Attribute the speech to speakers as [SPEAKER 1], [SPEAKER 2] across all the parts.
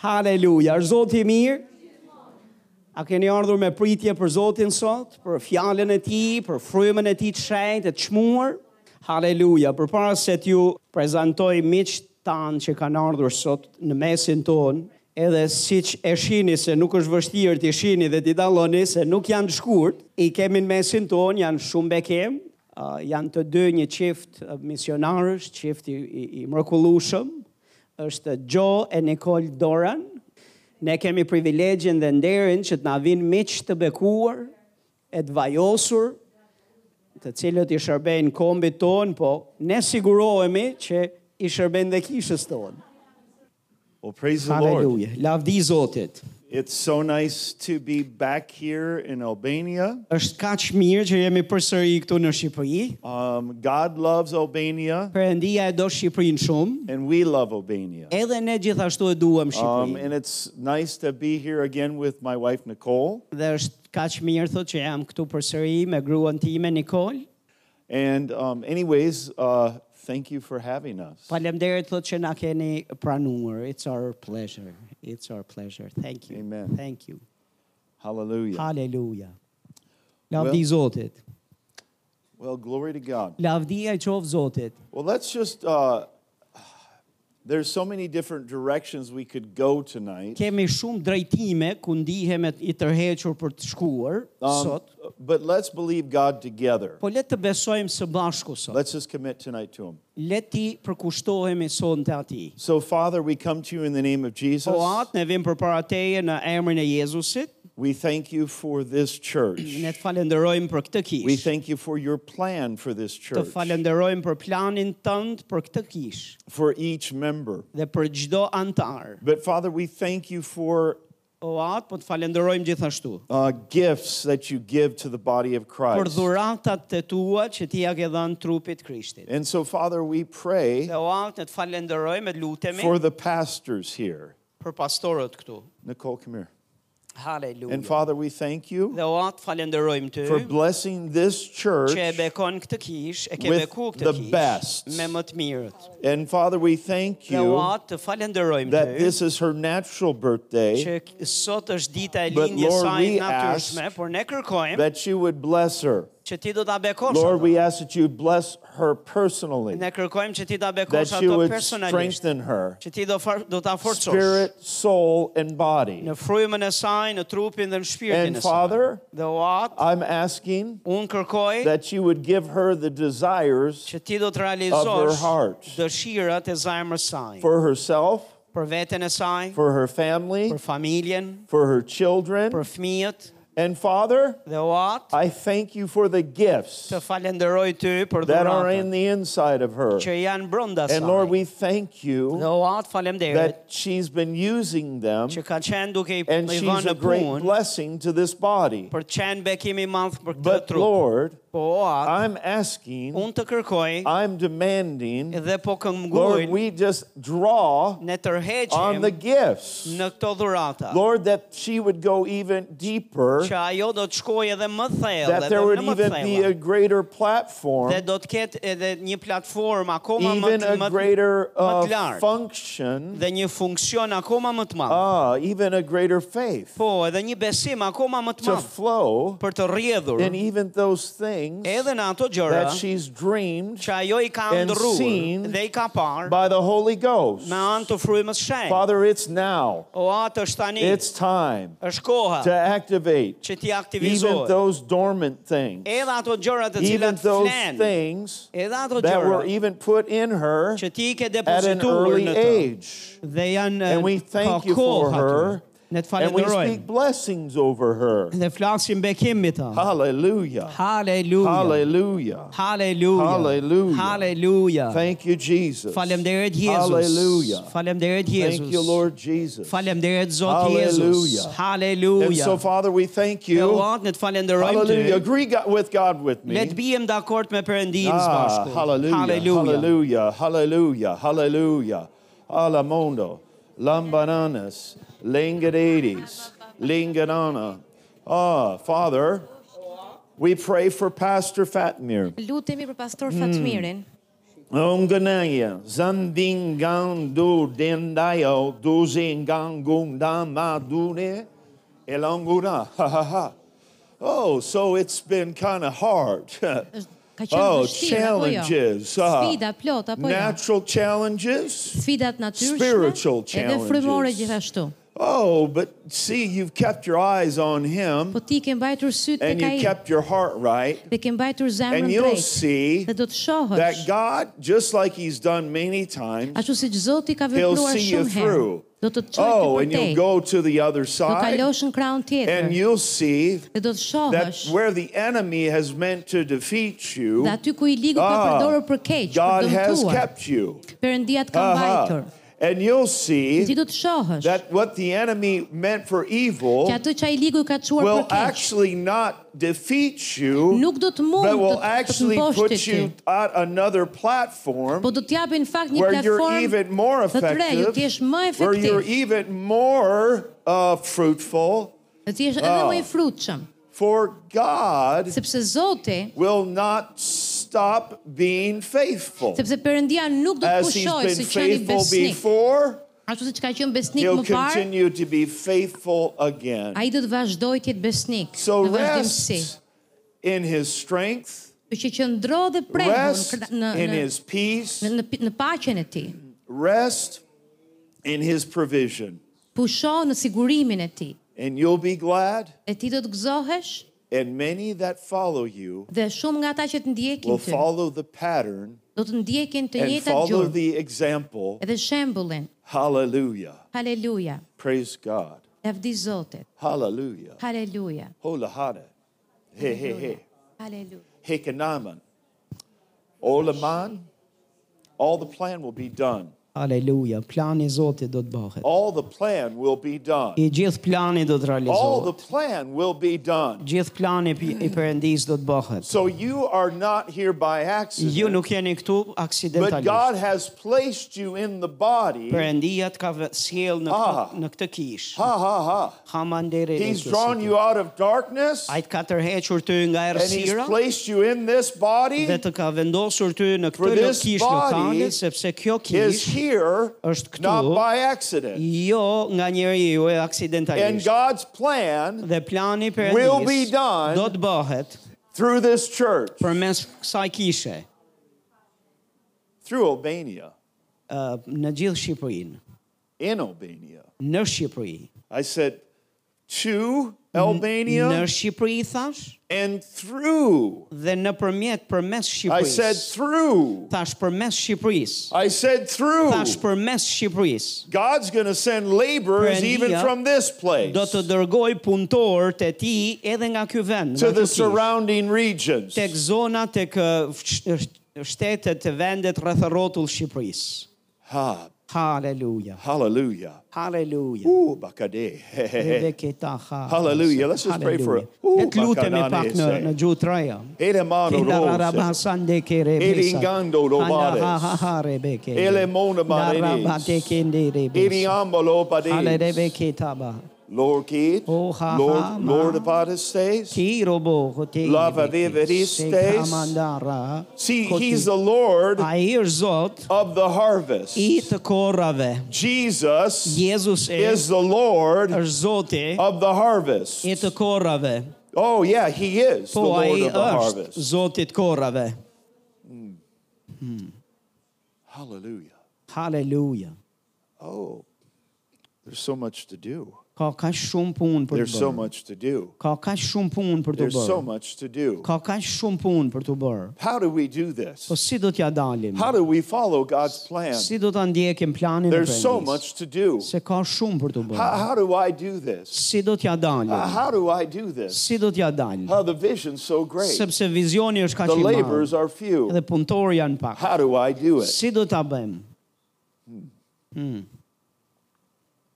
[SPEAKER 1] Haleluja. Është Zoti i mirë? A keni ardhur me pritje për Zotin sot, për fjalën e tij, për frymën e tij të shenjtë, të çmuar? Haleluja. Përpara se t'ju prezantoj miqtë tanë që kanë ardhur sot në mesin tonë, edhe siç e shihni se nuk është vështirë t'i shihni dhe t'i dalloni se nuk janë të shkurt, i kemi në mesin tonë, janë shumë bekem, uh, janë të dy një qift uh, misionarësh, qift i, i, i mrekullueshëm, është Gjo e Nicole Doran. Ne kemi privilegjin dhe nderin që të na vinë miq të bekuar, e të vajosur, të cilët i shërbejnë kombit tonë, po ne sigurohemi që i shërbejnë dhe kishës tonë.
[SPEAKER 2] Well, praise the Lord.
[SPEAKER 1] Haleluja. Lavdi Zotit.
[SPEAKER 2] It's so nice to be back here in Albania.
[SPEAKER 1] Është kaq mirë që jemi përsëri këtu në Shqipëri.
[SPEAKER 2] Um, God loves Albania,
[SPEAKER 1] Perëndia e do Shqipërinë shumë,
[SPEAKER 2] and we love Albania.
[SPEAKER 1] edhe ne gjithashtu e duam
[SPEAKER 2] Um,
[SPEAKER 1] Shqipërinë.
[SPEAKER 2] and it's nice to be here again with my wife, Nicole.
[SPEAKER 1] dhe është kaq mirë thotë që jam këtu përsëri me gruan time Nikol.
[SPEAKER 2] And, um, anyways, uh, thank you for having us.
[SPEAKER 1] Faleminderit thotë që na keni pranuar. It's our pleasure. It's our pleasure. Thank you.
[SPEAKER 2] Amen.
[SPEAKER 1] Thank you.
[SPEAKER 2] Hallelujah.
[SPEAKER 1] Haleluja. Lavdi Zotit.
[SPEAKER 2] Well, glory to God.
[SPEAKER 1] Lavdia i qoftë Zotit.
[SPEAKER 2] Well, let's just, uh, there's so many different directions we could go tonight.
[SPEAKER 1] Kemi shumë drejtime ku ndihemi i tërhequr për të shkuar
[SPEAKER 2] Um,
[SPEAKER 1] sot,
[SPEAKER 2] but let's believe God together.
[SPEAKER 1] po le të besojmë së bashku sot.
[SPEAKER 2] Let's just commit tonight to Him.
[SPEAKER 1] Le ti përkushtohemi sonte atij.
[SPEAKER 2] So, Father, we come to you in the name of Jesus.
[SPEAKER 1] Po atë ne vim përpara teje në emrin e Jezusit,
[SPEAKER 2] We thank you for this church.
[SPEAKER 1] ne të falenderojmë për këtë kishë.
[SPEAKER 2] We thank you for your plan for this
[SPEAKER 1] të
[SPEAKER 2] church,
[SPEAKER 1] falenderojmë për planin tënd për këtë kishë
[SPEAKER 2] for each member.
[SPEAKER 1] dhe për çdo antar.
[SPEAKER 2] But, Father, we thank you for
[SPEAKER 1] O atë, po të falenderojmë gjithashtu.
[SPEAKER 2] uh, gifts that you give to the body
[SPEAKER 1] Për
[SPEAKER 2] of Christ.
[SPEAKER 1] dhuratat të tua që ti ja ke dhënë trupit Krishtit.
[SPEAKER 2] And so, Father, we pray
[SPEAKER 1] Dhe o atë, ne të falenderojmë e të lutemi
[SPEAKER 2] for the pastors here.
[SPEAKER 1] për pastorët këtu.
[SPEAKER 2] Nicole, come here.
[SPEAKER 1] Haleluja.
[SPEAKER 2] And, Father, we thank you
[SPEAKER 1] Dhe o atë, falenderojmë ty
[SPEAKER 2] for blessing this church.
[SPEAKER 1] që e bekon këtë kishë, e ke
[SPEAKER 2] with
[SPEAKER 1] beku
[SPEAKER 2] the
[SPEAKER 1] këtë
[SPEAKER 2] best.
[SPEAKER 1] kishë me më të mirët.
[SPEAKER 2] And, Father, we thank
[SPEAKER 1] Dhe o
[SPEAKER 2] you
[SPEAKER 1] atë, të falenderojmë ty
[SPEAKER 2] that this is her natural birthday,
[SPEAKER 1] që k- sot është dita e
[SPEAKER 2] But,
[SPEAKER 1] lindjes
[SPEAKER 2] Lord,
[SPEAKER 1] saj
[SPEAKER 2] we
[SPEAKER 1] natyrshme, por ne kërkojmë
[SPEAKER 2] that you would bless her.
[SPEAKER 1] që ti do ta bekosh.
[SPEAKER 2] Lord,
[SPEAKER 1] atë.
[SPEAKER 2] we ask that you bless her personally,
[SPEAKER 1] Ne kërkojmë që ti ta bekosh
[SPEAKER 2] that you
[SPEAKER 1] ato
[SPEAKER 2] would
[SPEAKER 1] personalisht,
[SPEAKER 2] strengthen her,
[SPEAKER 1] që ti do far, do ta forcosh
[SPEAKER 2] spirit, soul, and body.
[SPEAKER 1] në frymën e saj, në trupin dhe në shpirtin
[SPEAKER 2] And
[SPEAKER 1] e saj.
[SPEAKER 2] Father,
[SPEAKER 1] Dhe o atë,
[SPEAKER 2] I'm asking
[SPEAKER 1] unë kërkoj
[SPEAKER 2] that you would give her the desires
[SPEAKER 1] që ti do të
[SPEAKER 2] of her
[SPEAKER 1] realizosh
[SPEAKER 2] heart.
[SPEAKER 1] dëshirat e zemrës saj,
[SPEAKER 2] for herself,
[SPEAKER 1] për veten e saj,
[SPEAKER 2] for her family,
[SPEAKER 1] për familjen,
[SPEAKER 2] for her children.
[SPEAKER 1] për fëmijët.
[SPEAKER 2] And Father,
[SPEAKER 1] Dhe o atë,
[SPEAKER 2] I thank you for the gifts
[SPEAKER 1] të falenderoj ty për
[SPEAKER 2] that are
[SPEAKER 1] dhuratën
[SPEAKER 2] in the inside of her.
[SPEAKER 1] që janë brenda saj.
[SPEAKER 2] And Lord, we thank you
[SPEAKER 1] Dhe o atë, falemderit
[SPEAKER 2] that she's been using them
[SPEAKER 1] që ka qenë duke i
[SPEAKER 2] and
[SPEAKER 1] i
[SPEAKER 2] she's
[SPEAKER 1] vënë
[SPEAKER 2] a
[SPEAKER 1] në
[SPEAKER 2] great
[SPEAKER 1] punë
[SPEAKER 2] blessing to this body.
[SPEAKER 1] për të qenë bekim i madh për këtë
[SPEAKER 2] But
[SPEAKER 1] trup.
[SPEAKER 2] Lord,
[SPEAKER 1] Po o atë,
[SPEAKER 2] I'm asking,
[SPEAKER 1] unë të kërkoj
[SPEAKER 2] I'm demanding,
[SPEAKER 1] dhe po
[SPEAKER 2] Lord,
[SPEAKER 1] këngujnë
[SPEAKER 2] we just draw
[SPEAKER 1] ne
[SPEAKER 2] on
[SPEAKER 1] tërheqim
[SPEAKER 2] the gifts.
[SPEAKER 1] në këto dhurata.
[SPEAKER 2] Lord, that she would go even deeper,
[SPEAKER 1] Që ajo do të shkojë edhe më thellë,
[SPEAKER 2] that
[SPEAKER 1] edhe
[SPEAKER 2] there would
[SPEAKER 1] në më
[SPEAKER 2] even be
[SPEAKER 1] thellë.
[SPEAKER 2] a greater
[SPEAKER 1] Dhe
[SPEAKER 2] platform,
[SPEAKER 1] do të ketë edhe një platformë akoma më
[SPEAKER 2] even
[SPEAKER 1] të më
[SPEAKER 2] a
[SPEAKER 1] të
[SPEAKER 2] greater
[SPEAKER 1] më
[SPEAKER 2] uh,
[SPEAKER 1] të lartë
[SPEAKER 2] function,
[SPEAKER 1] dhe një funksion akoma më të madh.
[SPEAKER 2] uh, even a greater faith
[SPEAKER 1] Po, edhe një besim akoma më të
[SPEAKER 2] to
[SPEAKER 1] madh
[SPEAKER 2] flow
[SPEAKER 1] për të rrjedhur
[SPEAKER 2] in even those things
[SPEAKER 1] edhe në ato gjëra
[SPEAKER 2] that she's dreamed
[SPEAKER 1] që ajo i ka
[SPEAKER 2] and seen
[SPEAKER 1] ndërruar dhe i ka parë
[SPEAKER 2] by the Holy Ghost.
[SPEAKER 1] me anë të frymës së shenjtë.
[SPEAKER 2] Father, it's now.
[SPEAKER 1] O atë është tani,
[SPEAKER 2] It's time
[SPEAKER 1] është koha
[SPEAKER 2] to activate
[SPEAKER 1] që ti
[SPEAKER 2] even
[SPEAKER 1] aktivizohet.
[SPEAKER 2] those dormant things,
[SPEAKER 1] Edhe ato gjëra të
[SPEAKER 2] even
[SPEAKER 1] cilat
[SPEAKER 2] those
[SPEAKER 1] flenë,
[SPEAKER 2] things
[SPEAKER 1] edhe ato
[SPEAKER 2] that were
[SPEAKER 1] gjëra
[SPEAKER 2] even put in her
[SPEAKER 1] që ti i ke
[SPEAKER 2] at an
[SPEAKER 1] depozituar
[SPEAKER 2] early
[SPEAKER 1] në të.
[SPEAKER 2] age.
[SPEAKER 1] Dhe janë
[SPEAKER 2] And we
[SPEAKER 1] ka
[SPEAKER 2] thank you for
[SPEAKER 1] kohë
[SPEAKER 2] her.
[SPEAKER 1] aty. Ne të
[SPEAKER 2] And we speak
[SPEAKER 1] falenderojmë
[SPEAKER 2] blessings over her.
[SPEAKER 1] dhe flasim bekim mbi ta.
[SPEAKER 2] Hallelujah.
[SPEAKER 1] Halleluja.
[SPEAKER 2] Hallelujah.
[SPEAKER 1] Halleluja.
[SPEAKER 2] Hallelujah.
[SPEAKER 1] Halleluja.
[SPEAKER 2] Thank you, Jesus.
[SPEAKER 1] Faleminderit Jezus.
[SPEAKER 2] Hallelujah.
[SPEAKER 1] Faleminderit Jezus.
[SPEAKER 2] Thank you, Lord Jesus.
[SPEAKER 1] Faleminderit Zot Jezus.
[SPEAKER 2] Hallelujah.
[SPEAKER 1] Halleluja.
[SPEAKER 2] And so, Father, we thank you.
[SPEAKER 1] Elat, ne të falenderojmë
[SPEAKER 2] Hallelujah.
[SPEAKER 1] ty.
[SPEAKER 2] Agree God, with God with me.
[SPEAKER 1] Le të bijem dakord me Perëndin së
[SPEAKER 2] Ah,
[SPEAKER 1] bashku.
[SPEAKER 2] hallelujah, hallelujah, hallelujah, hallelujah. Alamondo, lambananas, lingadidis, lingadana. Ah, Father, we pray for Pastor Fatmir. Hmm.
[SPEAKER 3] Lutemi për pastor Fatmirin
[SPEAKER 2] Onganaya, Zandin Gang Du Dendayo, Duzin Gang Gunda Madune, Elanguna. Ha ha ha. Oh, so it's been kind of hard.
[SPEAKER 3] Është- Ka qenë
[SPEAKER 2] oh,
[SPEAKER 3] vështirë apo jo?
[SPEAKER 2] challenges. ah,
[SPEAKER 3] Sfida plot apo jo?
[SPEAKER 2] natural challenges.
[SPEAKER 3] Sfidat natyrshme
[SPEAKER 2] Spiritual
[SPEAKER 3] edhe frymore
[SPEAKER 2] challenges.
[SPEAKER 3] gjithashtu.
[SPEAKER 2] Oh, but see, you've kept your eyes on Him
[SPEAKER 3] Po ti ke mbajtur syt tek
[SPEAKER 2] and you
[SPEAKER 3] ai
[SPEAKER 2] kept your heart right,
[SPEAKER 3] dhe ke mbajtur zemrën
[SPEAKER 2] and you'll
[SPEAKER 3] drejt
[SPEAKER 2] see
[SPEAKER 3] dhe do të
[SPEAKER 2] that
[SPEAKER 3] shohësh
[SPEAKER 2] God, just like He's done many times,
[SPEAKER 3] ashtu siç Zoti ka
[SPEAKER 2] He'll
[SPEAKER 3] vepruar
[SPEAKER 2] see you
[SPEAKER 3] shumë herë.
[SPEAKER 2] through.
[SPEAKER 3] Do të të
[SPEAKER 2] oh,
[SPEAKER 3] çojë
[SPEAKER 2] and
[SPEAKER 3] ti
[SPEAKER 2] you'll
[SPEAKER 3] për te.
[SPEAKER 2] go to the other
[SPEAKER 3] Do
[SPEAKER 2] side,
[SPEAKER 3] kalosh në krahun tjetër
[SPEAKER 2] and you'll see
[SPEAKER 3] dhe do të
[SPEAKER 2] that
[SPEAKER 3] shohësh
[SPEAKER 2] where the enemy has meant to defeat
[SPEAKER 3] dhe
[SPEAKER 2] you,
[SPEAKER 3] aty ku i ligu ka
[SPEAKER 2] Ah,
[SPEAKER 3] përdorur për keq,
[SPEAKER 2] God
[SPEAKER 3] për
[SPEAKER 2] has
[SPEAKER 3] dëmtuar.
[SPEAKER 2] kept you.
[SPEAKER 3] Perëndia të ka mbajtur.
[SPEAKER 2] Aha. And you'll
[SPEAKER 3] Ti
[SPEAKER 2] see
[SPEAKER 3] do të shohësh
[SPEAKER 2] that what the enemy meant for
[SPEAKER 3] që
[SPEAKER 2] evil
[SPEAKER 3] atë që ai ligu ka çuar për
[SPEAKER 2] will
[SPEAKER 3] keq
[SPEAKER 2] actually not defeat you,
[SPEAKER 3] nuk do të mund
[SPEAKER 2] but
[SPEAKER 3] të
[SPEAKER 2] will
[SPEAKER 3] të të
[SPEAKER 2] actually
[SPEAKER 3] mbosh
[SPEAKER 2] put
[SPEAKER 3] ti.
[SPEAKER 2] you at another platform
[SPEAKER 3] Po do të japin në fakt një
[SPEAKER 2] where you're
[SPEAKER 3] platformë
[SPEAKER 2] even more
[SPEAKER 3] të të re, ju të jesh
[SPEAKER 2] effective,
[SPEAKER 3] më
[SPEAKER 2] where you're
[SPEAKER 3] efektiv,
[SPEAKER 2] even more uh, fruitful.
[SPEAKER 3] të të jesh
[SPEAKER 2] Oh.
[SPEAKER 3] edhe më i frutshëm,
[SPEAKER 2] For God
[SPEAKER 3] sepse Zoti,
[SPEAKER 2] will not stop being faithful.
[SPEAKER 3] sepse Perëndia nuk do të
[SPEAKER 2] As he's
[SPEAKER 3] pushojë
[SPEAKER 2] been
[SPEAKER 3] si qeni
[SPEAKER 2] faithful
[SPEAKER 3] besnik,
[SPEAKER 2] before,
[SPEAKER 3] ashtu siç ka qenë besnik
[SPEAKER 2] he'll
[SPEAKER 3] më parë,
[SPEAKER 2] continue to be faithful again.
[SPEAKER 3] ai do të vazhdojë të jetë besnik
[SPEAKER 2] So
[SPEAKER 3] në vazhdimsi.
[SPEAKER 2] rest in his strength,
[SPEAKER 3] Kështu që qëndro dhe prehu në
[SPEAKER 2] rest
[SPEAKER 3] kërda- në
[SPEAKER 2] in
[SPEAKER 3] në
[SPEAKER 2] his peace,
[SPEAKER 3] në, në, në paqen e tij.
[SPEAKER 2] rest in his provision.
[SPEAKER 3] Pusho në sigurimin e tij.
[SPEAKER 2] And you'll be glad,
[SPEAKER 3] E ti do të gëzohesh
[SPEAKER 2] and many that follow you
[SPEAKER 3] dhe shumë nga ata që të ndjekin
[SPEAKER 2] will
[SPEAKER 3] ty
[SPEAKER 2] follow the pattern
[SPEAKER 3] do të ndjekin të
[SPEAKER 2] and
[SPEAKER 3] njëjtat
[SPEAKER 2] follow
[SPEAKER 3] gjurmë
[SPEAKER 2] the example.
[SPEAKER 3] edhe shembullin.
[SPEAKER 2] Hallelujah.
[SPEAKER 3] Haleluja.
[SPEAKER 2] Praise God.
[SPEAKER 3] Lavdi Zotit.
[SPEAKER 2] Hallelujah.
[SPEAKER 3] Haleluja.
[SPEAKER 2] Holahada. He he he.
[SPEAKER 3] Haleluja.
[SPEAKER 2] Hekanaman. Olaman. All the plan will be done.
[SPEAKER 1] Aleluja, plani i Zotit do të bëhet.
[SPEAKER 2] All the plan will be done.
[SPEAKER 1] I gjithë plani do të
[SPEAKER 2] All the
[SPEAKER 1] realizohet.
[SPEAKER 2] plan will be done.
[SPEAKER 1] Gjithë plani pi- i Perëndisë do të bëhet.
[SPEAKER 2] So you are not here by
[SPEAKER 1] Ju
[SPEAKER 2] accident.
[SPEAKER 1] nuk jeni këtu
[SPEAKER 2] But God
[SPEAKER 1] aksidentalisht.
[SPEAKER 2] has placed you in the body. Ha
[SPEAKER 1] Perëndia të ka vë- sjell në
[SPEAKER 2] Ah.
[SPEAKER 1] këtë, në këtë kishë.
[SPEAKER 2] ha ha.
[SPEAKER 1] Hamandere.
[SPEAKER 2] He's drawn you out of darkness
[SPEAKER 1] Ai të ka tërhequr ty nga
[SPEAKER 2] and he's
[SPEAKER 1] errësira
[SPEAKER 2] placed you in this
[SPEAKER 1] dhe
[SPEAKER 2] body.
[SPEAKER 1] të ka vendosur ty në
[SPEAKER 2] For
[SPEAKER 1] këtë lo-
[SPEAKER 2] this
[SPEAKER 1] kishë
[SPEAKER 2] body
[SPEAKER 1] lokale sepse kjo
[SPEAKER 2] Is
[SPEAKER 1] kishë
[SPEAKER 2] here
[SPEAKER 1] është këtu.
[SPEAKER 2] not by accident.
[SPEAKER 1] jo nga njeriu e
[SPEAKER 2] And
[SPEAKER 1] aksidentalisht.
[SPEAKER 2] God's plan
[SPEAKER 1] Dhe plani i
[SPEAKER 2] will be
[SPEAKER 1] Perëndisë
[SPEAKER 2] done
[SPEAKER 1] do të bëhet
[SPEAKER 2] through this church,
[SPEAKER 1] përmes kësaj kishe
[SPEAKER 2] through Albania,
[SPEAKER 1] ë, në gjithë Shqipërinë,
[SPEAKER 2] in Albania.
[SPEAKER 1] në Shqipëri.
[SPEAKER 2] I said, to Albania
[SPEAKER 1] Në Shqipëri thash
[SPEAKER 2] and through.
[SPEAKER 1] dhe nëpërmjet përmes
[SPEAKER 2] I said,
[SPEAKER 1] Shqipërisë.
[SPEAKER 2] through.
[SPEAKER 1] Thash përmes Shqipërisë.
[SPEAKER 2] I said, through.
[SPEAKER 1] Thash përmes Shqipërisë.
[SPEAKER 2] God's going to send laborers even
[SPEAKER 1] Perëndia
[SPEAKER 2] from this place
[SPEAKER 1] Do të dërgoj punëtor të ti edhe nga ky vend,
[SPEAKER 2] to
[SPEAKER 1] nga
[SPEAKER 2] the
[SPEAKER 1] kjo kishë.
[SPEAKER 2] surrounding regions.
[SPEAKER 1] Tek zona, tek ë, fsh- sh- shtetet të vendet rrethotull Shqipërisë.
[SPEAKER 2] Ha,
[SPEAKER 1] Haleluja.
[SPEAKER 2] hallelujah.
[SPEAKER 1] Haleluja.
[SPEAKER 2] Ooh, bakade.
[SPEAKER 1] Edhe këta ha.
[SPEAKER 2] Hallelujah. eh, Let's just pray for-
[SPEAKER 1] Hallelujah. Le
[SPEAKER 2] Uh,
[SPEAKER 1] të lutemi
[SPEAKER 2] bakanane
[SPEAKER 1] pak në
[SPEAKER 2] ese.
[SPEAKER 1] në gjuhë të reja.
[SPEAKER 2] Elemano
[SPEAKER 1] Kila
[SPEAKER 2] rose.
[SPEAKER 1] raraba sande kere
[SPEAKER 2] Eri
[SPEAKER 1] besa.
[SPEAKER 2] ngando lo
[SPEAKER 1] Handa
[SPEAKER 2] bares.
[SPEAKER 1] Ha ha ha rebeke.
[SPEAKER 2] Ele mona marenes.
[SPEAKER 1] Laraba te kende rebesa.
[SPEAKER 2] Iriambalo pades.
[SPEAKER 1] Hale rebeke taba.
[SPEAKER 2] Lord Kid,
[SPEAKER 1] Oh, ha, ha,
[SPEAKER 2] Lord,
[SPEAKER 1] ma.
[SPEAKER 2] Lord of Other States.
[SPEAKER 1] Ki robo hote.
[SPEAKER 2] Lava viveristes.
[SPEAKER 1] Amandara.
[SPEAKER 2] See, He's the Lord
[SPEAKER 1] Ai është Zot
[SPEAKER 2] of the harvest.
[SPEAKER 1] i të korrave.
[SPEAKER 2] Jesus
[SPEAKER 1] Jezus e
[SPEAKER 2] is the Lord
[SPEAKER 1] është Zoti
[SPEAKER 2] of the harvest.
[SPEAKER 1] i të korrave.
[SPEAKER 2] Oh, yeah, He is the
[SPEAKER 1] Po ai
[SPEAKER 2] Lord of the
[SPEAKER 1] është
[SPEAKER 2] harvest.
[SPEAKER 1] Zoti i të korrave.
[SPEAKER 2] Hallelujah.
[SPEAKER 1] Haleluja.
[SPEAKER 2] Oh, there's so much to do.
[SPEAKER 1] Ka ka shumë punë për të
[SPEAKER 2] There's so
[SPEAKER 1] bërë.
[SPEAKER 2] much to do.
[SPEAKER 1] Ka ka shumë punë për të
[SPEAKER 2] There's so
[SPEAKER 1] bërë.
[SPEAKER 2] much to do.
[SPEAKER 1] Ka ka shumë punë për të bërë.
[SPEAKER 2] How do we do this?
[SPEAKER 1] Po si do t'ja dalim?
[SPEAKER 2] How do we follow God's plan?
[SPEAKER 1] Si do ta ndjekim planin e
[SPEAKER 2] There's so
[SPEAKER 1] Perëndisë?
[SPEAKER 2] much to do.
[SPEAKER 1] Se ka shumë për të
[SPEAKER 2] How,
[SPEAKER 1] bërë.
[SPEAKER 2] how do I do this?
[SPEAKER 1] Si do t'ja
[SPEAKER 2] Uh,
[SPEAKER 1] dalim?
[SPEAKER 2] How do I do this?
[SPEAKER 1] Si do t'ja dalim?
[SPEAKER 2] How the vision's so great.
[SPEAKER 1] Sepse vizioni është
[SPEAKER 2] The
[SPEAKER 1] kaq i
[SPEAKER 2] laborers
[SPEAKER 1] madh
[SPEAKER 2] are few.
[SPEAKER 1] dhe punëtorë janë pak.
[SPEAKER 2] How do I do it?
[SPEAKER 1] Si do ta bëjmë?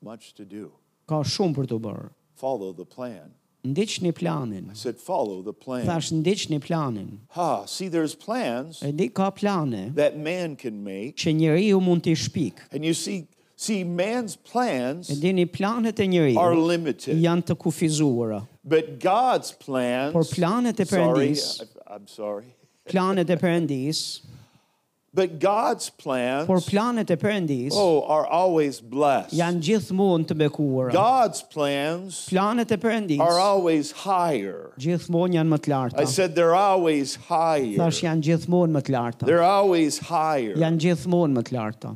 [SPEAKER 2] Much to do.
[SPEAKER 1] Ka shumë për të bërë.
[SPEAKER 2] Follow the plan.
[SPEAKER 1] Ndiqni planin.
[SPEAKER 2] I said, follow the plan.
[SPEAKER 1] Thash ndiqni planin.
[SPEAKER 2] Ha, see, there's plans
[SPEAKER 1] E di ka plane
[SPEAKER 2] that man can make.
[SPEAKER 1] që njeriu mund t'i shpik.
[SPEAKER 2] And you see, see, man's
[SPEAKER 1] E
[SPEAKER 2] plans
[SPEAKER 1] dini planet e
[SPEAKER 2] are
[SPEAKER 1] njeriu
[SPEAKER 2] limited.
[SPEAKER 1] janë të kufizuara.
[SPEAKER 2] But God's plans
[SPEAKER 1] Por planet e
[SPEAKER 2] sorry,
[SPEAKER 1] Perëndis-
[SPEAKER 2] I- I'm sorry.
[SPEAKER 1] Planet e Perëndis
[SPEAKER 2] But God's
[SPEAKER 1] por
[SPEAKER 2] plans,
[SPEAKER 1] planet e Perëndis
[SPEAKER 2] oh, are always blessed.
[SPEAKER 1] janë gjithmonë të bekuara.
[SPEAKER 2] God's plans
[SPEAKER 1] Planet e Perëndis
[SPEAKER 2] are always higher.
[SPEAKER 1] gjithmonë janë më të larta.
[SPEAKER 2] I said they're always higher.
[SPEAKER 1] Thash janë gjithmonë më të larta.
[SPEAKER 2] They're always higher.
[SPEAKER 1] Janë gjithmonë më të larta.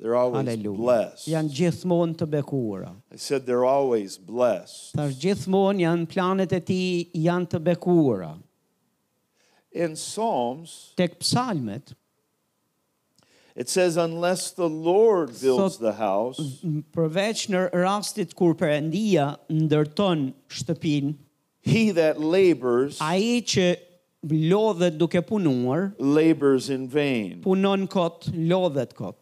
[SPEAKER 2] They're always
[SPEAKER 1] Aleluja.
[SPEAKER 2] blessed.
[SPEAKER 1] Janë gjithmonë të bekuara.
[SPEAKER 2] I said they're always blessed.
[SPEAKER 1] Thash gjithmonë janë planet e tij janë të bekuara.
[SPEAKER 2] In Psalms,
[SPEAKER 1] Tek psalmet
[SPEAKER 2] it says, unless the Lord builds
[SPEAKER 1] Thot-
[SPEAKER 2] the house,
[SPEAKER 1] m- përveç në rastit kur Perëndia ndërton shtëpinë,
[SPEAKER 2] he that labors
[SPEAKER 1] ai që lodhet duke punuar,
[SPEAKER 2] labors in vain.
[SPEAKER 1] punon kot, lodhet kot.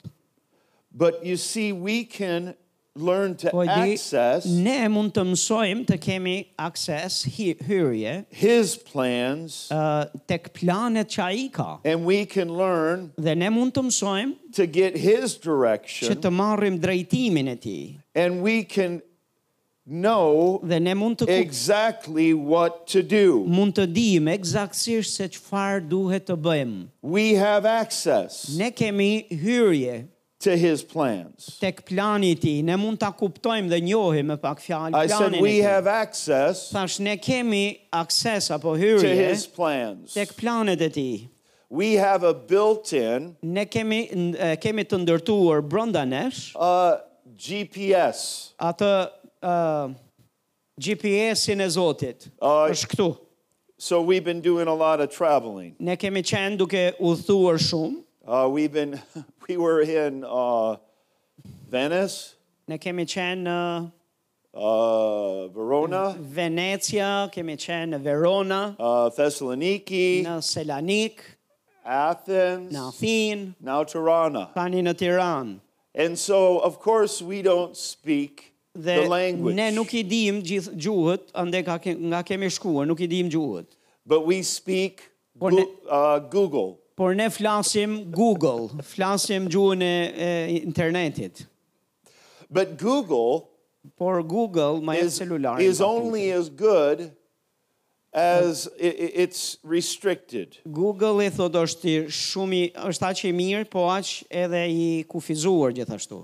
[SPEAKER 2] But you see, we can learn to
[SPEAKER 1] Po e di,
[SPEAKER 2] access
[SPEAKER 1] ne mund të mësojmë të kemi akses hi- hyrje
[SPEAKER 2] his plans,
[SPEAKER 1] ë, tek planet që ai ka.
[SPEAKER 2] and we can learn
[SPEAKER 1] Dhe ne mund të mësojmë
[SPEAKER 2] to get his
[SPEAKER 1] që
[SPEAKER 2] direction,
[SPEAKER 1] të marrim drejtimin e tij.
[SPEAKER 2] and we can know
[SPEAKER 1] Dhe ne mund të kup-
[SPEAKER 2] exactly what to do.
[SPEAKER 1] mund të dim eksaktësisht se çfarë duhet të bëjmë.
[SPEAKER 2] We have access
[SPEAKER 1] Ne kemi hyrje
[SPEAKER 2] to his plans.
[SPEAKER 1] tek plani i tij. Ne mund ta kuptojmë dhe njohim me pak fjalë
[SPEAKER 2] I said
[SPEAKER 1] planin.
[SPEAKER 2] we
[SPEAKER 1] e tij.
[SPEAKER 2] have access
[SPEAKER 1] Thash ne kemi akses apo
[SPEAKER 2] to his
[SPEAKER 1] hyrje
[SPEAKER 2] plans.
[SPEAKER 1] tek planet e tij.
[SPEAKER 2] We have a built-in
[SPEAKER 1] Ne kemi n- e, kemi të ndërtuar brenda nesh
[SPEAKER 2] uh, GPS.
[SPEAKER 1] atë uh, GPS-in e Zotit.
[SPEAKER 2] Ai.
[SPEAKER 1] Është këtu.
[SPEAKER 2] So we've been doing a lot of traveling.
[SPEAKER 1] Ne kemi qenë duke udhthuar shumë.
[SPEAKER 2] Uh, we've been, we were in uh, Venice,
[SPEAKER 1] Ne kemi qenë në
[SPEAKER 2] uh, Verona,
[SPEAKER 1] Venecia, kemi qenë në Verona,
[SPEAKER 2] uh, Thessaloniki,
[SPEAKER 1] në Selanik,
[SPEAKER 2] Athens,
[SPEAKER 1] në Athinë,
[SPEAKER 2] now Tirana.
[SPEAKER 1] tani në Tiranë.
[SPEAKER 2] And so, of course, we don't speak
[SPEAKER 1] Dhe
[SPEAKER 2] the language,
[SPEAKER 1] ne nuk i dim gjithë gjuhët, ande ka ke, nga kemi shkuar, nuk i dim gjuhët.
[SPEAKER 2] but we speak
[SPEAKER 1] Por
[SPEAKER 2] Goo-
[SPEAKER 1] ne-
[SPEAKER 2] uh, Google.
[SPEAKER 1] Por ne flasim Google, flasim gjuhën e, e internetit.
[SPEAKER 2] But Google
[SPEAKER 1] Por Google, ma e
[SPEAKER 2] is,
[SPEAKER 1] celular.
[SPEAKER 2] is only as good as i- i- it's restricted.
[SPEAKER 1] Google i thot është i shumë i- është aq i mirë, po aq edhe i kufizuar gjithashtu.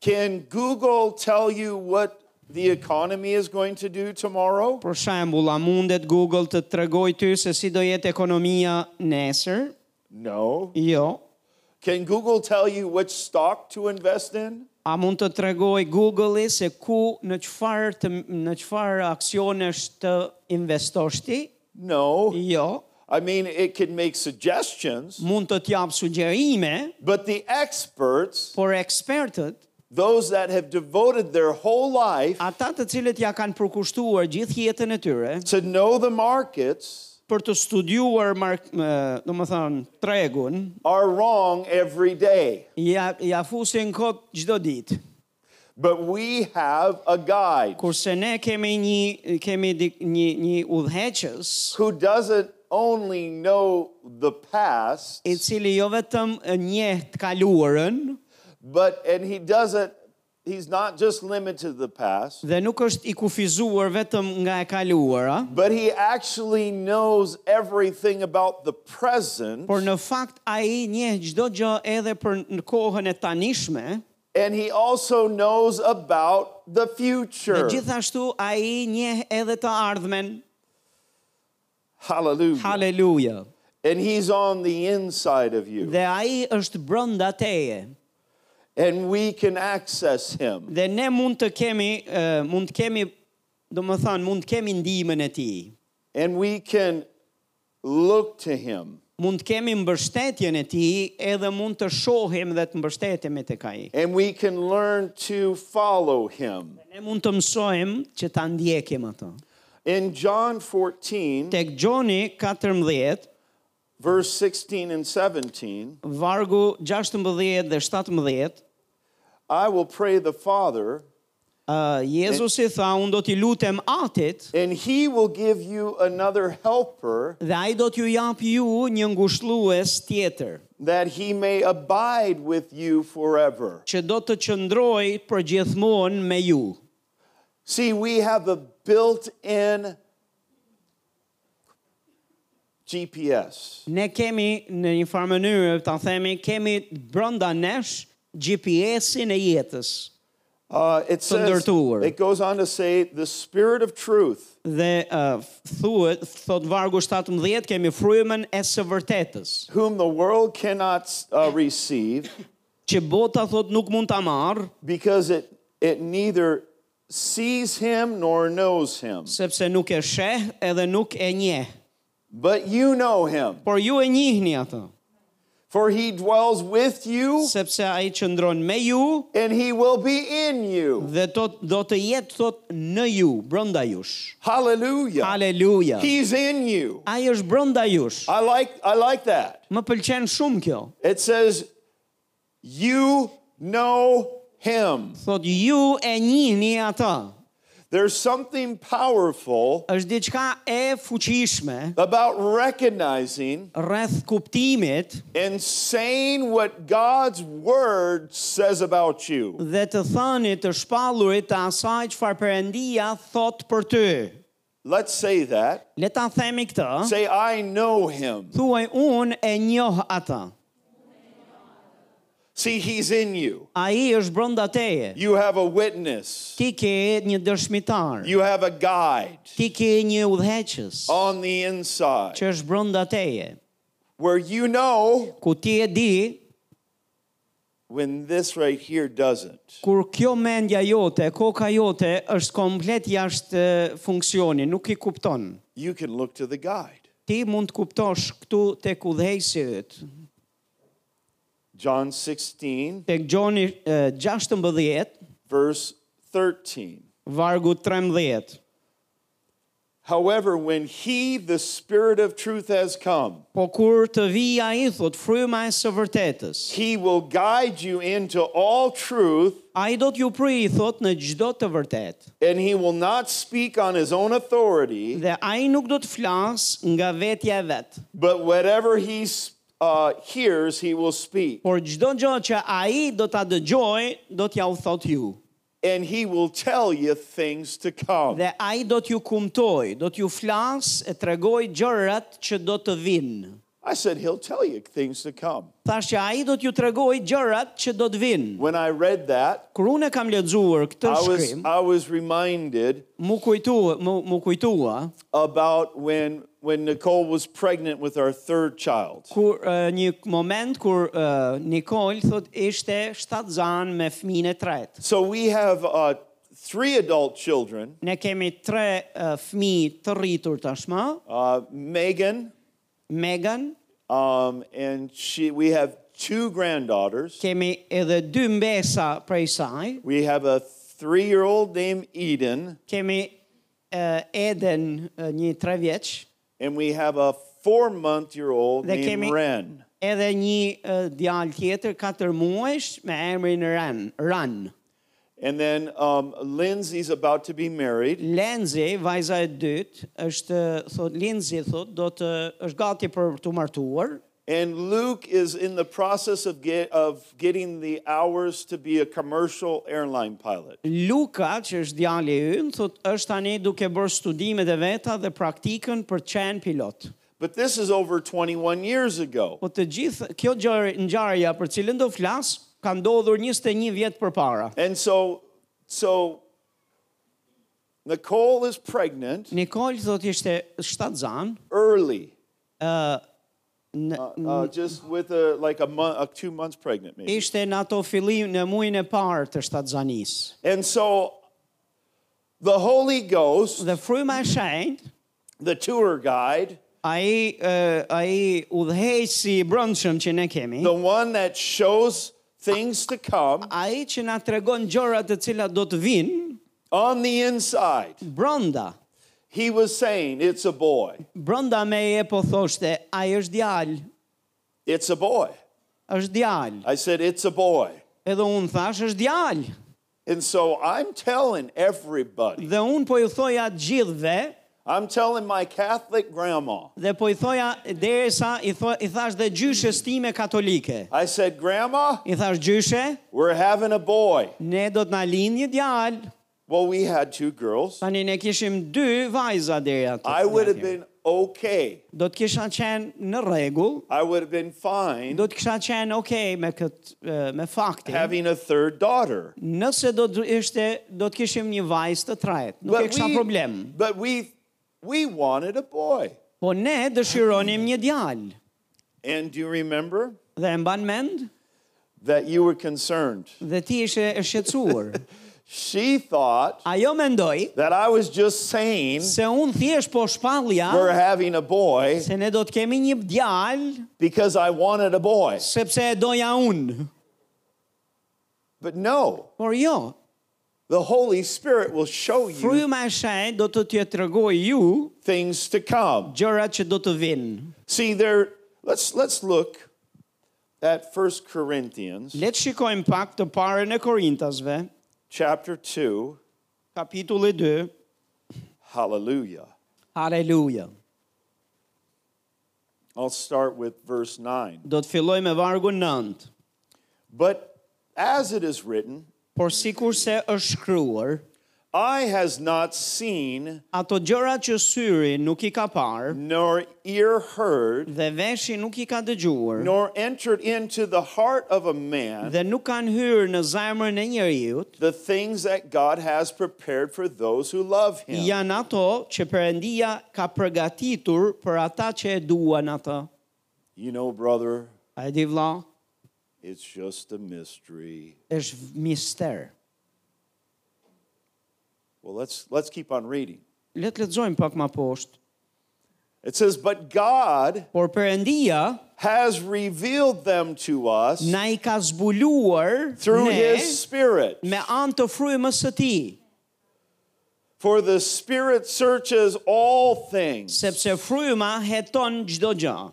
[SPEAKER 2] Can Google tell you what the economy is going to do tomorrow?
[SPEAKER 1] Për shembull, a mundet Google të tregoj ty se si do jetë ekonomia nesër?
[SPEAKER 2] No.
[SPEAKER 1] Jo.
[SPEAKER 2] Can Google tell you which stock to invest in?
[SPEAKER 1] A mund të tregoj Google-i se ku në çfarë të në çfarë aksionesh të investosh ti?
[SPEAKER 2] No.
[SPEAKER 1] Jo.
[SPEAKER 2] I mean, it can make suggestions,
[SPEAKER 1] Mund të t'jap sugjerime,
[SPEAKER 2] but the experts,
[SPEAKER 1] por ekspertët,
[SPEAKER 2] those that have devoted their whole life
[SPEAKER 1] ata të cilët ja kanë përkushtuar gjithë jetën e tyre
[SPEAKER 2] to know the markets,
[SPEAKER 1] për të studiuar mark, ë, do të thënë tregun,
[SPEAKER 2] are wrong every day.
[SPEAKER 1] ja ja fusin kot çdo ditë.
[SPEAKER 2] But we have a guide
[SPEAKER 1] Kurse ne kemi një kemi dik, një një udhëheqës
[SPEAKER 2] who doesn't only know the past,
[SPEAKER 1] i cili jo vetëm e njeh të kaluarën
[SPEAKER 2] but and he doesn't he's not just limited to the past,
[SPEAKER 1] dhe nuk është i kufizuar vetëm nga e kaluara,
[SPEAKER 2] but he actually knows everything about the present
[SPEAKER 1] por në fakt ai njeh çdo gjë edhe për në kohën e tanishme,
[SPEAKER 2] and he also knows about the
[SPEAKER 1] dhe
[SPEAKER 2] future.
[SPEAKER 1] gjithashtu ai njeh edhe të ardhmen.
[SPEAKER 2] Hallelujah.
[SPEAKER 1] Haleluja.
[SPEAKER 2] and he's on the inside of you.
[SPEAKER 1] Dhe ai është brenda teje.
[SPEAKER 2] and we can access him.
[SPEAKER 1] Dhe ne mund të kemi eh, mund të kemi do më thanë, mund të kemi ndihmën e ti,
[SPEAKER 2] And we can look to him.
[SPEAKER 1] mund të kemi mbështetjen e ti, edhe mund të shohim dhe të mbështetemi të ka i.
[SPEAKER 2] And we can learn to follow him.
[SPEAKER 1] Ne mund të mësojmë që ta ndjekim atë.
[SPEAKER 2] In John 14,
[SPEAKER 1] Tek Gjoni 14,
[SPEAKER 2] verse 16 and 17,
[SPEAKER 1] vargu 16 dhe 17,
[SPEAKER 2] I will pray the Father,
[SPEAKER 1] Uh, Jezusi tha, unë do t'i lutem atit,
[SPEAKER 2] and he will give you another helper
[SPEAKER 1] dhe ai do t'ju jap ju një ngushëllues tjetër,
[SPEAKER 2] that he may abide with you forever.
[SPEAKER 1] që do të qëndroj për gjithmonë me ju.
[SPEAKER 2] See, we have a built in GPS.
[SPEAKER 1] Ne kemi në një farë mënyrë, ta themi, kemi brenda nesh GPS-in e jetës.
[SPEAKER 2] Uh, it
[SPEAKER 1] Të
[SPEAKER 2] says,
[SPEAKER 1] ndërtuar.
[SPEAKER 2] it goes on to say, the spirit of truth,
[SPEAKER 1] Dhe uh, thuhet, thot vargu 17, kemi frymën e së vërtetës,
[SPEAKER 2] whom the world cannot uh, receive
[SPEAKER 1] që bota thot nuk mund ta marr,
[SPEAKER 2] because it, it neither sees him nor knows him.
[SPEAKER 1] sepse nuk e sheh edhe nuk e njeh.
[SPEAKER 2] But you know him,
[SPEAKER 1] Por ju e njihni atë,
[SPEAKER 2] for he dwells with you
[SPEAKER 1] sepse ai qëndron me ju
[SPEAKER 2] and he will be in you.
[SPEAKER 1] dhe tot, do të jetë thot në ju, brenda jush.
[SPEAKER 2] Hallelujah.
[SPEAKER 1] Aleluja.
[SPEAKER 2] He's in you.
[SPEAKER 1] Ai është brenda jush.
[SPEAKER 2] I like, I like that.
[SPEAKER 1] Më pëlqen shumë kjo.
[SPEAKER 2] It says, You know him.
[SPEAKER 1] Thot ju e njihni atë.
[SPEAKER 2] There's something powerful
[SPEAKER 1] Është diçka e fuqishme
[SPEAKER 2] about recognizing
[SPEAKER 1] rreth kuptimit
[SPEAKER 2] and saying what God's word says about you.
[SPEAKER 1] dhe të thënit të shpallurit të asaj çfarë Perëndia thot për ty.
[SPEAKER 2] Let's say that.
[SPEAKER 1] Le ta themi këtë.
[SPEAKER 2] Say, I know him.
[SPEAKER 1] Thuaj unë e njoh atë.
[SPEAKER 2] See, he's in you.
[SPEAKER 1] Ai është brenda teje.
[SPEAKER 2] You have a witness,
[SPEAKER 1] Ti ke një dëshmitar.
[SPEAKER 2] you have a guide
[SPEAKER 1] Ti ke një udhëheqës
[SPEAKER 2] on the inside
[SPEAKER 1] që është brenda teje.
[SPEAKER 2] where you know
[SPEAKER 1] Ku ti e di
[SPEAKER 2] when this right here doesn't.
[SPEAKER 1] kur kjo mendja jote, koka jote është komplet jashtë e, funksioni, nuk i kupton.
[SPEAKER 2] You can look to the guide.
[SPEAKER 1] Ti mund të kuptosh këtu tek udhëheqësi yt.
[SPEAKER 2] John 16,
[SPEAKER 1] Tek Gjoni e, 16
[SPEAKER 2] verse 13.
[SPEAKER 1] vargu 13.
[SPEAKER 2] However, when he, the Spirit of truth, has come,
[SPEAKER 1] Po kur të vija i thot fryma e së vërtetës,
[SPEAKER 2] he will guide you into all truth,
[SPEAKER 1] a i do t'ju pri i thot në gjdo të vërtet,
[SPEAKER 2] and he will not speak on his own authority,
[SPEAKER 1] dhe a i nuk do të flasë nga vetja e vetë,
[SPEAKER 2] but whatever he uh, hears, he will speak,
[SPEAKER 1] por gjdo gjë që a i do t'a dëgjoj, do t'ja u thot ju,
[SPEAKER 2] and he will tell you things to come.
[SPEAKER 1] dhe a i do t'ju kumtoj, do t'ju flasë e tregoj gjërat që do të vinë.
[SPEAKER 2] I said, he'll tell you things to come.
[SPEAKER 1] Thash që a i do t'ju tregoj gjërat që do të vinë.
[SPEAKER 2] When I read that,
[SPEAKER 1] Kur unë e kam lexuar këtë
[SPEAKER 2] I was,
[SPEAKER 1] shkrim,
[SPEAKER 2] I was reminded
[SPEAKER 1] mu kujtua, mu, mu kujtua
[SPEAKER 2] about when, when Nicole was pregnant with our third child.
[SPEAKER 1] kur uh, një moment kur uh, Nikol thot ishte shtatzan me fëmin e tretë.
[SPEAKER 2] So we have uh, three adult children
[SPEAKER 1] Ne kemi tre uh, fëmijë të rritur tashmë,
[SPEAKER 2] uh, Megan,
[SPEAKER 1] Megan,
[SPEAKER 2] um, and she, we have two granddaughters.
[SPEAKER 1] kemi edhe dy mbesa prej saj,
[SPEAKER 2] We have a three year old named Eden,
[SPEAKER 1] kemi uh, Eden uh, një tre vjeç,
[SPEAKER 2] and we have a four month year old
[SPEAKER 1] They
[SPEAKER 2] named
[SPEAKER 1] came in-
[SPEAKER 2] Ren.
[SPEAKER 1] edhe një uh, djalë tjetër 4 muajsh me emrin Ran, Ran.
[SPEAKER 2] And then um, Lindsay's about to be married,
[SPEAKER 1] Lenzi, vajza e dytë, është thot Lenzi thot do të është gati për të martuar,
[SPEAKER 2] and Luke is in the process of, get, of getting the hours to be a commercial airline pilot.
[SPEAKER 1] Luka, që është djali ynë, thot është tani duke bërë studimet e veta dhe praktikën për të qenë pilot.
[SPEAKER 2] But this is over 21 years ago.
[SPEAKER 1] Po të gjithë kjo gjë- ngjarja për cilën do flas ka ndodhur 21 vjet përpara.
[SPEAKER 2] And so, so Nicole is pregnant
[SPEAKER 1] Nikol thot ishte shtatzan,
[SPEAKER 2] early,
[SPEAKER 1] Uh, në,
[SPEAKER 2] uh, just with a like a month, uh, two months pregnant, maybe.
[SPEAKER 1] ishte në ato fillim në muajin e parë të shtatzanisë.
[SPEAKER 2] And so, the Holy Ghost,
[SPEAKER 1] Dhe fryma e shenjtë,
[SPEAKER 2] the tour guide,
[SPEAKER 1] ai ë, ai udhëheqësi i brendshëm që ne kemi,
[SPEAKER 2] the one that shows things to come
[SPEAKER 1] ai që na tregon gjërat të cilat do të vinë
[SPEAKER 2] on the inside,
[SPEAKER 1] brenda.
[SPEAKER 2] he was saying, "It's a boy.
[SPEAKER 1] brënda me e po thoshte, a është djalë,
[SPEAKER 2] It's a boy."
[SPEAKER 1] është djalë.
[SPEAKER 2] I said, "It's a boy."
[SPEAKER 1] Edhe unë thash, është djalë.
[SPEAKER 2] And so I'm telling everybody.
[SPEAKER 1] Dhe unë po ju thoja të gjithve,
[SPEAKER 2] I'm telling my Catholic grandma.
[SPEAKER 1] dhe po i thoja derisa i, tho, i thash dhe gjyshes time katolike.
[SPEAKER 2] I said, "Grandma,
[SPEAKER 1] I thash gjyshe,
[SPEAKER 2] We're having a boy.
[SPEAKER 1] ne do të na linë një djalë.
[SPEAKER 2] Well, we had two girls.
[SPEAKER 1] Tani ne kishim dy vajza deri aty.
[SPEAKER 2] I would have been okay.
[SPEAKER 1] Do të kisha qenë në rregull,
[SPEAKER 2] I would have been fine
[SPEAKER 1] do të kisha qenë okay me kët e, me faktin.
[SPEAKER 2] having a third daughter.
[SPEAKER 1] Nëse do të ishte do të kishim një vajzë të tretë, nuk e kisha problem.
[SPEAKER 2] but we, we wanted a boy.
[SPEAKER 1] Po ne dëshironim një djalë.
[SPEAKER 2] And do you remember
[SPEAKER 1] Dhe e mban mend
[SPEAKER 2] that you were concerned?
[SPEAKER 1] dhe ti ishe e shqetësuar.
[SPEAKER 2] She thought
[SPEAKER 1] Ajo mendoi
[SPEAKER 2] that I was just saying
[SPEAKER 1] se un thjesht po
[SPEAKER 2] we're
[SPEAKER 1] shpallja
[SPEAKER 2] having a boy
[SPEAKER 1] se ne do të kemi një djalë
[SPEAKER 2] because I wanted a boy.
[SPEAKER 1] sepse e doja unë.
[SPEAKER 2] But no,
[SPEAKER 1] Por jo,
[SPEAKER 2] the Holy Spirit will show you
[SPEAKER 1] fryma e shenjtë do të t'ju tregoj ju
[SPEAKER 2] things to come.
[SPEAKER 1] gjërat që do të vinë.
[SPEAKER 2] See, there, let's, let's look at 1 Corinthians
[SPEAKER 1] Le të shikojmë pak të parën e Korintasve,
[SPEAKER 2] chapter 2.
[SPEAKER 1] kapitulli 2.
[SPEAKER 2] Hallelujah.
[SPEAKER 1] Haleluja.
[SPEAKER 2] I'll start with verse 9.
[SPEAKER 1] Do të filloj me vargu 9.
[SPEAKER 2] But as it is written,
[SPEAKER 1] Por sikur se është shkruar,
[SPEAKER 2] eye has not seen,
[SPEAKER 1] ato gjërat që syri nuk i ka parë
[SPEAKER 2] nor ear heard,
[SPEAKER 1] dhe veshi nuk i ka dëgjuar
[SPEAKER 2] nor entered into the heart of a man
[SPEAKER 1] dhe nuk kanë hyrë në zemrën e njeriu,
[SPEAKER 2] the things that God has prepared for those who love him.
[SPEAKER 1] janë ato që Perëndia ka përgatitur për ata që e duan atë.
[SPEAKER 2] You know, brother,
[SPEAKER 1] A e di vëlla?
[SPEAKER 2] it's just a mystery.
[SPEAKER 1] Është mister.
[SPEAKER 2] Well, let's let's keep on reading.
[SPEAKER 1] Le të lexojmë pak më poshtë.
[SPEAKER 2] It says, "But God
[SPEAKER 1] Por Perëndia
[SPEAKER 2] has revealed them to us
[SPEAKER 1] na i ka zbuluar
[SPEAKER 2] through
[SPEAKER 1] ne
[SPEAKER 2] his spirit.
[SPEAKER 1] me anë të frymës së tij,
[SPEAKER 2] For the spirit searches all things.
[SPEAKER 1] sepse fryma heton çdo gjë.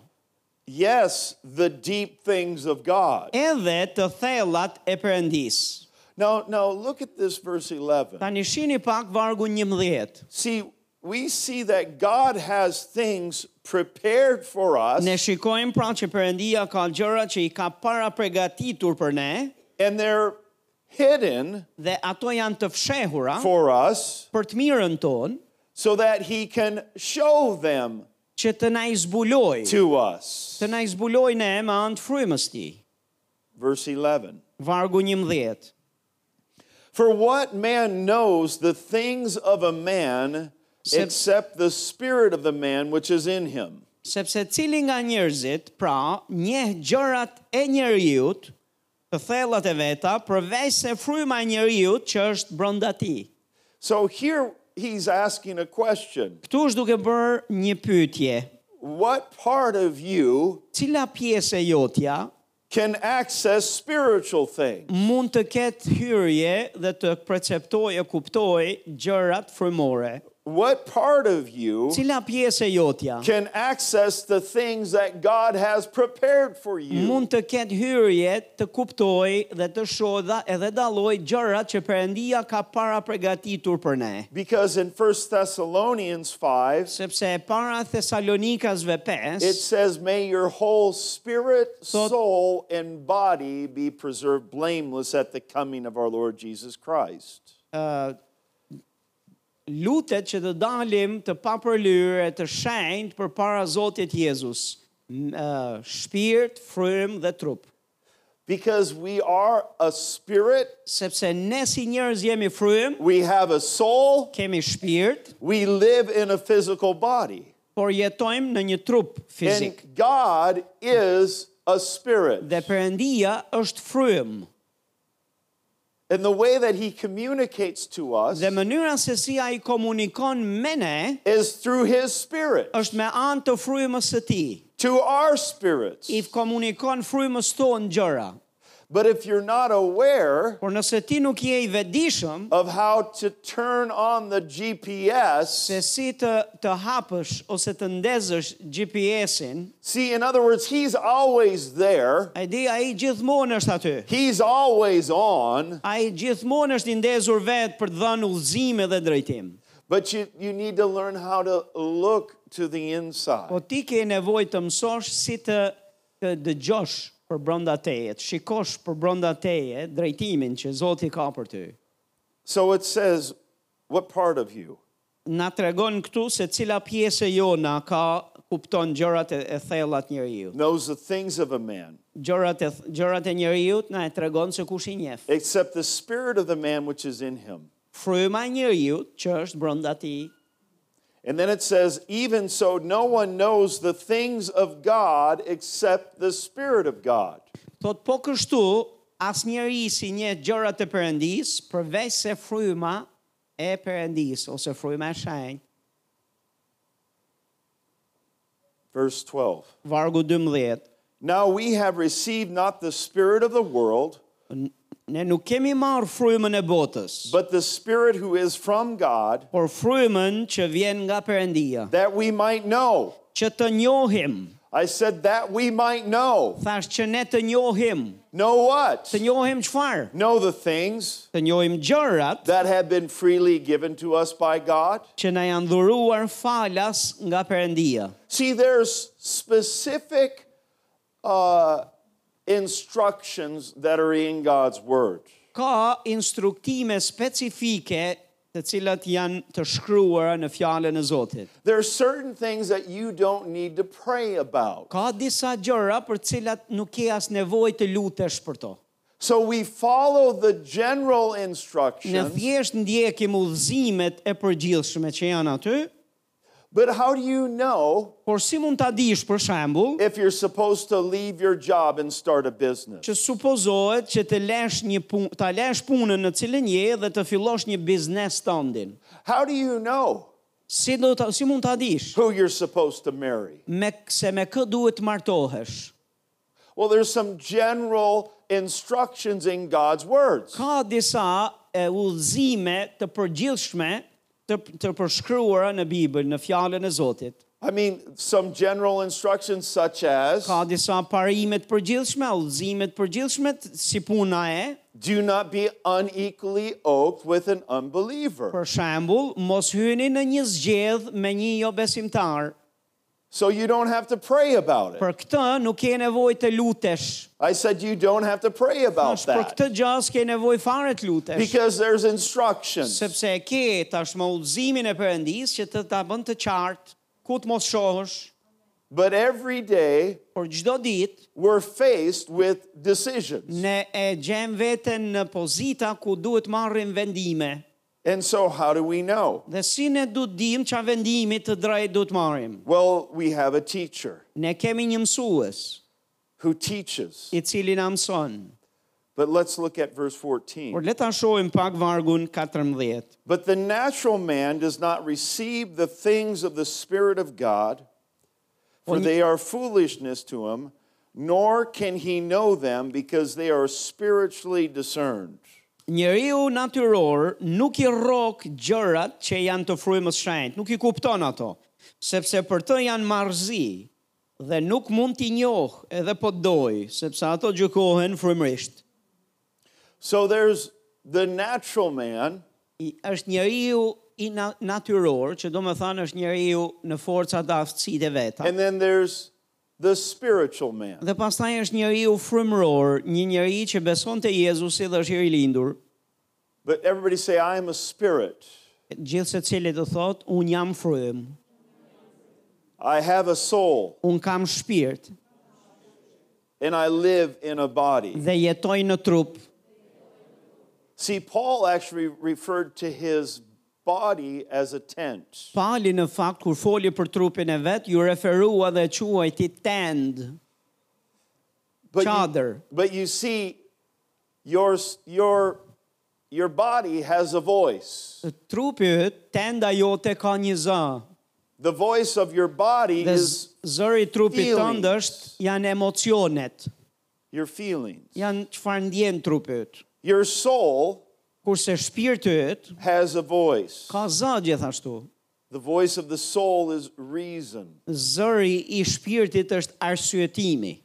[SPEAKER 2] Yes, the deep things of God.
[SPEAKER 1] Edhe të thellat e Perëndisë.
[SPEAKER 2] Now, now look at this verse 11.
[SPEAKER 1] Tani shihni pak vargu 11.
[SPEAKER 2] See, we see that God has things prepared for us,
[SPEAKER 1] Ne shikojmë pra që Perëndia ka gjëra që i ka para përgatitur për ne
[SPEAKER 2] and they're hidden
[SPEAKER 1] dhe ato janë të fshehura
[SPEAKER 2] for us
[SPEAKER 1] për të mirën tonë
[SPEAKER 2] so that He can show them
[SPEAKER 1] që të na i zbuloj,
[SPEAKER 2] to us.
[SPEAKER 1] të na i zbuloj ne me anë të frymës të tij.
[SPEAKER 2] Verse 11.
[SPEAKER 1] Vargu 11.
[SPEAKER 2] For what man knows the things of a man
[SPEAKER 1] Sep-
[SPEAKER 2] except the spirit of the man which is in him?
[SPEAKER 1] sepse cili nga njerëzit, pra, njeh gjërat e njeriut, të thellat e veta, përveç se fryma e njeriut që është brenda tij.
[SPEAKER 2] So here he's asking a question
[SPEAKER 1] Ktu është duke bërë një pyetje.
[SPEAKER 2] What part of you
[SPEAKER 1] Cila pjesë e jotja
[SPEAKER 2] can access spiritual things?
[SPEAKER 1] mund të ketë hyrje dhe të perceptoj e kuptoj gjërat frymore?
[SPEAKER 2] What part of you
[SPEAKER 1] Cila pjesë e jotja
[SPEAKER 2] can access the things that God has prepared for you?
[SPEAKER 1] mund të ketë hyrje të kuptoj dhe të shoh dha- edhe dalloj gjërat që Perëndia ka para përgatitur për ne?
[SPEAKER 2] Because in 1 Thessalonians 5,
[SPEAKER 1] sepse e para Thesalonikasve 5
[SPEAKER 2] It says, May your whole spirit, soul, and body be preserved blameless at the coming of our Lord Jesus Christ.
[SPEAKER 1] lutet që të dalim të papërlyre, të shenjtë për para Zotit Jezus, m- ë, shpirt, frym dhe trup.
[SPEAKER 2] Because we are a spirit,
[SPEAKER 1] Sepse ne si njerëz jemi frym,
[SPEAKER 2] we have a soul,
[SPEAKER 1] kemi shpirt,
[SPEAKER 2] we live in a physical body.
[SPEAKER 1] por jetojmë në një trup fizik.
[SPEAKER 2] And God is a spirit.
[SPEAKER 1] Dhe Perëndia është frym.
[SPEAKER 2] And the way that He communicates to us
[SPEAKER 1] Dhe mënyra se si ai komunikon me ne
[SPEAKER 2] is through His spirit,
[SPEAKER 1] është me anë të frymës së tij.
[SPEAKER 2] to our spirits.
[SPEAKER 1] I komunikon frymës tonë gjëra.
[SPEAKER 2] But if you're not aware
[SPEAKER 1] Por nëse ti nuk je i vetëdijshëm,
[SPEAKER 2] of how to turn on the GPS,
[SPEAKER 1] se si të të hapësh ose të ndezësh GPS-in,
[SPEAKER 2] See, in other words, he's always there.
[SPEAKER 1] ai di ai gjithmonë është aty.
[SPEAKER 2] He's always on,
[SPEAKER 1] Ai gjithmonë është i ndezur vetë për të dhënë udhëzime dhe drejtim.
[SPEAKER 2] but you, you need to learn how to look to the inside.
[SPEAKER 1] Po ti ke nevojë të mësosh si të të dëgjosh për brenda teje, të shikosh për brenda teje drejtimin që Zoti ka për ty.
[SPEAKER 2] So it says, What part of you?
[SPEAKER 1] na tregon këtu se cila pjesë e jona ka kupton gjërat e, e thella të njeriu.
[SPEAKER 2] Knows the things of a man,
[SPEAKER 1] Gjërat e gjërat e njeriu na e tregon se kush i njeh.
[SPEAKER 2] except the spirit of the man which is in him.
[SPEAKER 1] Fryma e njeriu që është brenda tij.
[SPEAKER 2] And then it says, even so, no one knows the things of God except the Spirit of God.
[SPEAKER 1] Thot po kështu asnjëri si njeh gjërat e Perëndis përveç se fryma e Perëndis ose fryma e shenjtë.
[SPEAKER 2] Verse 12.
[SPEAKER 1] Vargu 12.
[SPEAKER 2] Now we have received not the Spirit of the world,
[SPEAKER 1] N- Ne nuk kemi marrë frymën e botës,
[SPEAKER 2] but the Spirit who is from God,
[SPEAKER 1] por frymën që vjen nga Perëndia,
[SPEAKER 2] that we might know.
[SPEAKER 1] që të njohim,
[SPEAKER 2] I said, that we might know.
[SPEAKER 1] thash që ne të njohim,
[SPEAKER 2] Know what?
[SPEAKER 1] të njohim çfarë?
[SPEAKER 2] Know the things
[SPEAKER 1] Të njohim gjërat
[SPEAKER 2] that have been freely given to us by God.
[SPEAKER 1] që na janë dhuruar falas nga Perëndia.
[SPEAKER 2] See, there's specific uh, instructions that are in God's Word.
[SPEAKER 1] Ka instruktime specifike të cilat janë të shkruara në fjalën e Zotit.
[SPEAKER 2] There are certain things that you don't need to pray about.
[SPEAKER 1] Ka disa gjëra për cilat nuk ke as nevojë të lutesh për to.
[SPEAKER 2] So we follow the general
[SPEAKER 1] Në
[SPEAKER 2] instructions,
[SPEAKER 1] thjesht ndjekim udhëzimet e përgjithshme që janë aty,
[SPEAKER 2] but how do you know
[SPEAKER 1] por si mund ta dish për shembull
[SPEAKER 2] if you're supposed to leave your job and start a business?
[SPEAKER 1] që supozohet që të lesh një punë, ta lesh punën në cilën je dhe të fillosh një biznes tëndin.
[SPEAKER 2] How do you know
[SPEAKER 1] Si do ta si mund ta dish?
[SPEAKER 2] who you're supposed to marry?
[SPEAKER 1] Me se me kë duhet të martohesh?
[SPEAKER 2] Well, there's some general instructions in God's words.
[SPEAKER 1] Ka disa e, udhëzime të përgjithshme të të përshkruara në Bibël, në fjalën e Zotit.
[SPEAKER 2] I mean, some general instructions such as
[SPEAKER 1] Ka disa parime të përgjithshme, udhëzime të përgjithshme t- si puna e,
[SPEAKER 2] do not be unequally yoked with an unbeliever.
[SPEAKER 1] për shembull, mos hyni në një zgjedh me një jo besimtar.
[SPEAKER 2] So you don't have to pray about it.
[SPEAKER 1] Për këtë nuk ke nevojë të lutesh.
[SPEAKER 2] I said you don't have to pray about
[SPEAKER 1] Tash për
[SPEAKER 2] that
[SPEAKER 1] këtë gjë s'ke nevojë fare të lutesh.
[SPEAKER 2] because there's instructions.
[SPEAKER 1] sepse e ke tashmë udhëzimin e Perëndis që të ta bën të qartë ku të mos shohësh,
[SPEAKER 2] But every day
[SPEAKER 1] por çdo ditë
[SPEAKER 2] we're faced with decisions.
[SPEAKER 1] ne e gjem veten në pozita ku duhet marrim vendime.
[SPEAKER 2] And so how do we know?
[SPEAKER 1] Dhe si ne du të dim çfarë vendimi të drejtë duhet marrim?
[SPEAKER 2] Well, we have a teacher
[SPEAKER 1] Ne kemi një mësues
[SPEAKER 2] who teaches.
[SPEAKER 1] i cili na mëson.
[SPEAKER 2] But let's look at verse
[SPEAKER 1] Por
[SPEAKER 2] 14.
[SPEAKER 1] le ta shohim pak vargun 14.
[SPEAKER 2] But the natural man does not receive the things of the Spirit of God, for
[SPEAKER 1] Well, you-
[SPEAKER 2] they are foolishness to him, nor can he know them because they are spiritually discerned.
[SPEAKER 1] Njeriu natyror nuk i rrok gjërat që janë të frymës shenjtë, nuk i kupton ato, sepse për të janë marrëzi dhe nuk mund t'i njohë edhe po të dojë, sepse ato gjykohen frymërisht.
[SPEAKER 2] So there's the natural man
[SPEAKER 1] I, është njeriu i na, natyror, që do me thanë është njeriu në forca të aftësit e veta.
[SPEAKER 2] And then there's the spiritual man.
[SPEAKER 1] Dhe pastaj është njeriu frymëror, një njeri që beson te Jezusi dhe është i rilindur.
[SPEAKER 2] But everybody say, I am a spirit.
[SPEAKER 1] Gjithë se cili të thotë, unë jam frymë,
[SPEAKER 2] I have a soul
[SPEAKER 1] unë kam shpirt
[SPEAKER 2] and I live in a body.
[SPEAKER 1] dhe jetoj në trupë.
[SPEAKER 2] See, Paul actually referred to his body as a tent.
[SPEAKER 1] Pali në fakt kur foli për trupin e vet, ju referua dhe e quajti tend,
[SPEAKER 2] But you,
[SPEAKER 1] Chadar.
[SPEAKER 2] but you see, your, your, your body has a voice.
[SPEAKER 1] Trupi yt, tenda jote ka një zë.
[SPEAKER 2] The voice of your body
[SPEAKER 1] Dhe
[SPEAKER 2] is
[SPEAKER 1] z- zëri i trupit tënd
[SPEAKER 2] feelings.
[SPEAKER 1] është janë emocionet,
[SPEAKER 2] your feelings.
[SPEAKER 1] janë çfarë ndjen trupi yt.
[SPEAKER 2] Your soul
[SPEAKER 1] Kurse shpirti yt
[SPEAKER 2] has a voice.
[SPEAKER 1] ka zë gjithashtu.
[SPEAKER 2] The voice of the soul is reason.
[SPEAKER 1] Zëri i shpirtit është arsyetimi.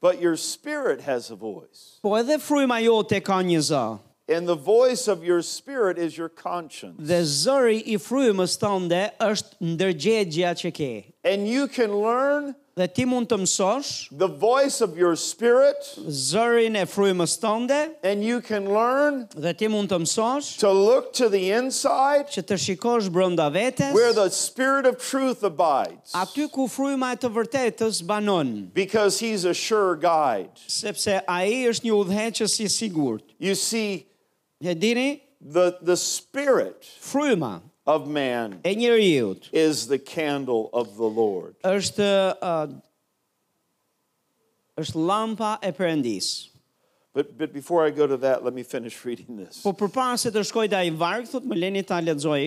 [SPEAKER 2] But your spirit has a voice.
[SPEAKER 1] Po edhe fryma jote ka një zë.
[SPEAKER 2] And the voice of your spirit is your conscience.
[SPEAKER 1] Dhe zëri i frymës tënde është ndërgjegja që ke.
[SPEAKER 2] and you can learn
[SPEAKER 1] Dhe ti mund të mësosh
[SPEAKER 2] the voice of your spirit,
[SPEAKER 1] zërin e frymës tënde
[SPEAKER 2] and you can learn
[SPEAKER 1] dhe ti mund të mësosh
[SPEAKER 2] to look to the inside
[SPEAKER 1] që të shikosh brenda vetes
[SPEAKER 2] where the spirit of truth abides,
[SPEAKER 1] aty ku fryma e të vërtetës banon,
[SPEAKER 2] because he's a sure guide.
[SPEAKER 1] sepse ai është një udhëheqës i sigurt.
[SPEAKER 2] You see,
[SPEAKER 1] E dini,
[SPEAKER 2] the, the spirit
[SPEAKER 1] fryma
[SPEAKER 2] of man
[SPEAKER 1] e njeriut
[SPEAKER 2] is the candle of the Lord.
[SPEAKER 1] është ë, është lampa e Perëndis.
[SPEAKER 2] But, but before I go to that, let me finish reading this.
[SPEAKER 1] Po përpara se të shkoj te ai varg, thotë më leni ta lexoj,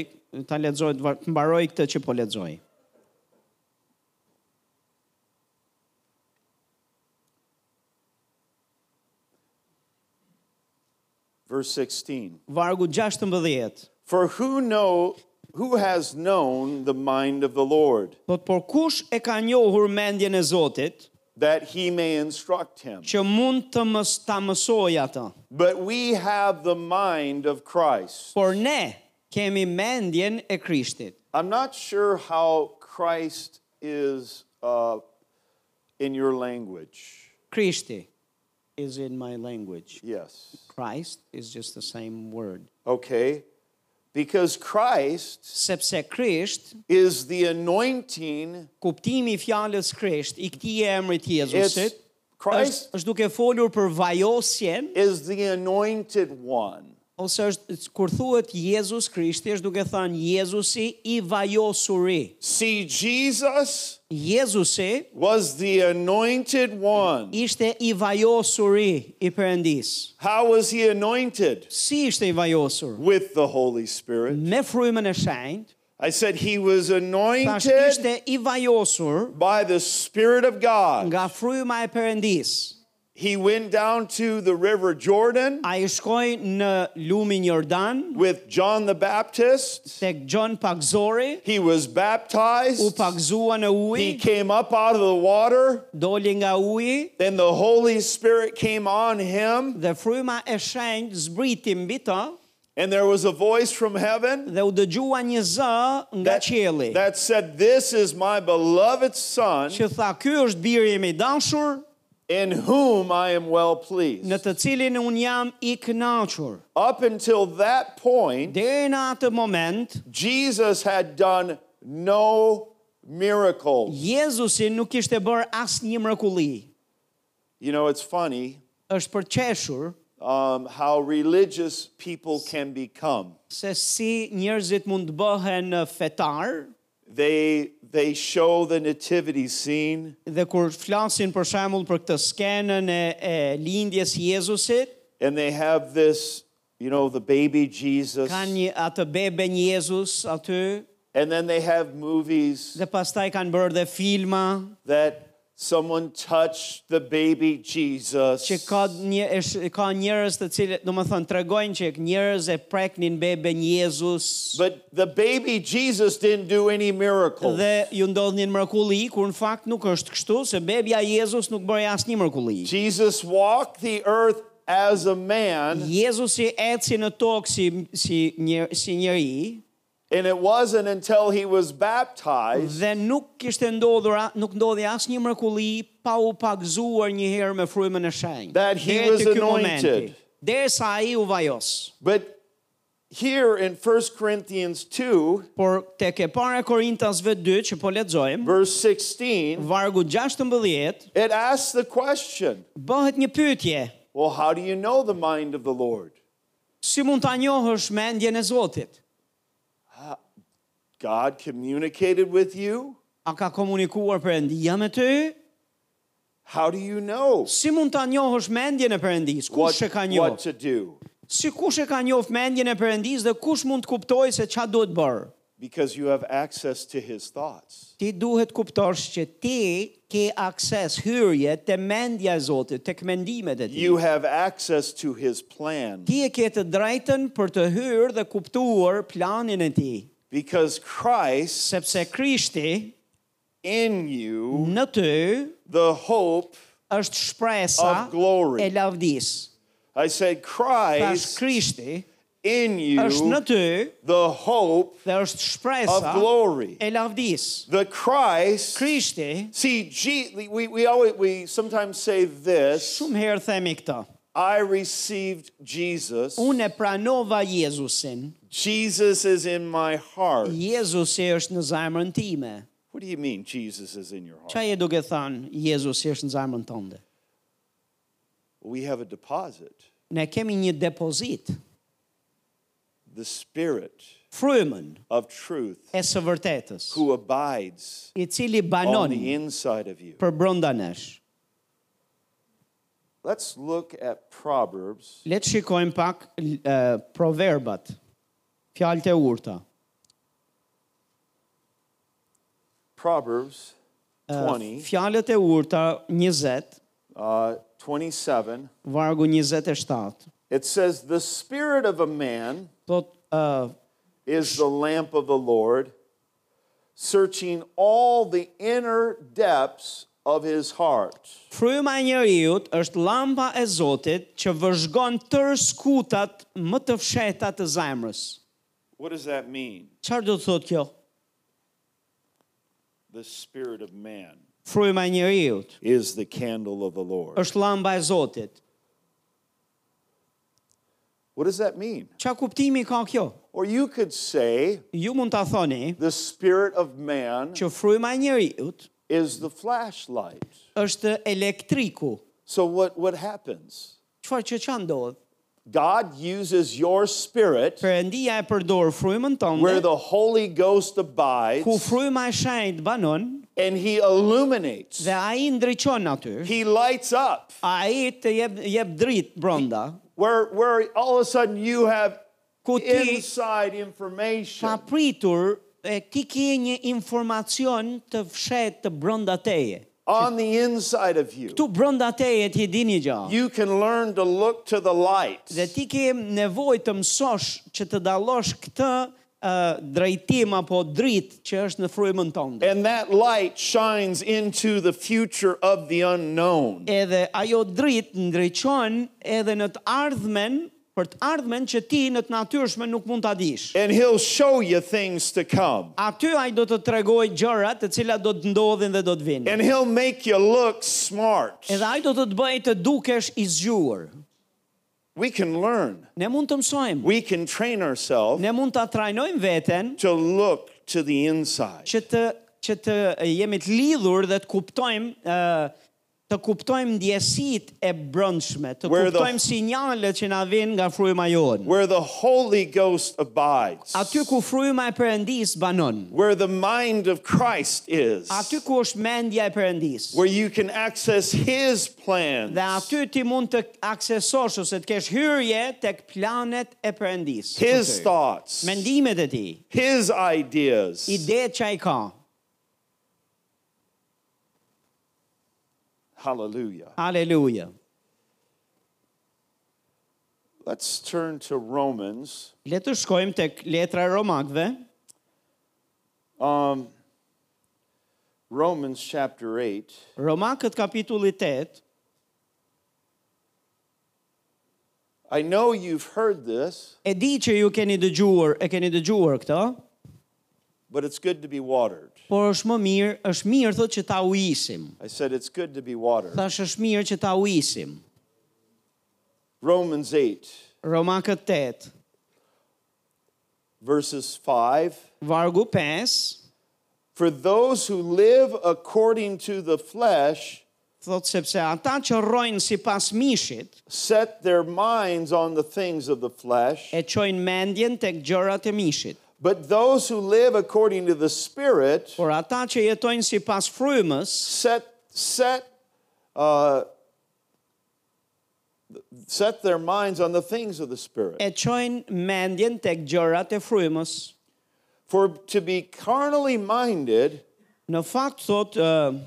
[SPEAKER 1] ta lexoj të var- të mbaroj këtë që po lexoj.
[SPEAKER 2] Verse 16.
[SPEAKER 1] Vargu 16.
[SPEAKER 2] For who know who has known the mind of the Lord
[SPEAKER 1] Thot, por kush e ka njohur mendjen e Zotit
[SPEAKER 2] that he may instruct him?
[SPEAKER 1] që mund të mës, ta mësoj atë?
[SPEAKER 2] But we have the mind of Christ.
[SPEAKER 1] Por ne kemi mendjen e Krishtit.
[SPEAKER 2] I'm not sure how Christ is uh, in your language.
[SPEAKER 1] Krishti is in my language.
[SPEAKER 2] Yes.
[SPEAKER 1] Christ is just the same word.
[SPEAKER 2] Okay. Because Christ
[SPEAKER 1] Sepse Krisht,
[SPEAKER 2] is the anointing.
[SPEAKER 1] kuptimi i fjalës Krisht i këtij emrit
[SPEAKER 2] It's,
[SPEAKER 1] Jezusit,
[SPEAKER 2] Christ
[SPEAKER 1] është, është duke folur për vajosjen
[SPEAKER 2] is the anointed one.
[SPEAKER 1] ose është kur thuhet Jezus Krishti është duke thënë Jezusi i vajosuri.
[SPEAKER 2] See, Jesus
[SPEAKER 1] Jezusi
[SPEAKER 2] was the anointed one.
[SPEAKER 1] ishte i vajosuri i Perëndis.
[SPEAKER 2] How was he anointed?
[SPEAKER 1] Si ishte i vajosur?
[SPEAKER 2] With the Holy Spirit.
[SPEAKER 1] Me frymën e shenjtë,
[SPEAKER 2] I said he was
[SPEAKER 1] tash
[SPEAKER 2] anointed
[SPEAKER 1] ishte i vajosur
[SPEAKER 2] by the Spirit of God.
[SPEAKER 1] nga fryma e Perëndis.
[SPEAKER 2] He went down to the River Jordan
[SPEAKER 1] Ai shkoi në lumin Jordan
[SPEAKER 2] with John the Baptist.
[SPEAKER 1] tek John Pakzori,
[SPEAKER 2] He was
[SPEAKER 1] u
[SPEAKER 2] baptized.
[SPEAKER 1] pakzua në
[SPEAKER 2] He
[SPEAKER 1] ujë,
[SPEAKER 2] came up out of the water.
[SPEAKER 1] doli nga uji
[SPEAKER 2] Then the Holy Spirit came on him.
[SPEAKER 1] dhe fryma e shenjtë zbriti mbi të
[SPEAKER 2] And there was a voice from heaven
[SPEAKER 1] dhe u dëgjua një zë nga qielli
[SPEAKER 2] that said, This is my beloved Son
[SPEAKER 1] që tha ky është biri im i dashur
[SPEAKER 2] in whom I am well
[SPEAKER 1] në
[SPEAKER 2] pleased.
[SPEAKER 1] të cilin un jam i kënaqur.
[SPEAKER 2] Up until that point,
[SPEAKER 1] Deri në atë moment,
[SPEAKER 2] Jesus had done no miracles.
[SPEAKER 1] Jezusi nuk kishte bërë asnjë mrekulli.
[SPEAKER 2] You know, it's funny
[SPEAKER 1] Është përqeshur
[SPEAKER 2] um, how religious people can become.
[SPEAKER 1] se si njerëzit mund të bëhen fetar
[SPEAKER 2] They they show the nativity scene
[SPEAKER 1] dhe kur flasin për shembull për këtë skenën e, e lindjes Jezusit,
[SPEAKER 2] and they have this, you know, the baby Jesus,
[SPEAKER 1] kanë një atë bebe një Jezus aty
[SPEAKER 2] and then they have movies
[SPEAKER 1] dhe pastaj kanë bërë dhe filma
[SPEAKER 2] that someone touched the baby Jesus.
[SPEAKER 1] që ka një esh- ka njerëz të cilët, domethënë tregojnë që njerëz e preknin beben Jezus
[SPEAKER 2] But the baby Jesus didn't do any miracles.
[SPEAKER 1] dhe ju ndodhin mrekulli kur në fakt nuk është kështu se bebja Jezus nuk bëri asnjë mrekulli.
[SPEAKER 2] Jesus walked the earth as a man.
[SPEAKER 1] Jezusi eci në tokë si si një si njeri
[SPEAKER 2] And it wasn't until he was baptized
[SPEAKER 1] dhe nuk kishte ndodhur a- nuk ndodhi asnjë mrekulli pa u pagzuar një herë me frymën e shenjtë.
[SPEAKER 2] That he
[SPEAKER 1] Deri te
[SPEAKER 2] was
[SPEAKER 1] ky momenti,
[SPEAKER 2] anointed.
[SPEAKER 1] Derisa ai u vajos.
[SPEAKER 2] But here in 1 Corinthians 2,
[SPEAKER 1] Por tek e para e Korintasve 2 që po lexojmë,
[SPEAKER 2] verse 16,
[SPEAKER 1] vargu 16
[SPEAKER 2] it asks the question
[SPEAKER 1] bëhet një pyetje.
[SPEAKER 2] Well, how do you know the mind of the Lord?
[SPEAKER 1] Si mund ta njohësh mendjen e Zotit?
[SPEAKER 2] God communicated with you?
[SPEAKER 1] A ka komunikuar Perëndia me ty?
[SPEAKER 2] How do you know
[SPEAKER 1] Si mund ta njohësh mendjen e Perëndis? Kush
[SPEAKER 2] what,
[SPEAKER 1] e ka
[SPEAKER 2] what
[SPEAKER 1] njohur?
[SPEAKER 2] to do?
[SPEAKER 1] Si kush e ka njohur mendjen e Perëndis dhe kush mund të kuptojë se çfarë duhet bërë?
[SPEAKER 2] Because you have access to his thoughts.
[SPEAKER 1] Ti duhet kuptosh që ti ke akses hyrje te mendja e Zotit, tek mendimet e tij.
[SPEAKER 2] You have access to his plan
[SPEAKER 1] Ti e ke të drejtën për të hyrë dhe kuptuar planin e tij,
[SPEAKER 2] because Christ
[SPEAKER 1] sepse Krishti
[SPEAKER 2] in you,
[SPEAKER 1] në ty
[SPEAKER 2] the hope.
[SPEAKER 1] është shpresa
[SPEAKER 2] Of glory.
[SPEAKER 1] e lavdis.
[SPEAKER 2] I said,
[SPEAKER 1] Tash
[SPEAKER 2] Christ
[SPEAKER 1] Krishti
[SPEAKER 2] in
[SPEAKER 1] është në
[SPEAKER 2] you
[SPEAKER 1] ty
[SPEAKER 2] the hope
[SPEAKER 1] dhe është
[SPEAKER 2] of
[SPEAKER 1] shpresa
[SPEAKER 2] glory.
[SPEAKER 1] e lavdis.
[SPEAKER 2] The Christ.
[SPEAKER 1] Krishti,
[SPEAKER 2] See, Je- we, we always we sometimes say this.
[SPEAKER 1] shumë herë themi këta,
[SPEAKER 2] I received Jesus.
[SPEAKER 1] unë e pranova Jezusin,
[SPEAKER 2] Jesus is in my heart.
[SPEAKER 1] Jezusi është në zemrën time.
[SPEAKER 2] What do you mean Jesus is in your heart?
[SPEAKER 1] Qa je duke thënë, Jezusi është në zemrën tënde?
[SPEAKER 2] We have a deposit.
[SPEAKER 1] Ne kemi një depozit,
[SPEAKER 2] The Spirit
[SPEAKER 1] frymën
[SPEAKER 2] of truth
[SPEAKER 1] e së vërtetës,
[SPEAKER 2] who abides
[SPEAKER 1] i cili
[SPEAKER 2] on
[SPEAKER 1] banon
[SPEAKER 2] the inside of you.
[SPEAKER 1] për brënda nesh.
[SPEAKER 2] Let's look at Proverbs
[SPEAKER 1] Letë shikojmë pak l- e, proverbat, fjalët e urta.
[SPEAKER 2] Proverbs
[SPEAKER 1] E,
[SPEAKER 2] 20
[SPEAKER 1] Fjalët e urta 20,
[SPEAKER 2] uh, 27.
[SPEAKER 1] vargu 27.
[SPEAKER 2] It says the spirit of a man
[SPEAKER 1] Thot, uh,
[SPEAKER 2] is the lamp of the Lord, searching all the inner depths of his heart.
[SPEAKER 1] fryma e njeriut është lampa e Zotit që vëzhgon tër skutat më të fshehta të zemrës.
[SPEAKER 2] What does that mean?
[SPEAKER 1] Çfarë do të thotë kjo?
[SPEAKER 2] The spirit of man
[SPEAKER 1] Fryma e njeriut
[SPEAKER 2] is the candle of the Lord.
[SPEAKER 1] është llamba e Zotit.
[SPEAKER 2] What does that mean?
[SPEAKER 1] Çfarë kuptimi ka kjo?
[SPEAKER 2] Or you could say
[SPEAKER 1] Ju mund ta thoni
[SPEAKER 2] the spirit of man
[SPEAKER 1] që fryma e njeriut
[SPEAKER 2] is the flashlight.
[SPEAKER 1] është elektriku.
[SPEAKER 2] So what, what happens?
[SPEAKER 1] Çfarë që çan ndodh?
[SPEAKER 2] God uses your spirit
[SPEAKER 1] Perëndia e përdor frymën
[SPEAKER 2] where
[SPEAKER 1] tonë
[SPEAKER 2] the Holy Ghost
[SPEAKER 1] ku
[SPEAKER 2] abides
[SPEAKER 1] fryma e shenjtë banon
[SPEAKER 2] and he illuminates.
[SPEAKER 1] dhe ai ndriçon aty.
[SPEAKER 2] He lights up
[SPEAKER 1] Ai të jep jep dritë brenda.
[SPEAKER 2] where, where all of a sudden you have
[SPEAKER 1] Ku ti
[SPEAKER 2] inside information.
[SPEAKER 1] pa pritur e ti ke një informacion të fshet të brënda teje.
[SPEAKER 2] on the inside of you.
[SPEAKER 1] Tu brënda teje ti di një gjë.
[SPEAKER 2] You can learn to look to the light.
[SPEAKER 1] Dhe ti ke nevoj të mësosh që të dalosh këtë uh, drejtim apo dritë që është në frymën tënde.
[SPEAKER 2] And that light shines into the future of the unknown.
[SPEAKER 1] Edhe ajo dritë ndriçon edhe në të ardhmen, për të ardhmen që ti në të natyrshme nuk mund ta dish.
[SPEAKER 2] And he'll show you things to come.
[SPEAKER 1] Aty ai do të tregoj gjërat të cilat do të ndodhin dhe do të vinë.
[SPEAKER 2] And he'll make you look smart.
[SPEAKER 1] Edhe ai do të të bëjë të dukesh i zgjuar.
[SPEAKER 2] We can learn.
[SPEAKER 1] Ne mund të mësojmë.
[SPEAKER 2] We can train ourselves
[SPEAKER 1] Ne mund ta trajnojmë veten
[SPEAKER 2] to look to the inside.
[SPEAKER 1] që të që të jemi të lidhur dhe të kuptojmë ë të kuptojmë ndjesitë e brëndshme, të
[SPEAKER 2] Where the-
[SPEAKER 1] kuptojmë sinjalet që na vijnë nga fryma jonë.
[SPEAKER 2] Where the Holy Ghost abides.
[SPEAKER 1] Aty ku fryma e Perëndis banon,
[SPEAKER 2] Where the mind of Christ is.
[SPEAKER 1] aty ku është mendja e Perëndis,
[SPEAKER 2] Where you can access his plans.
[SPEAKER 1] dhe aty ti mund të aksesosh ose të kesh hyrje tek planet e Perëndis.
[SPEAKER 2] His
[SPEAKER 1] Aty.
[SPEAKER 2] thoughts.
[SPEAKER 1] Mendimet e tij,
[SPEAKER 2] His ideas.
[SPEAKER 1] idetë që ai ka.
[SPEAKER 2] Hallelujah.
[SPEAKER 1] Aleluja.
[SPEAKER 2] Let's turn to Romans.
[SPEAKER 1] Le të shkojmë tek letra e Romakëve,
[SPEAKER 2] Um, Romans chapter 8.
[SPEAKER 1] Romakët kapitulli 8.
[SPEAKER 2] I know you've heard this,
[SPEAKER 1] E di që ju keni dëgjuar, e keni dëgjuar këtë,
[SPEAKER 2] but it's good to be watered.
[SPEAKER 1] por është më mirë, është mirë thotë që ta uisim.
[SPEAKER 2] I said it's good to be watered.
[SPEAKER 1] Thash është mirë që ta uisim.
[SPEAKER 2] Romans 8,
[SPEAKER 1] Romakët 8,
[SPEAKER 2] verses 5.
[SPEAKER 1] vargu 5,
[SPEAKER 2] For those who live according to the flesh
[SPEAKER 1] thotë sepse ata që rojnë si pas mishit,
[SPEAKER 2] set their minds on the things of the flesh,
[SPEAKER 1] e qojnë mendjen tek gjërat e mishit.
[SPEAKER 2] but those who live according to the Spirit
[SPEAKER 1] Por ata që jetojnë si pas frymës,
[SPEAKER 2] set set uh, set their minds on the things of the spirit
[SPEAKER 1] e qojnë mendjen tek gjërat e frymës.
[SPEAKER 2] for to be carnally minded
[SPEAKER 1] Në fakt thotë, ë,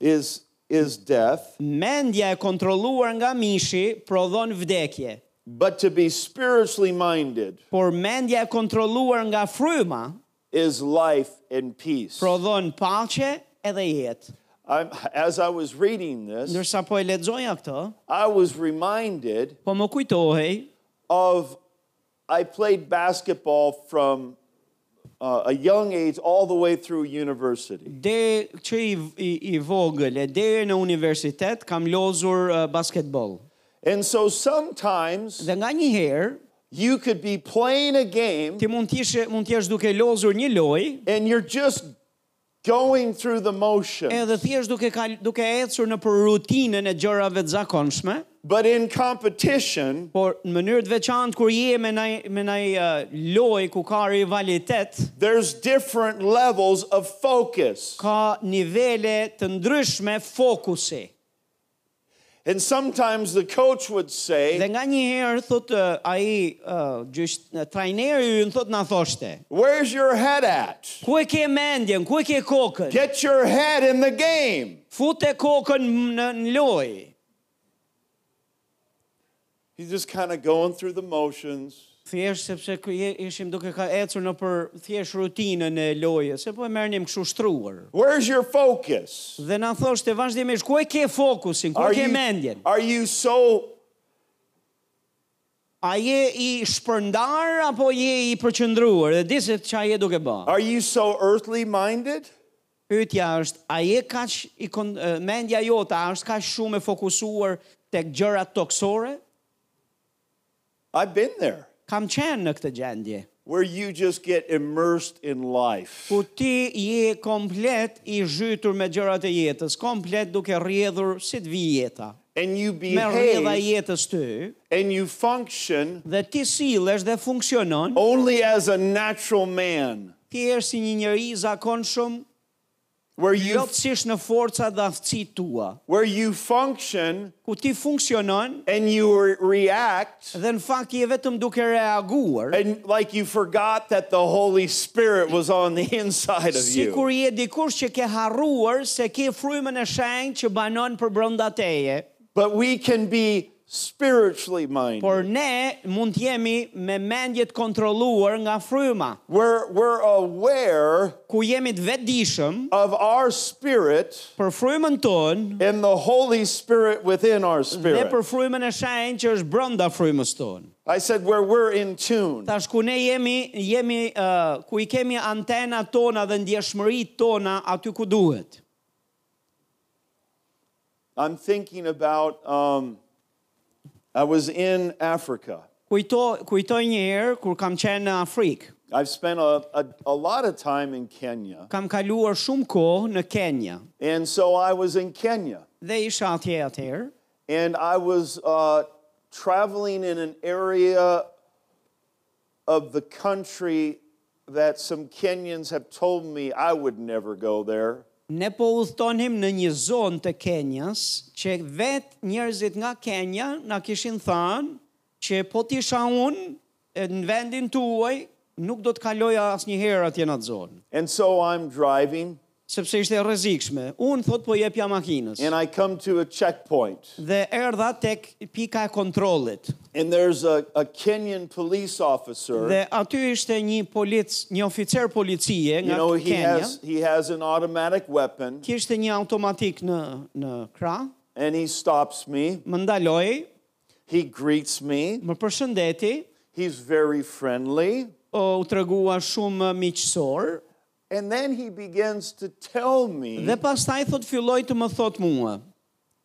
[SPEAKER 2] is is death
[SPEAKER 1] mendja e kontrolluar nga mishi prodhon vdekje,
[SPEAKER 2] but to be spiritually minded
[SPEAKER 1] por mendja e kontrolluar nga fryma
[SPEAKER 2] is life and peace
[SPEAKER 1] prodhon paqe edhe jetë.
[SPEAKER 2] I'm, as i was reading this
[SPEAKER 1] Ndërsa po e lexoja këtë,
[SPEAKER 2] i was reminded
[SPEAKER 1] po më kujtohej
[SPEAKER 2] of I played basketball from uh, a young age all the way through university.
[SPEAKER 1] Deri që i, i, i vogël e deri në universitet kam lozur uh, basketbol.
[SPEAKER 2] And so sometimes
[SPEAKER 1] Dhe nga një herë
[SPEAKER 2] you could be playing a game
[SPEAKER 1] ti mund të ishe mund të jesh duke lozur një lojë
[SPEAKER 2] and you're just going through the motion.
[SPEAKER 1] edhe thjesht duke kal, duke ecur në për rutinën e gjërave të zakonshme,
[SPEAKER 2] But in competition,
[SPEAKER 1] por në mënyrë të veçantë kur je me nai me nai uh, lojë ku ka rivalitet,
[SPEAKER 2] there's different levels of focus.
[SPEAKER 1] ka nivele të ndryshme fokusi.
[SPEAKER 2] And sometimes the coach would
[SPEAKER 1] Dhe
[SPEAKER 2] say,
[SPEAKER 1] nga një herë thot uh, ai uh, gjysh uh, trajneri ynë thot na thoshte,
[SPEAKER 2] Where's your head at?
[SPEAKER 1] ku e ke mendjen, ku e ke kokën?
[SPEAKER 2] Get your head in the game.
[SPEAKER 1] Fute kokën në, në lojë.
[SPEAKER 2] He's just kind of going through the motions.
[SPEAKER 1] Thjesht sepse kë- je- ishim duke ka ecur në për thjesht rutinën e lojës, se po e merrnim kështu shtruar.
[SPEAKER 2] Where's your focus?
[SPEAKER 1] Dhe na thoshte vazhdimisht ku e ke fokusin, ku
[SPEAKER 2] Are
[SPEAKER 1] e ke
[SPEAKER 2] you,
[SPEAKER 1] mendjen?
[SPEAKER 2] are you so
[SPEAKER 1] A je i shpërndar apo je i përqendruar? Dhe di se çfarë je duke bërë.
[SPEAKER 2] are you so earthly minded?
[SPEAKER 1] Pyetja është, a je kaq i kon, e, mendja jote a është kaq shumë e fokusuar tek gjërat toksore?
[SPEAKER 2] I've been there.
[SPEAKER 1] Kam qenë në këtë gjendje.
[SPEAKER 2] Where you just get immersed in life.
[SPEAKER 1] Ku ti je komplet i zhytur me gjërat e jetës, komplet duke rrjedhur si të vi jeta.
[SPEAKER 2] And you
[SPEAKER 1] Me rrjedha e
[SPEAKER 2] behave
[SPEAKER 1] jetës ty
[SPEAKER 2] and you function
[SPEAKER 1] dhe ti sillesh dhe funksionon,
[SPEAKER 2] only as a natural man.
[SPEAKER 1] ti je si një njeri i zakonshëm,
[SPEAKER 2] Where you
[SPEAKER 1] plotësisht në forca dhe aftësitë tua.
[SPEAKER 2] where you function
[SPEAKER 1] Ku ti funksionon
[SPEAKER 2] and you re- react
[SPEAKER 1] dhe në fakt je vetëm duke reaguar.
[SPEAKER 2] and like you forgot that the Holy Spirit was on the inside of
[SPEAKER 1] Si kur
[SPEAKER 2] you.
[SPEAKER 1] je dikush që ke harruar se ke frymën e shenjtë që banon për brenda teje,
[SPEAKER 2] But we can be spiritually minded.
[SPEAKER 1] por ne mund të jemi me mendje të kontrolluar nga fryma,
[SPEAKER 2] We're we're aware
[SPEAKER 1] ku jemi të vetëdijshëm
[SPEAKER 2] of our spirit
[SPEAKER 1] për frymën tonë
[SPEAKER 2] and the Holy Spirit within our
[SPEAKER 1] dhe
[SPEAKER 2] spirit.
[SPEAKER 1] për frymën e shenjtë që është brenda frymës tonë.
[SPEAKER 2] I said where we're in tune.
[SPEAKER 1] Tash ku ne jemi jemi uh, ku i kemi antenat tona dhe ndjeshmëritë tona aty ku duhet.
[SPEAKER 2] I'm thinking about um, I was in Africa.
[SPEAKER 1] Kujto kujtoj një herë kur kam qenë në Afrikë.
[SPEAKER 2] I've spent a, a, a lot of time in Kenya.
[SPEAKER 1] Kam kaluar shumë kohë në Kenya
[SPEAKER 2] And so I was in Kenya
[SPEAKER 1] dhe isha atje atëherë.
[SPEAKER 2] and I was uh, traveling in an area of the country that some Kenyans have told me I would never go there.
[SPEAKER 1] Ne po udhtonim në një zonë të Kenjas që vetë njerëzit nga Kenya na kishin thënë që po t'isha unë e, në vendin tuaj nuk do të kaloja asnjëherë atje në atë zonë,
[SPEAKER 2] And so I'm driving
[SPEAKER 1] sepse ishte e rrezikshme. Unë thot po jepja makinës.
[SPEAKER 2] and I come to a checkpoint.
[SPEAKER 1] Dhe erdha tek pika e kontrollit.
[SPEAKER 2] And there's a, a Kenyan police officer.
[SPEAKER 1] Dhe aty ishte një polic, një oficer policie
[SPEAKER 2] You
[SPEAKER 1] nga
[SPEAKER 2] know, he
[SPEAKER 1] Kenya.
[SPEAKER 2] has he has an automatic weapon
[SPEAKER 1] Kishte një automatik në në krah,
[SPEAKER 2] and he stops me.
[SPEAKER 1] më ndaloi,
[SPEAKER 2] He greets me.
[SPEAKER 1] më përshëndeti,
[SPEAKER 2] He's very friendly.
[SPEAKER 1] o, u tregua shumë miqësor
[SPEAKER 2] And then he begins to tell me
[SPEAKER 1] dhe pastaj thot filloi të më thot mua.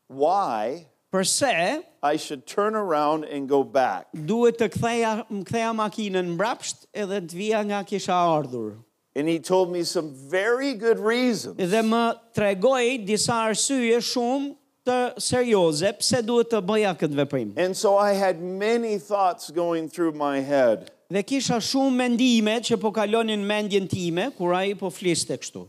[SPEAKER 2] why
[SPEAKER 1] Përse
[SPEAKER 2] I should turn around and go back.
[SPEAKER 1] duhet të ktheja më ktheja makinën mbrapsht edhe të vija nga kisha ardhur.
[SPEAKER 2] And he told me some very good reasons.
[SPEAKER 1] Dhe më tregoi disa arsye shumë të serioze pse duhet të bëja këtë veprim.
[SPEAKER 2] And so I had many thoughts going through my head.
[SPEAKER 1] Dhe kisha shumë mendime që po kalonin mendjen time kur ai po fliste kështu.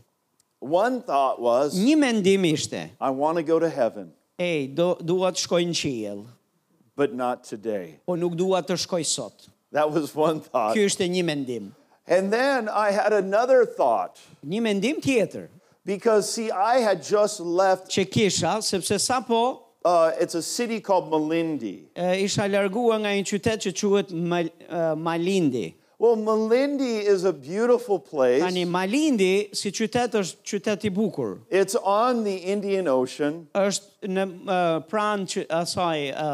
[SPEAKER 2] One thought was,
[SPEAKER 1] Një mendim ishte,
[SPEAKER 2] I want to go to heaven,
[SPEAKER 1] ej, do, dua të shkoj në qiell,
[SPEAKER 2] but not today.
[SPEAKER 1] po nuk dua të shkoj sot.
[SPEAKER 2] That was one thought.
[SPEAKER 1] Ky është një mendim.
[SPEAKER 2] And then I had another thought
[SPEAKER 1] Një mendim tjetër,
[SPEAKER 2] because, see, I had just left,
[SPEAKER 1] që kisha, sepse sa po
[SPEAKER 2] uh, it's a city called Malindi.
[SPEAKER 1] e, isha largua nga një qytet që quhet Mal, e, Malindi.
[SPEAKER 2] Well, Malindi is a beautiful
[SPEAKER 1] Tani
[SPEAKER 2] place.
[SPEAKER 1] Malindi si qytet është qytet i bukur.
[SPEAKER 2] It's on the Indian Ocean.
[SPEAKER 1] Është në e, pranë që asaj e,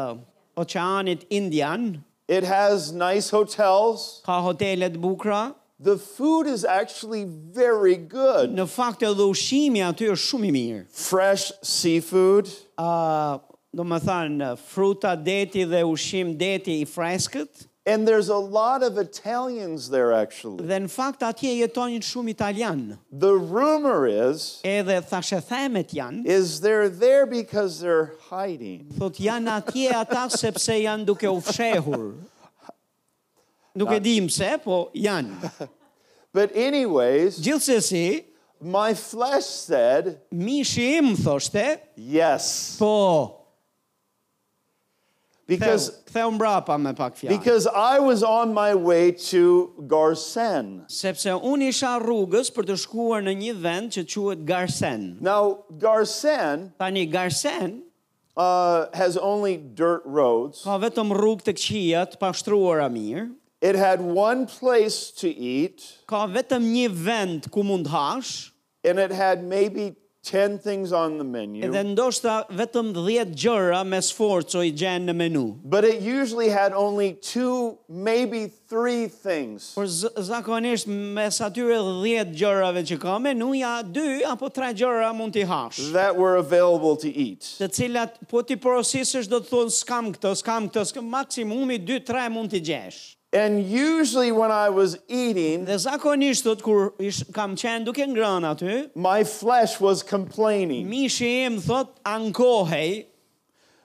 [SPEAKER 1] oqeanit Indian
[SPEAKER 2] It has nice hotels.
[SPEAKER 1] ka hotele të bukura.
[SPEAKER 2] The food is actually very good.
[SPEAKER 1] Në fakt edhe ushqimi aty është shumë i mirë.
[SPEAKER 2] Fresh seafood,
[SPEAKER 1] Ë, do më thanë, fruta deti dhe ushqim deti i freskët,
[SPEAKER 2] and there's a lot of Italians there actually.
[SPEAKER 1] dhe në fakt atje jetonin shumë italian.
[SPEAKER 2] The rumor is
[SPEAKER 1] Edhe thashe themet janë,
[SPEAKER 2] is they're there because they're hiding.
[SPEAKER 1] thot janë atje ata sepse janë duke u fshehur. Nuk e dim se, po janë.
[SPEAKER 2] But anyways,
[SPEAKER 1] Gjithsesi,
[SPEAKER 2] my flesh said,
[SPEAKER 1] mishi im thoshte,
[SPEAKER 2] yes,
[SPEAKER 1] po,
[SPEAKER 2] because
[SPEAKER 1] ktheu- ktheu mbrapa me pak fjalë.
[SPEAKER 2] Because I was on my way to Garsen.
[SPEAKER 1] sepse unë isha rrugës për të shkuar në një vend që quhet Garsen.
[SPEAKER 2] Now, Garsen
[SPEAKER 1] Tani Garsen
[SPEAKER 2] uh, has only dirt roads.
[SPEAKER 1] ka vetëm rrugë të këqija të pashtruara mirë,
[SPEAKER 2] It had one place to eat,
[SPEAKER 1] ka vetëm një vend ku mund hash,
[SPEAKER 2] and it had maybe 10 things on the
[SPEAKER 1] edhe
[SPEAKER 2] menu.
[SPEAKER 1] ndoshta vetëm 10 gjëra me sforco i gjenë në menu.
[SPEAKER 2] But it usually had only two, maybe three things.
[SPEAKER 1] Por z- zakonisht mes atyre 10 gjërave që ka menu, ja 2 apo 3 gjëra mund t'i hash.
[SPEAKER 2] That were available to eat.
[SPEAKER 1] të cilat po ti porosisësh do të thonë s'kam këtë, s'kam këtë, s'kam maksimumi 2-3 mund t'i gjesh.
[SPEAKER 2] And usually, when I was eating,
[SPEAKER 1] Dhe zakonisht thot kur ish, kam qenë duke ngrënë aty,
[SPEAKER 2] my flesh was complaining.
[SPEAKER 1] mishi im thot ankohej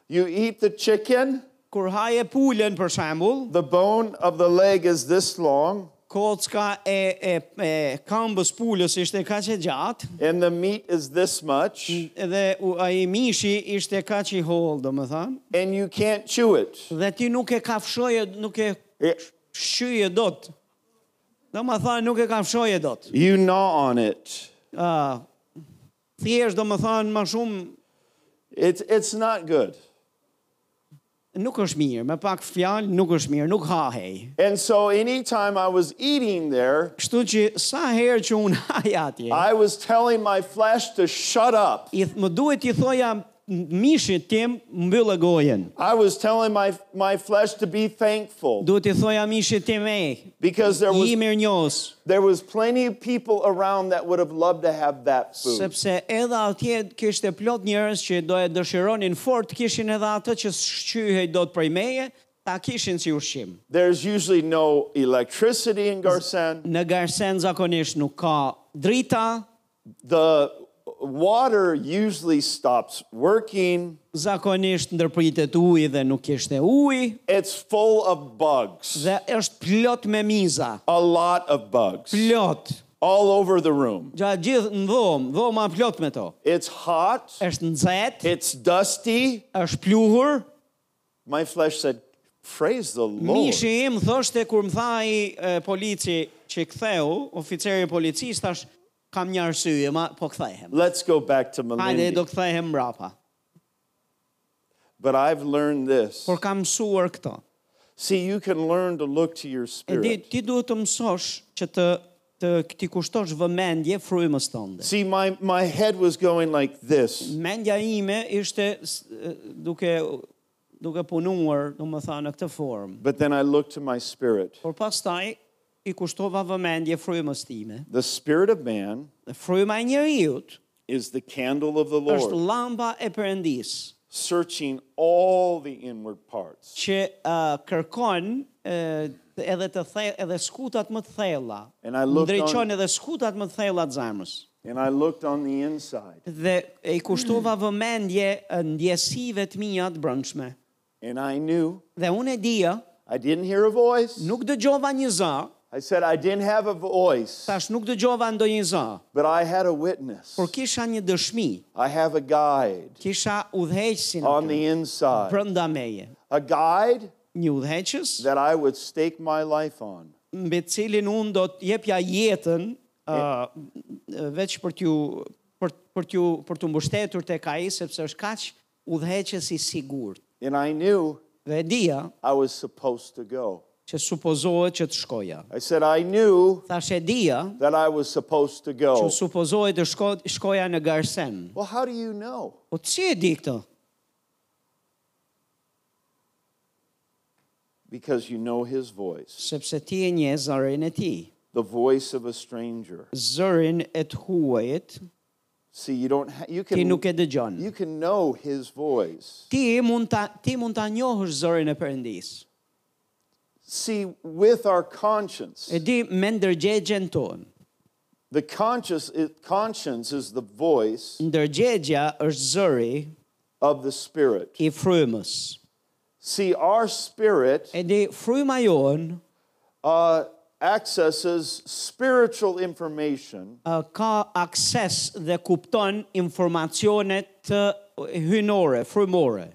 [SPEAKER 2] You eat the chicken,
[SPEAKER 1] kur haje pulën për shembull,
[SPEAKER 2] the bone of the leg is this long,
[SPEAKER 1] kocka e e, e këmbës pulës ishte kaq e gjatë
[SPEAKER 2] and the meat is this much,
[SPEAKER 1] dhe u- ai mishi ishte kaq i holl, domethënë,
[SPEAKER 2] and you can't chew it.
[SPEAKER 1] dhe ti nuk e kafshoje, nuk e
[SPEAKER 2] It-
[SPEAKER 1] shyje dot. Domethënë nuk e kafshoje dot.
[SPEAKER 2] You gnaw on it.
[SPEAKER 1] Ë thjesht domethënë më shumë
[SPEAKER 2] It's, it's not good.
[SPEAKER 1] nuk është mirë, me pak fjalë nuk është mirë, nuk hahej.
[SPEAKER 2] And so, anytime I was eating there,
[SPEAKER 1] Kështu që sa herë që unë haj atje,
[SPEAKER 2] I was telling my flesh to shut up.
[SPEAKER 1] i, më duhet i thoja m- mishit tim mbyllë gojen.
[SPEAKER 2] I was telling my, my flesh to be thankful
[SPEAKER 1] Duhet i thoja mishit tim e,
[SPEAKER 2] because there
[SPEAKER 1] i
[SPEAKER 2] was,
[SPEAKER 1] mirë njës,
[SPEAKER 2] there was plenty of people around that would have loved to have that food.
[SPEAKER 1] sepse edhe atje kishte plot njerëz që do e dëshironin fort, kishin edhe atë që shqyhej do të prej meje, ta kishin si ushqim.
[SPEAKER 2] There's usually no electricity in Garsen.
[SPEAKER 1] Në Garsen zakonisht nuk ka drita,
[SPEAKER 2] The water usually stops working.
[SPEAKER 1] zakonisht ndërpritet uji dhe nuk kishte uji,
[SPEAKER 2] It's full of bugs,
[SPEAKER 1] dhe është plot me miza,
[SPEAKER 2] a lot of bugs,
[SPEAKER 1] plot.
[SPEAKER 2] all over the room.
[SPEAKER 1] Gjatë gjithë në dhomë, dhoma plot me to.
[SPEAKER 2] It's hot,
[SPEAKER 1] është nxehtë,
[SPEAKER 2] it's dusty.
[SPEAKER 1] është pluhur.
[SPEAKER 2] My flesh said, Praise the Lord.
[SPEAKER 1] Mishi im thoshte kur më tha ai e, polici që ktheu, oficeri i policisë thash kam një arsye, ma po kthehem.
[SPEAKER 2] Let's go back to
[SPEAKER 1] Hajde do
[SPEAKER 2] Melindy.
[SPEAKER 1] kthehem mbrapa.
[SPEAKER 2] But I've learned this.
[SPEAKER 1] Por kam mësuar këto.
[SPEAKER 2] See, you can learn to look to your
[SPEAKER 1] E di
[SPEAKER 2] spirit.
[SPEAKER 1] ti duhet të mësosh që të të ti kushtosh vëmendje frymës tënde.
[SPEAKER 2] See, my, my head was going like this.
[SPEAKER 1] Mendja ime ishte s- e, duke duke punuar, do më tha, në këtë formë.
[SPEAKER 2] But then I looked to my spirit.
[SPEAKER 1] Por pastaj i kushtova vëmendje frymës time.
[SPEAKER 2] The spirit of man
[SPEAKER 1] Dhe Fryma e njeriut
[SPEAKER 2] is the candle of the
[SPEAKER 1] është
[SPEAKER 2] Lord,
[SPEAKER 1] llamba e Perëndisë.
[SPEAKER 2] searching all the inward parts.
[SPEAKER 1] që uh, kërkon uh, edhe të the, edhe skutat më të thella.
[SPEAKER 2] And I looked
[SPEAKER 1] Ndriçon
[SPEAKER 2] on-
[SPEAKER 1] edhe skutat më të thella të zemrës.
[SPEAKER 2] And I looked on the inside.
[SPEAKER 1] Dhe e i kushtova
[SPEAKER 2] Hmm.
[SPEAKER 1] vëmendje eh, ndjesive të mia të brendshme.
[SPEAKER 2] And I knew
[SPEAKER 1] Dhe unë e dija,
[SPEAKER 2] I didn't hear a voice.
[SPEAKER 1] nuk dëgjova një zë,
[SPEAKER 2] I said I didn't have a voice,
[SPEAKER 1] tash nuk dëgjova ndonjë zë,
[SPEAKER 2] but I had a witness.
[SPEAKER 1] por kisha një dëshmi,
[SPEAKER 2] I have a guide
[SPEAKER 1] kisha udhëheqësin
[SPEAKER 2] on the inside.
[SPEAKER 1] brenda meje.
[SPEAKER 2] A guide
[SPEAKER 1] Një udhëheqës
[SPEAKER 2] that I would stake my life on.
[SPEAKER 1] mbi të cilin unë do të jepja jetën uh, veç për t'ju për për t'ju për t'u mbështetur tek ai sepse është kaq udhëheqës i sigurt.
[SPEAKER 2] And I knew
[SPEAKER 1] Dhe e dija
[SPEAKER 2] I was supposed to go.
[SPEAKER 1] që supozohet që të shkoja.
[SPEAKER 2] I said I knew
[SPEAKER 1] Thash e dija
[SPEAKER 2] that I was supposed to
[SPEAKER 1] që
[SPEAKER 2] go.
[SPEAKER 1] supozohet të shko, shkoja në Garsen.
[SPEAKER 2] Well, how do you know?
[SPEAKER 1] Po si e di këtë?
[SPEAKER 2] because you know his voice,
[SPEAKER 1] sepse ti e nje zërin e ti,
[SPEAKER 2] the voice of a stranger.
[SPEAKER 1] zërin e të huajit,
[SPEAKER 2] See, you don't ha- you can
[SPEAKER 1] ti nuk e dëgjon.
[SPEAKER 2] you can know his voice.
[SPEAKER 1] Ti mund ta ti mund ta njohësh zërin e Perëndis.
[SPEAKER 2] See, with our conscience,
[SPEAKER 1] E di me ndërgjegjen tonë.
[SPEAKER 2] the conscious it, conscience is the voice
[SPEAKER 1] Ndërgjegja është zëri
[SPEAKER 2] of the spirit.
[SPEAKER 1] i frymës.
[SPEAKER 2] See, our spirit
[SPEAKER 1] E di fryma jonë
[SPEAKER 2] uh, accesses spiritual information
[SPEAKER 1] uh, ka akses dhe kupton informacionet të hynore, frymore.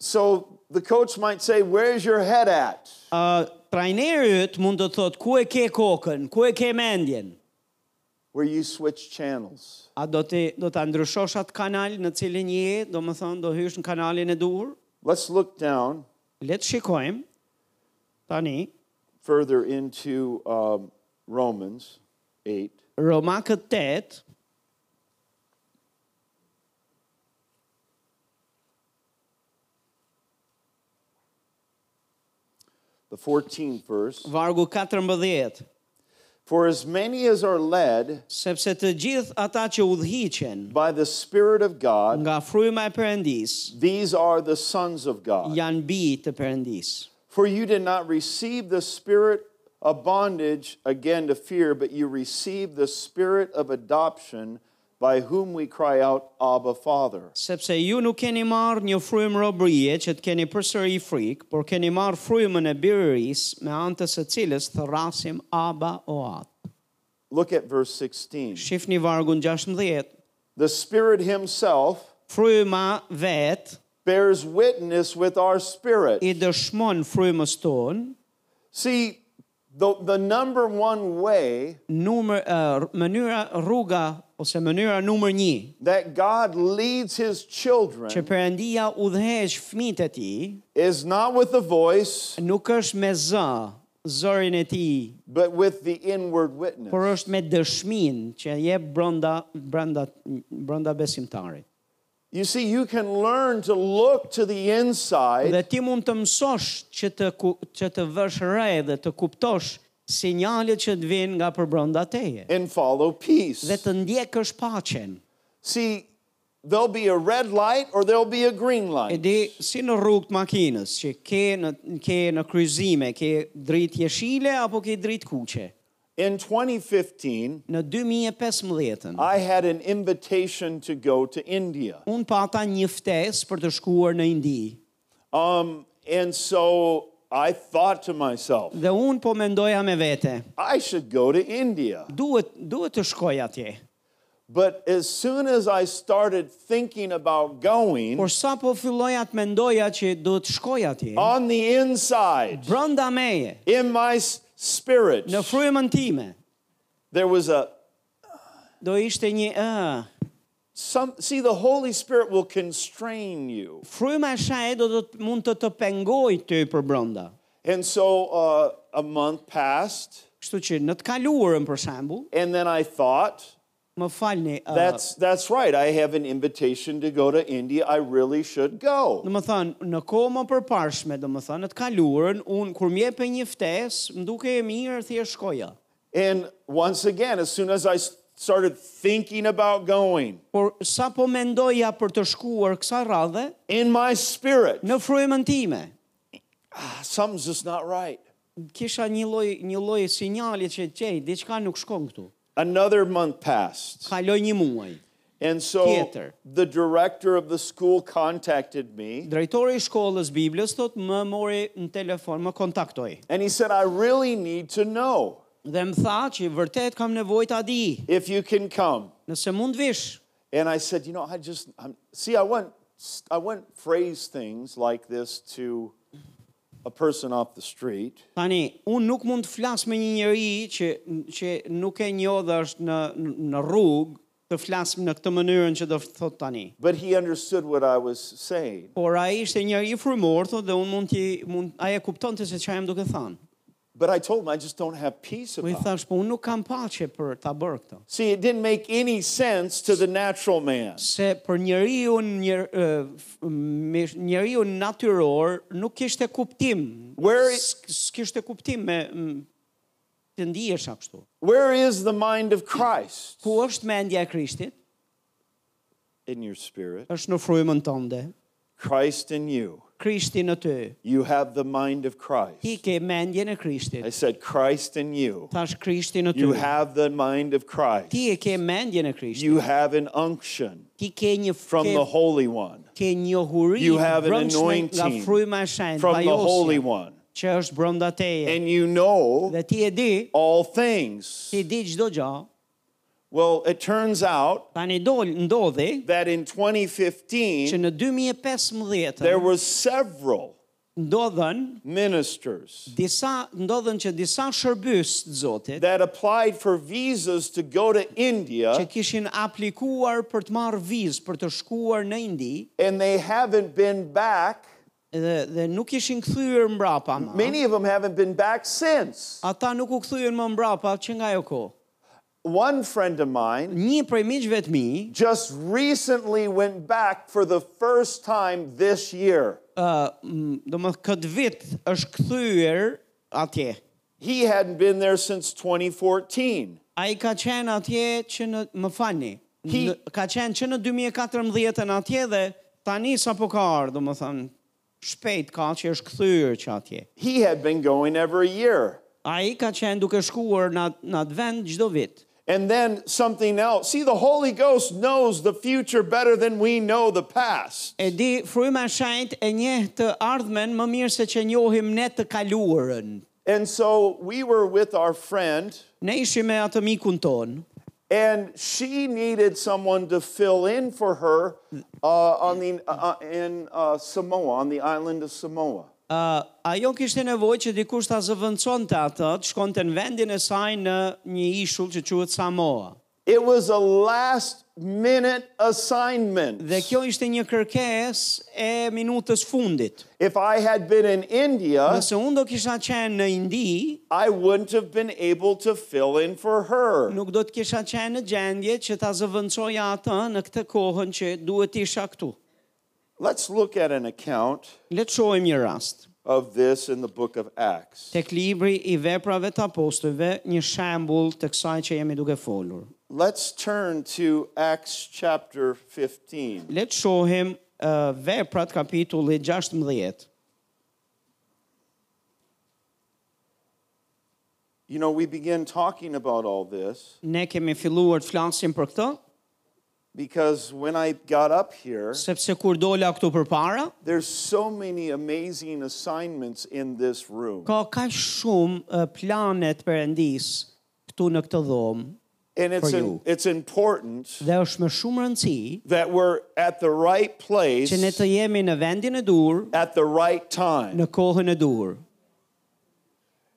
[SPEAKER 2] So the coach might say, Where's your head at?
[SPEAKER 1] Uh, trajneri yt mund të thotë ku e ke kokën, ku e ke mendjen.
[SPEAKER 2] Where you switch channels.
[SPEAKER 1] A do të do ta ndryshosh atë kanal në cilin je, domethënë do hysh në kanalin e dur?
[SPEAKER 2] Let's look down
[SPEAKER 1] Le të shikojmë tani
[SPEAKER 2] further into um, Romans 8.
[SPEAKER 1] Romakët 8
[SPEAKER 2] The 14th verse.
[SPEAKER 1] vargu 14
[SPEAKER 2] For as many as are led
[SPEAKER 1] sepse të gjithë ata që udhhiqen
[SPEAKER 2] by the Spirit of God,
[SPEAKER 1] nga fryma e Perëndis
[SPEAKER 2] these are the sons of God.
[SPEAKER 1] janë bijë të Perëndis.
[SPEAKER 2] For you did not receive the spirit of bondage again to fear, but you received the spirit of adoption by whom we cry out, Abba, Father.
[SPEAKER 1] sepse ju nuk keni marrë një frymë robërie që të keni përsëri frikë, por keni marrë frymën e birërisë me anë të së cilës thërrasim Aba o Atë.
[SPEAKER 2] Look at verse 16.
[SPEAKER 1] Shifni vargun 16.
[SPEAKER 2] The Spirit Himself
[SPEAKER 1] Fryma vet
[SPEAKER 2] bears witness with our spirit.
[SPEAKER 1] i dëshmon frymës tonë,
[SPEAKER 2] See, the, the number one way
[SPEAKER 1] numër uh, mënyra rruga ose mënyra numër 1
[SPEAKER 2] that God leads His
[SPEAKER 1] që
[SPEAKER 2] children
[SPEAKER 1] Perëndia udhëheq fëmijët e tij
[SPEAKER 2] is not with the voice,
[SPEAKER 1] nuk është me zë, zërin e tij,
[SPEAKER 2] but with the inward
[SPEAKER 1] por
[SPEAKER 2] witness.
[SPEAKER 1] është me dëshminë që jep brenda brenda brenda besimtarit.
[SPEAKER 2] You see, you can learn to look to the inside
[SPEAKER 1] Dhe ti mund të mësosh që të ku, që të vësh re dhe të kuptosh sinjalet që të vijnë nga përbrenda teje
[SPEAKER 2] and follow peace.
[SPEAKER 1] dhe të ndjekësh paqen.
[SPEAKER 2] See, there'll be a red light or there'll be a
[SPEAKER 1] E
[SPEAKER 2] green light.
[SPEAKER 1] di si në rrugë të makinës që ke në ke në kryqëzime, ke dritë jeshile apo ke dritë kuqe.
[SPEAKER 2] In 2015,
[SPEAKER 1] Në 2015-ën
[SPEAKER 2] I had an invitation to go to India.
[SPEAKER 1] un pata një ftesë për të shkuar në Indi.
[SPEAKER 2] Um, and so I thought to myself,
[SPEAKER 1] Dhe un po mendoja me vete,
[SPEAKER 2] I should go to India.
[SPEAKER 1] duhet duhet të shkoj atje.
[SPEAKER 2] But as soon as I started thinking about going,
[SPEAKER 1] Por sa po filloja të mendoja që duhet të shkoj atje,
[SPEAKER 2] on the inside,
[SPEAKER 1] brenda meje
[SPEAKER 2] in my s- spirit,
[SPEAKER 1] Në frymën time
[SPEAKER 2] there was a
[SPEAKER 1] do ishte një ë.
[SPEAKER 2] some see the Holy Spirit will constrain you.
[SPEAKER 1] Fryma e shaj do të mund të të pengoj ty për brenda.
[SPEAKER 2] And so uh, a month passed,
[SPEAKER 1] Kështu që në të kaluarën për shembull,
[SPEAKER 2] and then I thought,
[SPEAKER 1] më falni, ë,
[SPEAKER 2] that's that's right. I have an invitation to go to India. I really should go.
[SPEAKER 1] do të thënë në kohë më përparshme, do të thënë në të kaluarën, un kur më jepë një ftesë, më dukej e mirë thjesht shkoja.
[SPEAKER 2] And once again, as soon as I s- started thinking about going,
[SPEAKER 1] Por sa po mendoja për të shkuar kësa radhe,
[SPEAKER 2] in my spirit,
[SPEAKER 1] në frymën time,
[SPEAKER 2] something's just not right.
[SPEAKER 1] kisha një lloj një lloj sinjali që çej, diçka nuk shkon këtu.
[SPEAKER 2] Another month passed.
[SPEAKER 1] Kaloj një muaj.
[SPEAKER 2] And so
[SPEAKER 1] Theater.
[SPEAKER 2] the director of the school contacted me
[SPEAKER 1] Drejtori i shkollës Biblës thot më mori në telefon, më kontaktoi
[SPEAKER 2] and he said, I really need to know
[SPEAKER 1] dhe më tha që vërtet kam nevojë ta di
[SPEAKER 2] if you can come.
[SPEAKER 1] nëse mund vish.
[SPEAKER 2] And I said, you know, I just I'm, see. I wouldn't I wouldn't phrase things like this to a person off the street.
[SPEAKER 1] Tani, unë nuk mund të flas me një njeri që që nuk e njoh dhe është në në rrugë të flas në këtë mënyrën që do të thot tani.
[SPEAKER 2] But he understood what I was saying.
[SPEAKER 1] Por ai ishte njëri frymor thotë dhe unë mund t'i mund ai e kuptonte se çfarë jam duke thënë.
[SPEAKER 2] But I told him I just don't have peace
[SPEAKER 1] Po i
[SPEAKER 2] about it.
[SPEAKER 1] thash, po unë nuk kam paqe për ta bërë këtë.
[SPEAKER 2] See, it didn't make any sense to the natural man.
[SPEAKER 1] Se për njeriu njer, eh, f- mish- njeriu natyror nuk kishte kuptim.
[SPEAKER 2] Where i-
[SPEAKER 1] S- S'kishte kuptim me m, të ndihesh ashtu.
[SPEAKER 2] Where is the mind of Christ?
[SPEAKER 1] Ku është mendja e Krishtit?
[SPEAKER 2] In your spirit.
[SPEAKER 1] Është në frymën tënde.
[SPEAKER 2] Christ in you.
[SPEAKER 1] Krishti në ty.
[SPEAKER 2] You have the mind of Christ.
[SPEAKER 1] Ti ke mendjen e Krishtit.
[SPEAKER 2] I said, Christ in you.
[SPEAKER 1] Thash Krishti në ty.
[SPEAKER 2] You have the mind of Christ.
[SPEAKER 1] Ti e ke mendjen e Krishtit.
[SPEAKER 2] You have an unction
[SPEAKER 1] Ti ke një
[SPEAKER 2] from
[SPEAKER 1] ke,
[SPEAKER 2] the Holy One,
[SPEAKER 1] ke njohuri
[SPEAKER 2] You have an
[SPEAKER 1] brëndshme nga
[SPEAKER 2] anointing
[SPEAKER 1] fryma e shenjtë,
[SPEAKER 2] from the
[SPEAKER 1] vajosja,
[SPEAKER 2] Holy One.
[SPEAKER 1] që është brenda teje.
[SPEAKER 2] And you know
[SPEAKER 1] Dhe ti e di,
[SPEAKER 2] all things.
[SPEAKER 1] ti di çdo gjë.
[SPEAKER 2] Well, it turns out
[SPEAKER 1] Tani dol ndodhi
[SPEAKER 2] that in
[SPEAKER 1] që
[SPEAKER 2] 2015,
[SPEAKER 1] në 2015
[SPEAKER 2] there were several
[SPEAKER 1] ndodhen
[SPEAKER 2] ministers
[SPEAKER 1] disa ndodhen që disa shërbys të Zotit
[SPEAKER 2] that applied for visas to go to
[SPEAKER 1] që
[SPEAKER 2] India,
[SPEAKER 1] kishin aplikuar për të marrë vizë për të shkuar në Indi
[SPEAKER 2] and they haven't been back.
[SPEAKER 1] dhe dhe nuk ishin kthyer mbrapa më.
[SPEAKER 2] Many of them haven't been back since.
[SPEAKER 1] Ata nuk u kthyen më mbrapa që nga ajo kohë.
[SPEAKER 2] One friend of mine
[SPEAKER 1] Një prej miqve të mi,
[SPEAKER 2] just recently went back for the first time this year.
[SPEAKER 1] do më thë, këtë vit është kthyer atje.
[SPEAKER 2] He hadn't been there since 2014.
[SPEAKER 1] Ai ka qenë atje që në më falni.
[SPEAKER 2] Ki-
[SPEAKER 1] Në, ka qenë që në 2014 atje dhe tani sapo ka ardhur, domethënë shpejt ka që është kthyer që atje.
[SPEAKER 2] He had been going every year.
[SPEAKER 1] Ai ka qenë duke shkuar në atë- në atë vend çdo vit.
[SPEAKER 2] And then something else. See, the Holy Ghost knows the future better than we know the past.
[SPEAKER 1] E di fryma e shenjtë e njeh të ardhmen më mirë se që njohim ne të kaluarën.
[SPEAKER 2] And so we were with our friend,
[SPEAKER 1] Ne ishim me atë mikun ton.
[SPEAKER 2] and she needed someone to fill in for her uh, on the, uh, in uh, Samoa, on the island of Samoa.
[SPEAKER 1] Uh, ajo kishte nevojë që dikush ta zëvendësonte atë, të shkonte në vendin e saj në një ishull që quhet Samoa.
[SPEAKER 2] It was a last minute assignment.
[SPEAKER 1] Dhe kjo ishte një kërkesë e minutës fundit.
[SPEAKER 2] If I had been in India,
[SPEAKER 1] Nëse unë do kisha qenë në Indi,
[SPEAKER 2] I wouldn't have been able to fill in for her.
[SPEAKER 1] nuk do të kisha qenë në gjendje që ta zëvendësoja atë në këtë kohën që duhet isha këtu.
[SPEAKER 2] Let's look at an account
[SPEAKER 1] Le të shohim një rast.
[SPEAKER 2] of this in the book of Acts.
[SPEAKER 1] Tek libri i veprave të apostujve, një shembull të kësaj që jemi duke folur.
[SPEAKER 2] Let's turn to Acts chapter 15.
[SPEAKER 1] Le të shohim uh, veprat kapitulli 16.
[SPEAKER 2] You know, we begin talking about all this
[SPEAKER 1] Ne kemi filluar të flasim për këtë,
[SPEAKER 2] because when I got up here,
[SPEAKER 1] sepse kur dola këtu përpara,
[SPEAKER 2] there's so many amazing assignments in this room.
[SPEAKER 1] ka kaq shumë uh, planet perëndis këtu në këtë dhomë
[SPEAKER 2] And it's,
[SPEAKER 1] For
[SPEAKER 2] in-
[SPEAKER 1] you.
[SPEAKER 2] it's important
[SPEAKER 1] dhe është me shumë rëndësi
[SPEAKER 2] that we're at the right place
[SPEAKER 1] që ne të jemi në vendin e dur,
[SPEAKER 2] at the right time.
[SPEAKER 1] në kohën e dur.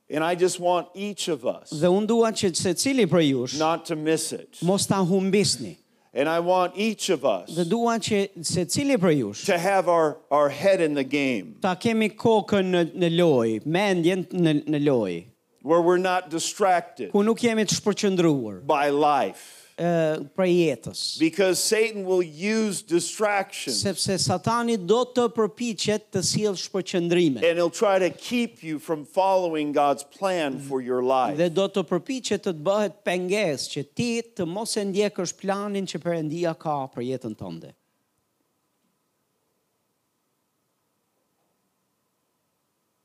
[SPEAKER 2] And I just want each of us
[SPEAKER 1] Dhe unë dua që secili prej jush
[SPEAKER 2] not to miss it.
[SPEAKER 1] mos ta humbisni.
[SPEAKER 2] And I want each of us
[SPEAKER 1] Dhe dua që secili prej jush
[SPEAKER 2] to have our, our head in the game
[SPEAKER 1] ta kemi kokën në, në lojë, mendjen në, në lojë,
[SPEAKER 2] where we're not distracted
[SPEAKER 1] ku nuk jemi të shpërqendruar
[SPEAKER 2] by life
[SPEAKER 1] ë për jetës.
[SPEAKER 2] because Satan will use distractions and
[SPEAKER 1] Sepse Satani do të përpiqet të sjellë shpërqendrime
[SPEAKER 2] he'll try to keep you from following God's plan for your
[SPEAKER 1] dhe
[SPEAKER 2] life.
[SPEAKER 1] do të përpiqet të të bëhet pengesë që ti të mos e ndjekësh planin që Perëndia ka për jetën tënde.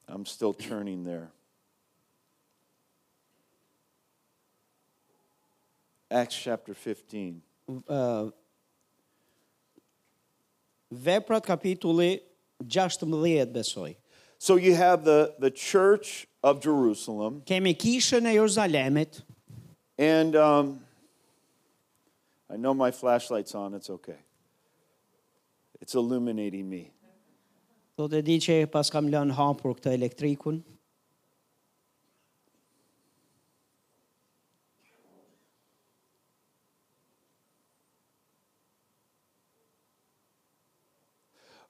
[SPEAKER 2] I'm still turning there. Acts chapter 15.
[SPEAKER 1] Veprat kapitulli 16 besoj.
[SPEAKER 2] So you have the, the church of Jerusalem,
[SPEAKER 1] Kemi kishën e Jeruzalemit.
[SPEAKER 2] and um, I know my flashlight's on, it's okay. It's illuminating me.
[SPEAKER 1] Do të di që pas kam lënë hapur këtë elektrikun.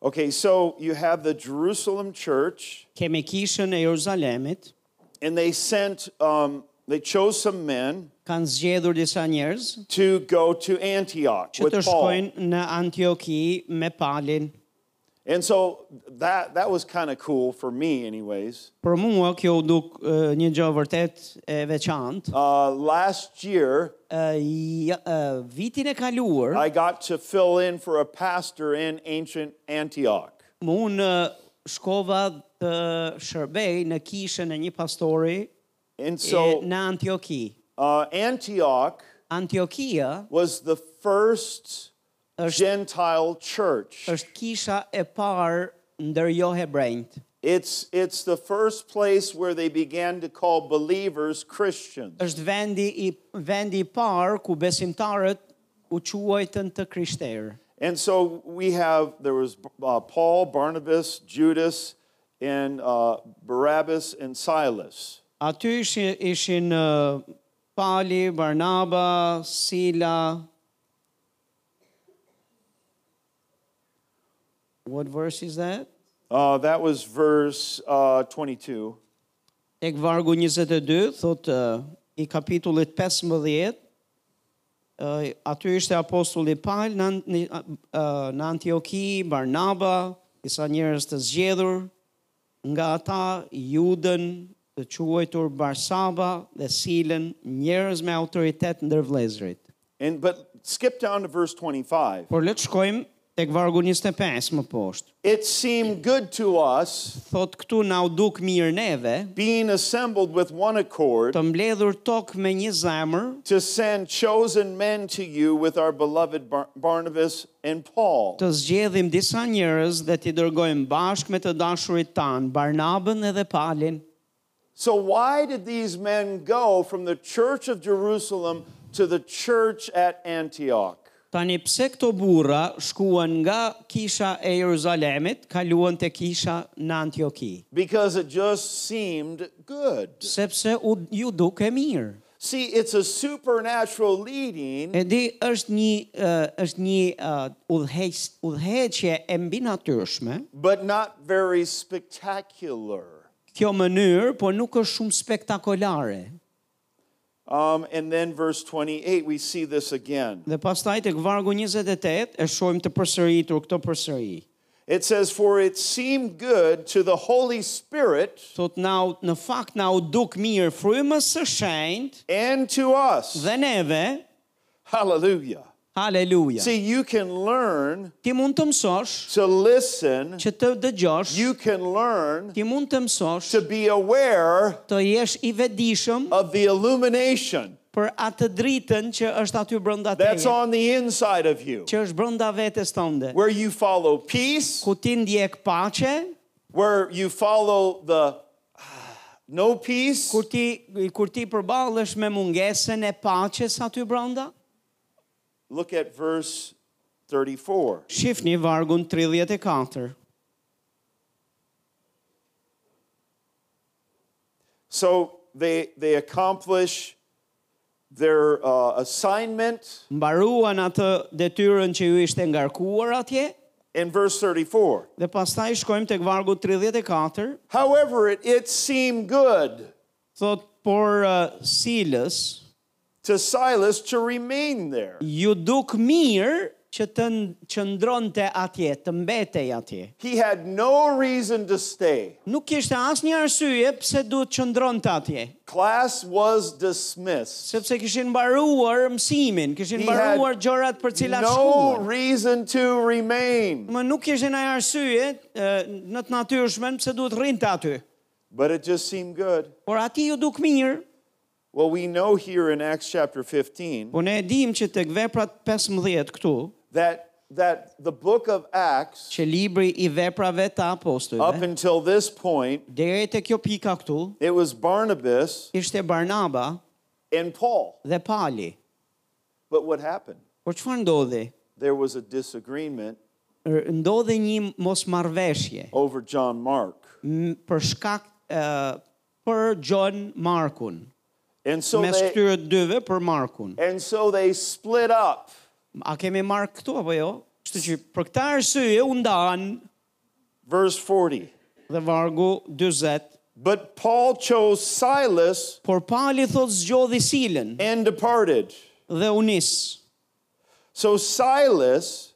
[SPEAKER 2] Okay, so you have the Jerusalem church,
[SPEAKER 1] Kemi kishën e Jeruzalemit
[SPEAKER 2] and they sent, um, they chose some men
[SPEAKER 1] kanë zgjedhur disa njerëz
[SPEAKER 2] to go to Antioch
[SPEAKER 1] që
[SPEAKER 2] with
[SPEAKER 1] të
[SPEAKER 2] Paul.
[SPEAKER 1] shkojnë në Antioki me Palin.
[SPEAKER 2] And so that, that was kind of cool for me, anyways.
[SPEAKER 1] Për mua kjo u duk e, një gjë vërtet e veçantë.
[SPEAKER 2] Uh, last year,
[SPEAKER 1] E, ja- e, vitin e kaluar,
[SPEAKER 2] I got to fill in for a pastor in ancient Antioch.
[SPEAKER 1] më unë e, shkova të shërbej në kishën e një pastori
[SPEAKER 2] And
[SPEAKER 1] e,
[SPEAKER 2] so
[SPEAKER 1] në Antioki.
[SPEAKER 2] uh, Antioch
[SPEAKER 1] Antiokia
[SPEAKER 2] was the first Gentile church.
[SPEAKER 1] është kisha e parë ndër jo hebrejt.
[SPEAKER 2] It's, it's the first place where they began to call believers Christians.
[SPEAKER 1] është vendi i vendi i parë ku besimtarët u quajtën të krishterë.
[SPEAKER 2] And so we have, there was uh, Paul, Barnabas, Judas, and uh, Barabbas and Silas.
[SPEAKER 1] Aty ishin, ishin ë, Pali, Barnaba, Sila. What verse is that?
[SPEAKER 2] Uh, that was verse uh, 22.
[SPEAKER 1] Tek vargu 22, thot ë, i kapitullit 15, ë, aty ishte apostulli Pal në, Ant- në, ë, në Antioki, Barnaba, disa njerëz të zgjedhur, nga ata Juden, të quajtur Barsaba dhe Silen, njerëz me autoritet ndër vëllezërit.
[SPEAKER 2] And, but skip down to verse 25.
[SPEAKER 1] Por le të shkojmë tek vargu 25 më poshtë.
[SPEAKER 2] It seemed good to us,
[SPEAKER 1] Thot këtu na u duk mirë neve,
[SPEAKER 2] being assembled with one accord,
[SPEAKER 1] të mbledhur tokë me një zemër,
[SPEAKER 2] to send chosen men to you with our beloved Bar- Barnabas and Paul.
[SPEAKER 1] të zgjedhim disa njerëz dhe t'i dërgojmë bashkë me të dashurit tanë, Barnabën edhe Palin.
[SPEAKER 2] So, why did these men go from the church of Jerusalem to the church at Antioch?
[SPEAKER 1] Tani pse këto burra shkuan nga kisha e Jeruzalemit, kaluan te kisha në Antioki,
[SPEAKER 2] Because it just seemed good.
[SPEAKER 1] sepse u, ju duke mirë.
[SPEAKER 2] See, it's a supernatural leading
[SPEAKER 1] E di është një ë, është një ë, udhëheq udhëheqje e mbinatyrshme.
[SPEAKER 2] but not very spectacular.
[SPEAKER 1] Kjo mënyrë po nuk është shumë spektakolare.
[SPEAKER 2] Um, and then, verse 28, we see this again.
[SPEAKER 1] Dhe pastaj tek vargu 28 e shohim të përsëritur këto përsëri.
[SPEAKER 2] It says, For it seemed good to the Holy Spirit
[SPEAKER 1] Thot na u- në fakt na u duk mirë frymës së shenjtë
[SPEAKER 2] and to us.
[SPEAKER 1] dhe neve,
[SPEAKER 2] Hallelujah.
[SPEAKER 1] haleluja.
[SPEAKER 2] See, you can learn
[SPEAKER 1] Ti mund të mësosh
[SPEAKER 2] to listen,
[SPEAKER 1] që të dëgjosh,
[SPEAKER 2] you can learn
[SPEAKER 1] ti mund të mësosh
[SPEAKER 2] to be aware
[SPEAKER 1] të jesh i vetëdijshëm
[SPEAKER 2] of the illumination
[SPEAKER 1] për atë dritën që është aty brenda
[SPEAKER 2] that's
[SPEAKER 1] teje,
[SPEAKER 2] on the inside of you,
[SPEAKER 1] që është brenda vetes tënde.
[SPEAKER 2] where you follow peace,
[SPEAKER 1] Ku ti ndjek paqe,
[SPEAKER 2] where you follow the no peace,
[SPEAKER 1] kur ti kur ti përballesh me mungesën e paqes aty brenda.
[SPEAKER 2] look at verse 34.
[SPEAKER 1] Shifni vargun 34.
[SPEAKER 2] So they, they accomplish their uh, assignment
[SPEAKER 1] Mbaruan atë detyrën që ju ishte ngarkuar atje,
[SPEAKER 2] in verse 34.
[SPEAKER 1] Dhe pastaj shkojmë tek vargu 34,
[SPEAKER 2] However, it, it seemed good
[SPEAKER 1] thot por uh, Silës
[SPEAKER 2] to Silas to remain there.
[SPEAKER 1] ju duk mirë që të n- qëndronte atje, të mbetej atje.
[SPEAKER 2] He had no reason to stay.
[SPEAKER 1] Nuk kishte asnjë arsye pse duhet qëndronte atje,
[SPEAKER 2] Class was dismissed.
[SPEAKER 1] sepse kishin mbaruar mësimin, kishin
[SPEAKER 2] He
[SPEAKER 1] mbaruar
[SPEAKER 2] had
[SPEAKER 1] gjërat për cilat
[SPEAKER 2] No
[SPEAKER 1] shkuan.
[SPEAKER 2] reason to remain.
[SPEAKER 1] Më nuk kishin ai arsye eh, në të natyrshmen pse duhet rrinte aty.
[SPEAKER 2] But it just seemed good.
[SPEAKER 1] Por ati ju duk mirë.
[SPEAKER 2] Well, we know here in Acts chapter 15
[SPEAKER 1] Po ne e dim që tek veprat 15 këtu,
[SPEAKER 2] that, that the book of Acts,
[SPEAKER 1] që libri i veprave të apostujve,
[SPEAKER 2] up until this point,
[SPEAKER 1] Deri te kjo pika këtu
[SPEAKER 2] it was Barnabas
[SPEAKER 1] ishte Barnaba
[SPEAKER 2] and Paul.
[SPEAKER 1] dhe Pali.
[SPEAKER 2] But what happened?
[SPEAKER 1] Por çfarë ndodhi?
[SPEAKER 2] There was a disagreement
[SPEAKER 1] R- Ndodhi një mosmarrveshje
[SPEAKER 2] over John Mark.
[SPEAKER 1] m- për shkak uh, për John Markun.
[SPEAKER 2] And so
[SPEAKER 1] mes
[SPEAKER 2] they,
[SPEAKER 1] këtyre dyve për Markun.
[SPEAKER 2] and so they split up.
[SPEAKER 1] A kemi Mark këtu apo jo? Kështu që për këtë arsye u ndan
[SPEAKER 2] Verse 40.
[SPEAKER 1] dhe vargu 40
[SPEAKER 2] But Paul chose Silas
[SPEAKER 1] Por Pali thot zgjodhi Silën
[SPEAKER 2] and departed.
[SPEAKER 1] dhe u nis.
[SPEAKER 2] So Silas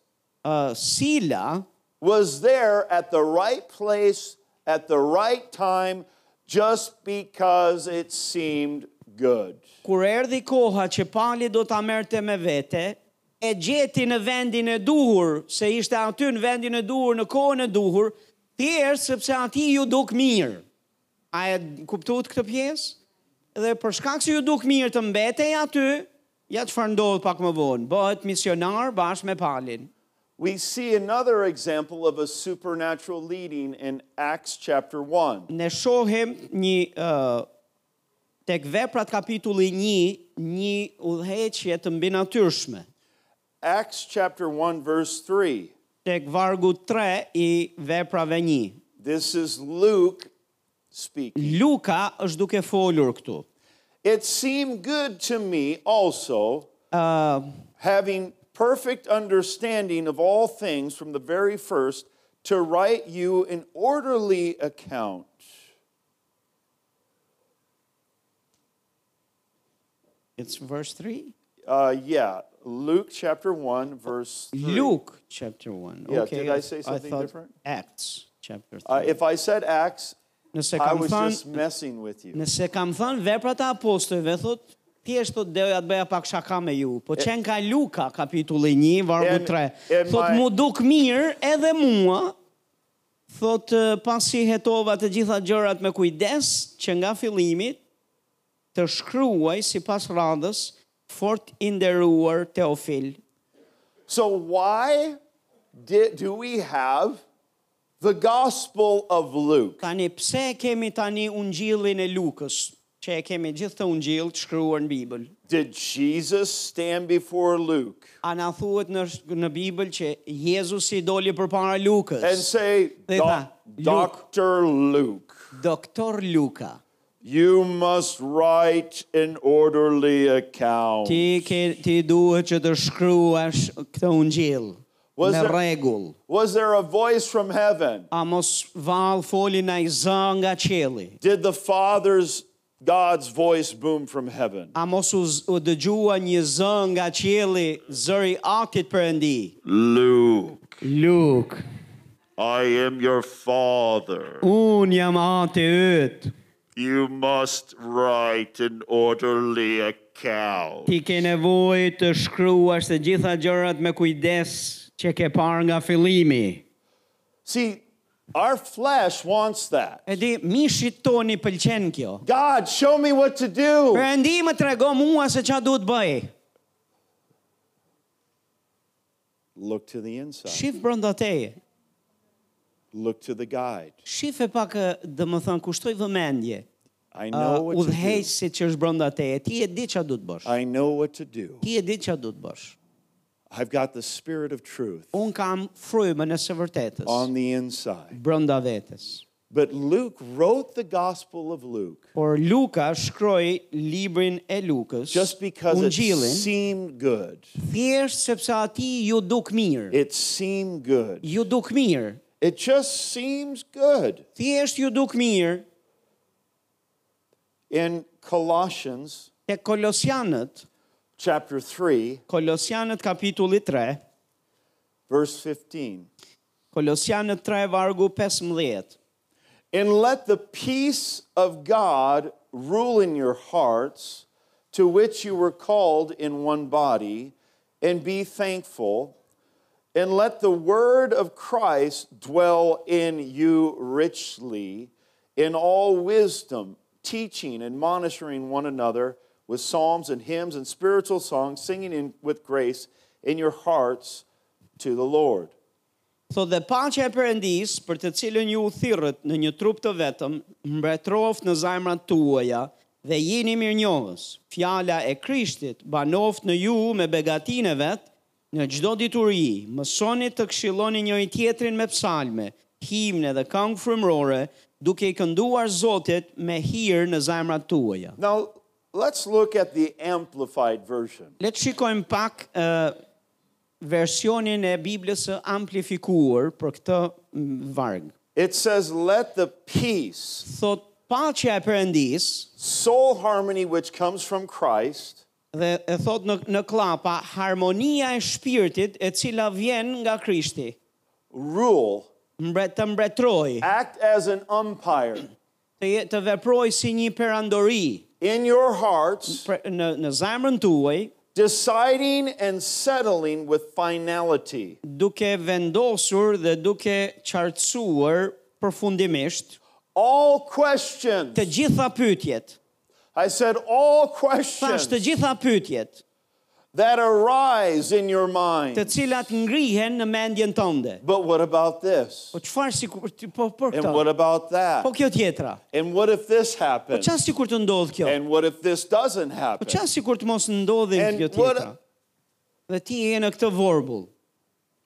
[SPEAKER 1] Ë, Sila
[SPEAKER 2] was there at the right place at the right time just because it seemed good.
[SPEAKER 1] kur erdhi koha që Pali do ta merrte me vete, e gjeti në vendin e duhur, se ishte aty në vendin e duhur, në kohën e duhur, thjesht sepse aty ju duk mirë. A e kuptuat këtë pjesë? Dhe për shkak se ju duk mirë të mbetej aty, ja çfarë ndodh pak më vonë, bëhet misionar bashkë me Palin.
[SPEAKER 2] We see another example of a supernatural leading in Acts chapter 1.
[SPEAKER 1] ne shohim një uh, tek veprat kapitulli 1 një udhëheqje të mbinatyrshme.
[SPEAKER 2] Acts chapter 1, verse 3.
[SPEAKER 1] Tek vargu 3 i veprave 1.
[SPEAKER 2] This is Luke speaking.
[SPEAKER 1] Luka është duke folur këtu.
[SPEAKER 2] It seemed good to me also,
[SPEAKER 1] Uh,
[SPEAKER 2] having perfect understanding of all things from the very first, to write you an orderly account.
[SPEAKER 1] it's verse 3.
[SPEAKER 2] Uh, yeah, Luke chapter 1, verse 3.
[SPEAKER 1] Luke chapter 1.
[SPEAKER 2] Yeah,
[SPEAKER 1] okay,
[SPEAKER 2] did I say something
[SPEAKER 1] thought
[SPEAKER 2] different?
[SPEAKER 1] Acts chapter 3.
[SPEAKER 2] Uh, if I said Acts,
[SPEAKER 1] nëse
[SPEAKER 2] I
[SPEAKER 1] kam
[SPEAKER 2] was
[SPEAKER 1] thënë
[SPEAKER 2] just messing with you.
[SPEAKER 1] nëse kam thënë veprat e apostujve thot thjesht thot doja të bëja pak shaka me ju. Po qen ka Luka kapitulli 1 vargu
[SPEAKER 2] And-
[SPEAKER 1] 3.
[SPEAKER 2] and
[SPEAKER 1] Thot
[SPEAKER 2] my-
[SPEAKER 1] mu duk mirë edhe mua. Thot eh, pasi hetova të gjitha gjërat me kujdes që nga fillimi të shkruaj sipas radhës fort i nderuar Teofil.
[SPEAKER 2] So, why did, do we have the Gospel of Luke?
[SPEAKER 1] Tani pse e kemi tani ungjillin e Lukës, që e kemi gjithë të ungjill të shkruar në Bibël.
[SPEAKER 2] Did Jesus stand before Luke
[SPEAKER 1] A na thuhet në në Bibël që Jezusi doli përpara Lukës.
[SPEAKER 2] and say,
[SPEAKER 1] They
[SPEAKER 2] "Doc-
[SPEAKER 1] thought, "Luke."
[SPEAKER 2] Dr. Luke,
[SPEAKER 1] Doktor Luka,
[SPEAKER 2] you must write an orderly account?
[SPEAKER 1] ti ke ti duhet që të shkruash këtë ungjill
[SPEAKER 2] Was
[SPEAKER 1] në
[SPEAKER 2] there-
[SPEAKER 1] rregull.
[SPEAKER 2] Was there a voice from heaven?
[SPEAKER 1] A mos val foli në i zë nga qeli.
[SPEAKER 2] Did the Father's God's voice boom from heaven?
[SPEAKER 1] A mos u, z- u dëgjua një zë nga qeli zëri atit përëndi.
[SPEAKER 2] Luke,
[SPEAKER 1] Luk,
[SPEAKER 2] I am your father.
[SPEAKER 1] unë jam ati ytë.
[SPEAKER 2] You must write an orderly account.
[SPEAKER 1] Ti ke nevoj të shkruash të gjitha gjërat me kujdes që ke parë nga fillimi.
[SPEAKER 2] See, our flesh wants that.
[SPEAKER 1] E di, mishit toni pëlqen kjo.
[SPEAKER 2] God, show me what to do.
[SPEAKER 1] Perëndi më trego mua se çfarë duhet bëj.
[SPEAKER 2] Look to the inside.
[SPEAKER 1] Shif brenda teje.
[SPEAKER 2] Look to the guide.
[SPEAKER 1] Shif e pak, ë, dhe më thënë, kushtoj vëmendje.
[SPEAKER 2] I
[SPEAKER 1] Uh,
[SPEAKER 2] know what to do.
[SPEAKER 1] Udhëheqësit që është brenda teje, ti e di çfarë duhet bësh.
[SPEAKER 2] I know what to do.
[SPEAKER 1] Ti e di çfarë duhet bësh.
[SPEAKER 2] I've got the spirit of truth
[SPEAKER 1] Un kam frymën e së vërtetës
[SPEAKER 2] on the inside.
[SPEAKER 1] brenda vetes.
[SPEAKER 2] But Luke wrote the Gospel of Luke
[SPEAKER 1] Por Luka shkroi librin e Lukës.
[SPEAKER 2] just because it
[SPEAKER 1] ungjillin,
[SPEAKER 2] seemed good.
[SPEAKER 1] thjesht sepse aty ju duk mirë.
[SPEAKER 2] It seemed good.
[SPEAKER 1] Ju duk mirë.
[SPEAKER 2] It just seems good.
[SPEAKER 1] Thjesht ju duk mirë.
[SPEAKER 2] In Colossians
[SPEAKER 1] Te Kolosianët,
[SPEAKER 2] chapter 3,
[SPEAKER 1] Kolosianët kapitulli 3,
[SPEAKER 2] verse 15.
[SPEAKER 1] Kolosianët 3 vargu 15.
[SPEAKER 2] And let the peace of God rule in your hearts, to which you were called in one body, and be thankful. And let the word of Christ dwell in you richly, in all wisdom, teaching and monitoring one another with psalms and hymns and spiritual songs, singing in, with grace in your hearts to the Lord.
[SPEAKER 1] Thot dhe paqja e Perëndis, për të cilën ju u thirrët në një trup të vetëm, mbretroft në zemrat tuaja dhe jeni mirënjohës. Fjala e Krishtit banoft në ju me begatinë e vet në çdo dituri. Mësoni të këshilloni njëri tjetrin me psalme, himne dhe këngë frymërore, duke i kënduar Zotit me hir në zemrat tuaja.
[SPEAKER 2] Now, let's look at the Amplified Version.
[SPEAKER 1] Le të shikojmë pak ë versionin e Biblës së amplifikuar për këtë mm, varg.
[SPEAKER 2] It says, let the peace
[SPEAKER 1] Thot paqja e Perëndisë
[SPEAKER 2] soul harmony which comes from Christ
[SPEAKER 1] dhe e thot në në klapa harmonia e shpirtit e cila vjen nga Krishti.
[SPEAKER 2] rule
[SPEAKER 1] Mbret të mbretroj,
[SPEAKER 2] act as an umpire
[SPEAKER 1] të, je- të veproj si një perandori
[SPEAKER 2] in your hearts
[SPEAKER 1] pre, në në zemrën tuaj,
[SPEAKER 2] deciding and settling with finality
[SPEAKER 1] duke vendosur dhe duke qartësuar përfundimisht
[SPEAKER 2] all questions
[SPEAKER 1] të gjitha pyetjet.
[SPEAKER 2] i said all
[SPEAKER 1] Thash të
[SPEAKER 2] questions
[SPEAKER 1] gjitha pyetjet,
[SPEAKER 2] that arise in your
[SPEAKER 1] të
[SPEAKER 2] mind
[SPEAKER 1] cilat ngrihen në mendjen tënde.
[SPEAKER 2] but what about this
[SPEAKER 1] Po çfarë si kur ti- po për
[SPEAKER 2] and what
[SPEAKER 1] këtë?
[SPEAKER 2] about that
[SPEAKER 1] Po kjo tjetra.
[SPEAKER 2] and what if this
[SPEAKER 1] Po
[SPEAKER 2] happens
[SPEAKER 1] çfarë si kur të ndodh kjo?
[SPEAKER 2] and what if this doesn't
[SPEAKER 1] Po
[SPEAKER 2] happen
[SPEAKER 1] çfarë si kur të mos ndodhin
[SPEAKER 2] And
[SPEAKER 1] kjo
[SPEAKER 2] what-
[SPEAKER 1] tjetra? Dhe ti je në këtë vorbull.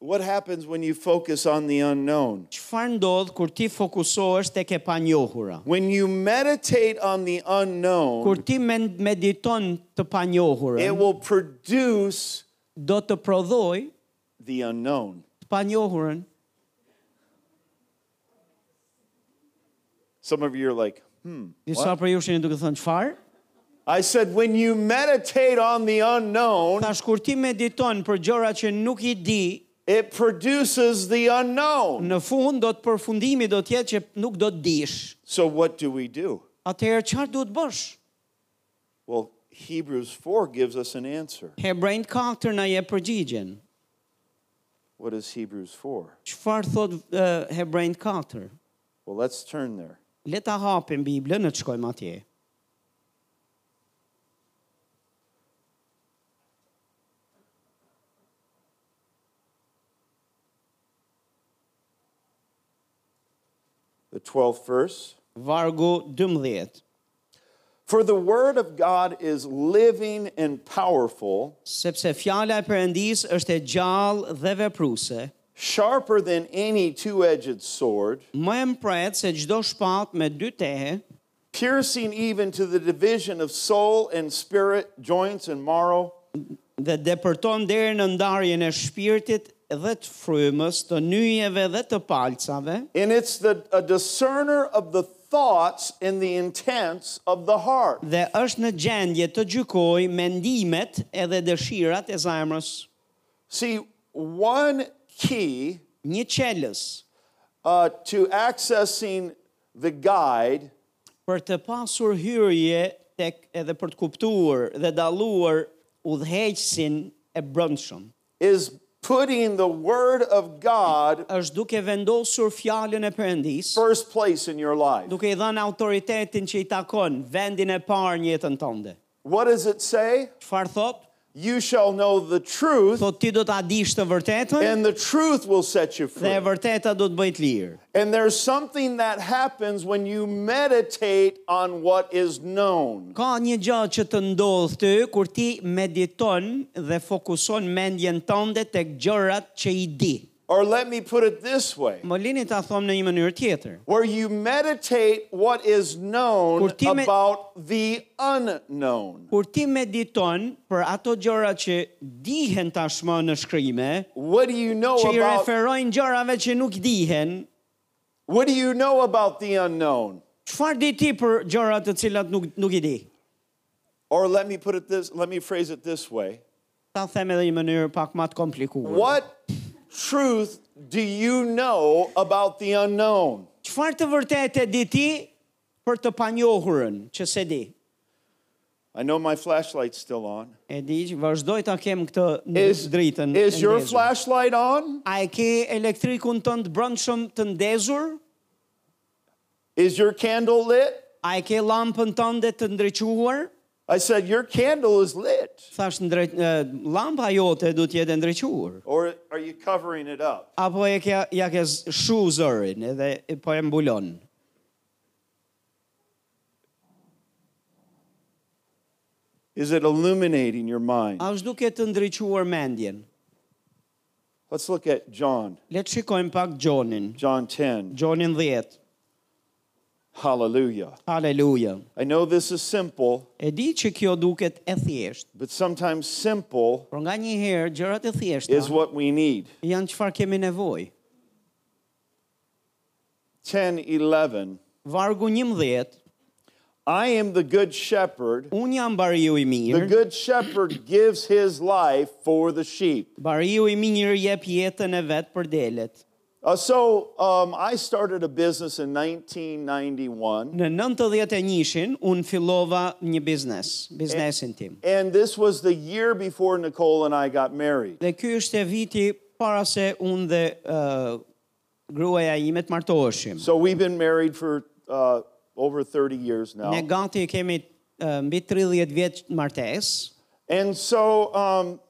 [SPEAKER 2] what happens when you focus on the unknown
[SPEAKER 1] Çfarë ndodh kur ti fokusohesh tek e panjohura?
[SPEAKER 2] When you meditate on the unknown,
[SPEAKER 1] Kur ti men- mediton të
[SPEAKER 2] it
[SPEAKER 1] panjohurën,
[SPEAKER 2] will produce
[SPEAKER 1] do të prodhoj
[SPEAKER 2] the unknown.
[SPEAKER 1] të panjohurën.
[SPEAKER 2] Some of you are like, hmm.
[SPEAKER 1] Disa për ju shini duke thënë çfarë?
[SPEAKER 2] I said, when you meditate on the unknown,
[SPEAKER 1] Tash kur ti mediton për gjëra që nuk i di,
[SPEAKER 2] it produces the unknown.
[SPEAKER 1] në fund do të përfundimi do të jetë që nuk do të dish.
[SPEAKER 2] So, what do we do?
[SPEAKER 1] Atëherë çfarë duhet bësh?
[SPEAKER 2] Well, Hebrews 4 gives us an answer.
[SPEAKER 1] Hebrejt 4 na jep përgjigjen.
[SPEAKER 2] What is Hebrews 4?
[SPEAKER 1] Çfarë thot uh, Hebrejt 4?
[SPEAKER 2] Well, let's turn there.
[SPEAKER 1] Le ta hapim Biblën, ne të shkojmë atje.
[SPEAKER 2] The 12th verse.
[SPEAKER 1] Vargu 12.
[SPEAKER 2] For the word of God is living and powerful,
[SPEAKER 1] Sepse fjala e Perëndis është e gjallë dhe vepruese,
[SPEAKER 2] sharper than any two edged sword.
[SPEAKER 1] më e mpret se çdo shpatë me dy tehe,
[SPEAKER 2] piercing even to the division of soul and spirit, joints and marrow,
[SPEAKER 1] dhe depërton deri në ndarjen e shpirtit dhe të frymës, të nyjeve dhe të palcave,
[SPEAKER 2] and it's the a discerner of the thoughts and the intents of the heart.
[SPEAKER 1] dhe është në gjendje të gjykoj mendimet edhe dëshirat e zemrës.
[SPEAKER 2] See, one key
[SPEAKER 1] Një qelës
[SPEAKER 2] uh, to accessing the guide
[SPEAKER 1] për të pasur hyrje tek edhe për të kuptuar dhe dalluar udhëheqësin e brëndshëm.
[SPEAKER 2] is putting the word of God
[SPEAKER 1] është duke vendosur fjalën e Perëndis,
[SPEAKER 2] first place in your life.
[SPEAKER 1] duke i dhënë autoritetin që i takon vendin e parë në jetën tënde.
[SPEAKER 2] What does it say?
[SPEAKER 1] Çfarë thot?
[SPEAKER 2] You shall know the truth,
[SPEAKER 1] Thot ti do ta dish të vërtetën
[SPEAKER 2] and the truth will set you
[SPEAKER 1] dhe
[SPEAKER 2] free.
[SPEAKER 1] e vërteta do të bëjt lirë.
[SPEAKER 2] And there's something that happens when you meditate on what is known.
[SPEAKER 1] Ka një gjë që të ndodh ty kur ti mediton dhe fokuson mendjen tënde tek gjërat që i di.
[SPEAKER 2] Or let me put it this way
[SPEAKER 1] Më lini ta them në një mënyrë tjetër.
[SPEAKER 2] where you meditate what is known
[SPEAKER 1] Kur ti me-
[SPEAKER 2] about the unknown.
[SPEAKER 1] Kur ti mediton për ato gjëra që dihen tashmë në shkrime,
[SPEAKER 2] What do you know
[SPEAKER 1] që i
[SPEAKER 2] about
[SPEAKER 1] referojnë gjërave që nuk dihen,
[SPEAKER 2] what do you know about the unknown?
[SPEAKER 1] Çfarë di ti për gjëra të cilat nuk nuk i di?
[SPEAKER 2] Or let me put it this let me phrase it this way.
[SPEAKER 1] Ta them edhe një mënyrë pak më të komplikuar.
[SPEAKER 2] What truth do you know about the unknown?
[SPEAKER 1] Çfarë të vërtetë di ti për të panjohurën që se di?
[SPEAKER 2] I know my flashlight's still on.
[SPEAKER 1] E di që vazhdoj ta kem këtë në
[SPEAKER 2] Is,
[SPEAKER 1] dritën. e
[SPEAKER 2] is your
[SPEAKER 1] ndezur.
[SPEAKER 2] flashlight on?
[SPEAKER 1] A e ke elektrikun tënd brëndshëm të ndezur?
[SPEAKER 2] Is your candle lit?
[SPEAKER 1] A e ke llampën tënde të ndriçuar?
[SPEAKER 2] I said, Your candle is lit.
[SPEAKER 1] Thash ndre, e, lampa jote duhet jetë e ndriçuar.
[SPEAKER 2] Or are you covering it up?
[SPEAKER 1] Apo e ke ja ke z- shu zërin edhe e- po e mbulon.
[SPEAKER 2] Is it illuminating your
[SPEAKER 1] A
[SPEAKER 2] mind?
[SPEAKER 1] është duke të ndriçuar mendjen?
[SPEAKER 2] Let's look at John,
[SPEAKER 1] Le të shikojmë pak Gjonin.
[SPEAKER 2] John 10.
[SPEAKER 1] Gjonin 10.
[SPEAKER 2] Hallelujah.
[SPEAKER 1] Haleluja.
[SPEAKER 2] I know this is simple,
[SPEAKER 1] E di që kjo duket e thjeshtë,
[SPEAKER 2] but sometimes simple
[SPEAKER 1] por nga një herë gjërat e thjeshta
[SPEAKER 2] is what we need.
[SPEAKER 1] janë çfarë kemi nevojë.
[SPEAKER 2] 10 11.
[SPEAKER 1] Vargu 11
[SPEAKER 2] I am the good shepherd.
[SPEAKER 1] Unë jam bariu i
[SPEAKER 2] The
[SPEAKER 1] mirë.
[SPEAKER 2] good shepherd gives his life for the sheep.
[SPEAKER 1] Bariu i mirë jep jetën e vet për delet.
[SPEAKER 2] Uh, so um, I started a business in 1991,
[SPEAKER 1] Në 91-shin unë fillova një biznes, biznesin tim.
[SPEAKER 2] and this was the year before Nicole and I got married.
[SPEAKER 1] Dhe ky është e viti para se unë dhe uh, gruaja ime të martoheshim.
[SPEAKER 2] So we've been married for uh, over 30 years
[SPEAKER 1] Ne
[SPEAKER 2] now.
[SPEAKER 1] gati kemi uh, mbi 30 vjet martesë.
[SPEAKER 2] And so um,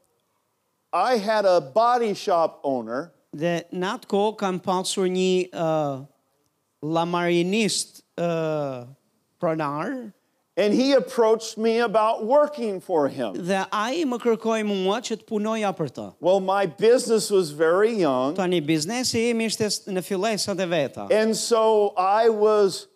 [SPEAKER 2] I had a body shop owner
[SPEAKER 1] Dhe në atë kohë kam pasur një uh, lamarinist uh, pronar
[SPEAKER 2] And he approached me about working for him.
[SPEAKER 1] dhe ai më kërkoi mua që të punoja për të.
[SPEAKER 2] Well, my business was very young,
[SPEAKER 1] Tani biznesi im ishte s- në fillesat e veta.
[SPEAKER 2] and so I was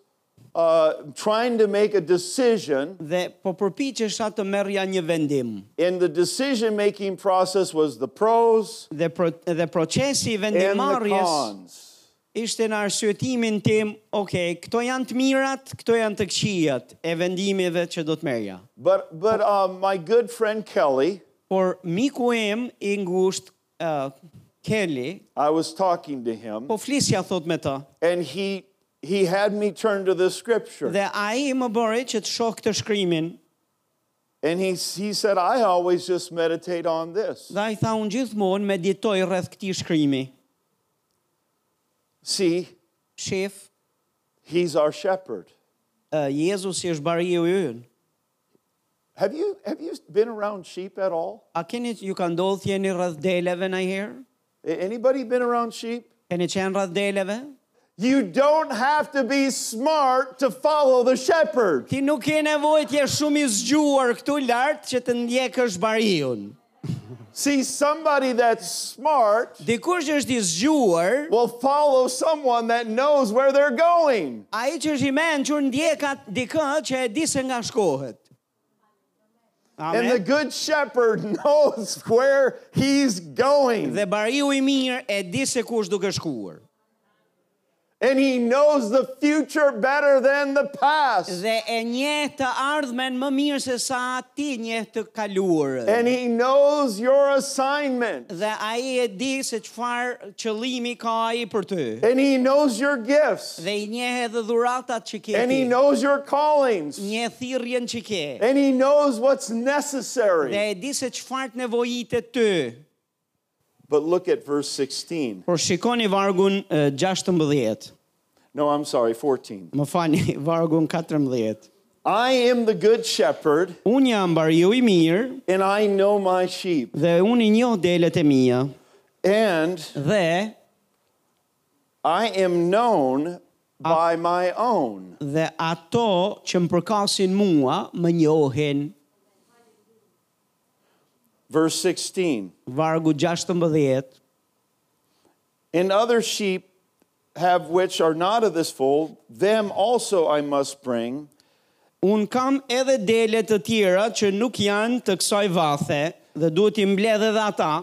[SPEAKER 2] uh, trying to make a decision,
[SPEAKER 1] Dhe po përpiqesha të merrja një vendim.
[SPEAKER 2] and the decision making process was the pros
[SPEAKER 1] Dhe pro, dhe procesi i
[SPEAKER 2] and the
[SPEAKER 1] vendimarrjes
[SPEAKER 2] cons.
[SPEAKER 1] ishte në arsyetimin tim, okay, këto janë të mirat, këto janë të këqijat e vendimeve që do të merrja.
[SPEAKER 2] But, but um, my good friend Kelly,
[SPEAKER 1] Por miku im i ngushtë uh, Kelly,
[SPEAKER 2] I was talking to him,
[SPEAKER 1] po flisja thot me të.
[SPEAKER 2] and he, he had me turn to this scripture.
[SPEAKER 1] Dhe ai më bëri që të shoh këtë shkrimin.
[SPEAKER 2] And he, he said, I always just meditate on this.
[SPEAKER 1] Dhe ai tha unë gjithmonë meditoj rreth këtij shkrimi.
[SPEAKER 2] See,
[SPEAKER 1] Shef,
[SPEAKER 2] he's our shepherd.
[SPEAKER 1] uh, Jezusi është bariu ynë.
[SPEAKER 2] Have you have you been around sheep at all?
[SPEAKER 1] A keni ju ka ndodhur jeni rreth deleve ndonjëherë?
[SPEAKER 2] A- Anybody been around sheep?
[SPEAKER 1] Keni qenë rreth deleve?
[SPEAKER 2] You don't have to be smart to follow the shepherd.
[SPEAKER 1] Ti nuk ke nevojë të jesh shumë i zgjuar këtu lart që të ndjekësh bariun.
[SPEAKER 2] See, somebody that's smart
[SPEAKER 1] Dikush që është i zgjuar,
[SPEAKER 2] will follow someone that knows where they're going.
[SPEAKER 1] ai që është i mençur ndjek atë dikë që e di se nga shkohet.
[SPEAKER 2] And the
[SPEAKER 1] Amen.
[SPEAKER 2] good shepherd knows where he's going.
[SPEAKER 1] Dhe bariu i mirë e di se ku është duke shkuar.
[SPEAKER 2] And he knows the future better than the past.
[SPEAKER 1] Dhe e njeh të ardhmen më mirë se sa ti njeh të kaluarën.
[SPEAKER 2] And he knows your assignment.
[SPEAKER 1] Dhe ai e di se çfarë qëllimi ka ai për ty.
[SPEAKER 2] And he knows your gifts.
[SPEAKER 1] Dhe i njeh edhe dhuratat që ke.
[SPEAKER 2] And he
[SPEAKER 1] ti.
[SPEAKER 2] knows your callings.
[SPEAKER 1] Njeh thirrjen që ke.
[SPEAKER 2] And he knows what's
[SPEAKER 1] Dhe
[SPEAKER 2] necessary.
[SPEAKER 1] e di se çfarë të nevojitet ty.
[SPEAKER 2] But look at verse 16.
[SPEAKER 1] Por shikoni vargun eh, 16.
[SPEAKER 2] No, I'm sorry, 14.
[SPEAKER 1] Më falni, vargun 14.
[SPEAKER 2] I am the good shepherd,
[SPEAKER 1] Unë jam bariu i mirë
[SPEAKER 2] and I know my sheep,
[SPEAKER 1] dhe unë i njoh delet e mia
[SPEAKER 2] and
[SPEAKER 1] dhe
[SPEAKER 2] I am known by my own.
[SPEAKER 1] dhe ato që më përkasin mua më njohin.
[SPEAKER 2] Verse 16.
[SPEAKER 1] Vargu 16.
[SPEAKER 2] And other sheep have which are not of this fold, them also I must bring,
[SPEAKER 1] Unë kam edhe dele të tjera që nuk janë të kësaj vathe dhe duhet i mbledh edhe ata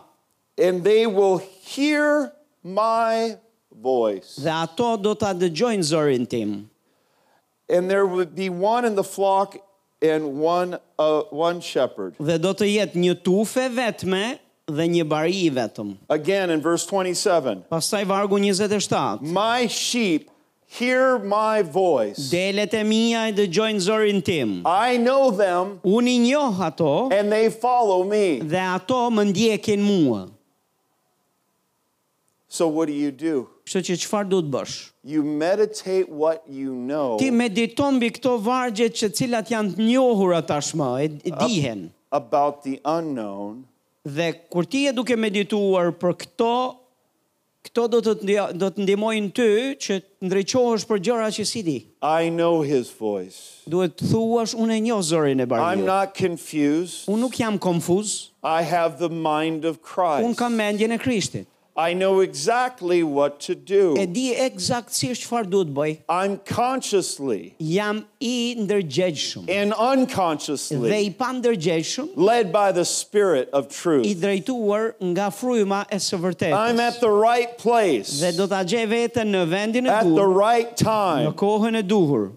[SPEAKER 2] and they will hear my voice.
[SPEAKER 1] dhe ato do ta dëgjojnë zërin tim.
[SPEAKER 2] And there would be one in the flock and one, uh, one shepherd.
[SPEAKER 1] Dhe do të jetë një tufe vetme dhe një bari i vetëm.
[SPEAKER 2] Again in verse 27
[SPEAKER 1] Pastaj vargu 27.
[SPEAKER 2] My sheep hear my voice.
[SPEAKER 1] Delet e mia e dëgjojnë zërin tim.
[SPEAKER 2] I know them
[SPEAKER 1] Unë i njoh ato
[SPEAKER 2] and they follow me.
[SPEAKER 1] dhe ato më ndjekin mua.
[SPEAKER 2] So, what do you do?
[SPEAKER 1] Kështu që çfarë do të bësh?
[SPEAKER 2] You meditate what you know
[SPEAKER 1] Ti mediton mbi këto vargje që cilat janë të njohura tashmë, e, e dihen.
[SPEAKER 2] about the unknown
[SPEAKER 1] Dhe kur ti je duke medituar për këto, këto do të të ndja- do të ndihmojnë ty që të ndriçohesh për gjëra që si di.
[SPEAKER 2] I know his voice.
[SPEAKER 1] Duhet të thuash unë e njoh zërin e
[SPEAKER 2] I'm
[SPEAKER 1] bardhë.
[SPEAKER 2] not confused.
[SPEAKER 1] Unë nuk jam konfuz,
[SPEAKER 2] I have the mind of
[SPEAKER 1] unë
[SPEAKER 2] Christ.
[SPEAKER 1] kam mendjen e Krishtit.
[SPEAKER 2] I know exactly what to
[SPEAKER 1] E
[SPEAKER 2] do.
[SPEAKER 1] di eksaktësisht çfarë duhet bëj.
[SPEAKER 2] I'm consciously
[SPEAKER 1] Jam i ndërgjegjshëm
[SPEAKER 2] and
[SPEAKER 1] dhe
[SPEAKER 2] unconsciously
[SPEAKER 1] i pandërgjegjshëm,
[SPEAKER 2] led by the Spirit of
[SPEAKER 1] i
[SPEAKER 2] truth.
[SPEAKER 1] drejtuar nga fryma e së
[SPEAKER 2] I'm
[SPEAKER 1] vërtetës.
[SPEAKER 2] at the right place.
[SPEAKER 1] Dhe do ta gjej veten në vendin e
[SPEAKER 2] at the
[SPEAKER 1] duhur,
[SPEAKER 2] right
[SPEAKER 1] në
[SPEAKER 2] time.
[SPEAKER 1] kohën e duhur.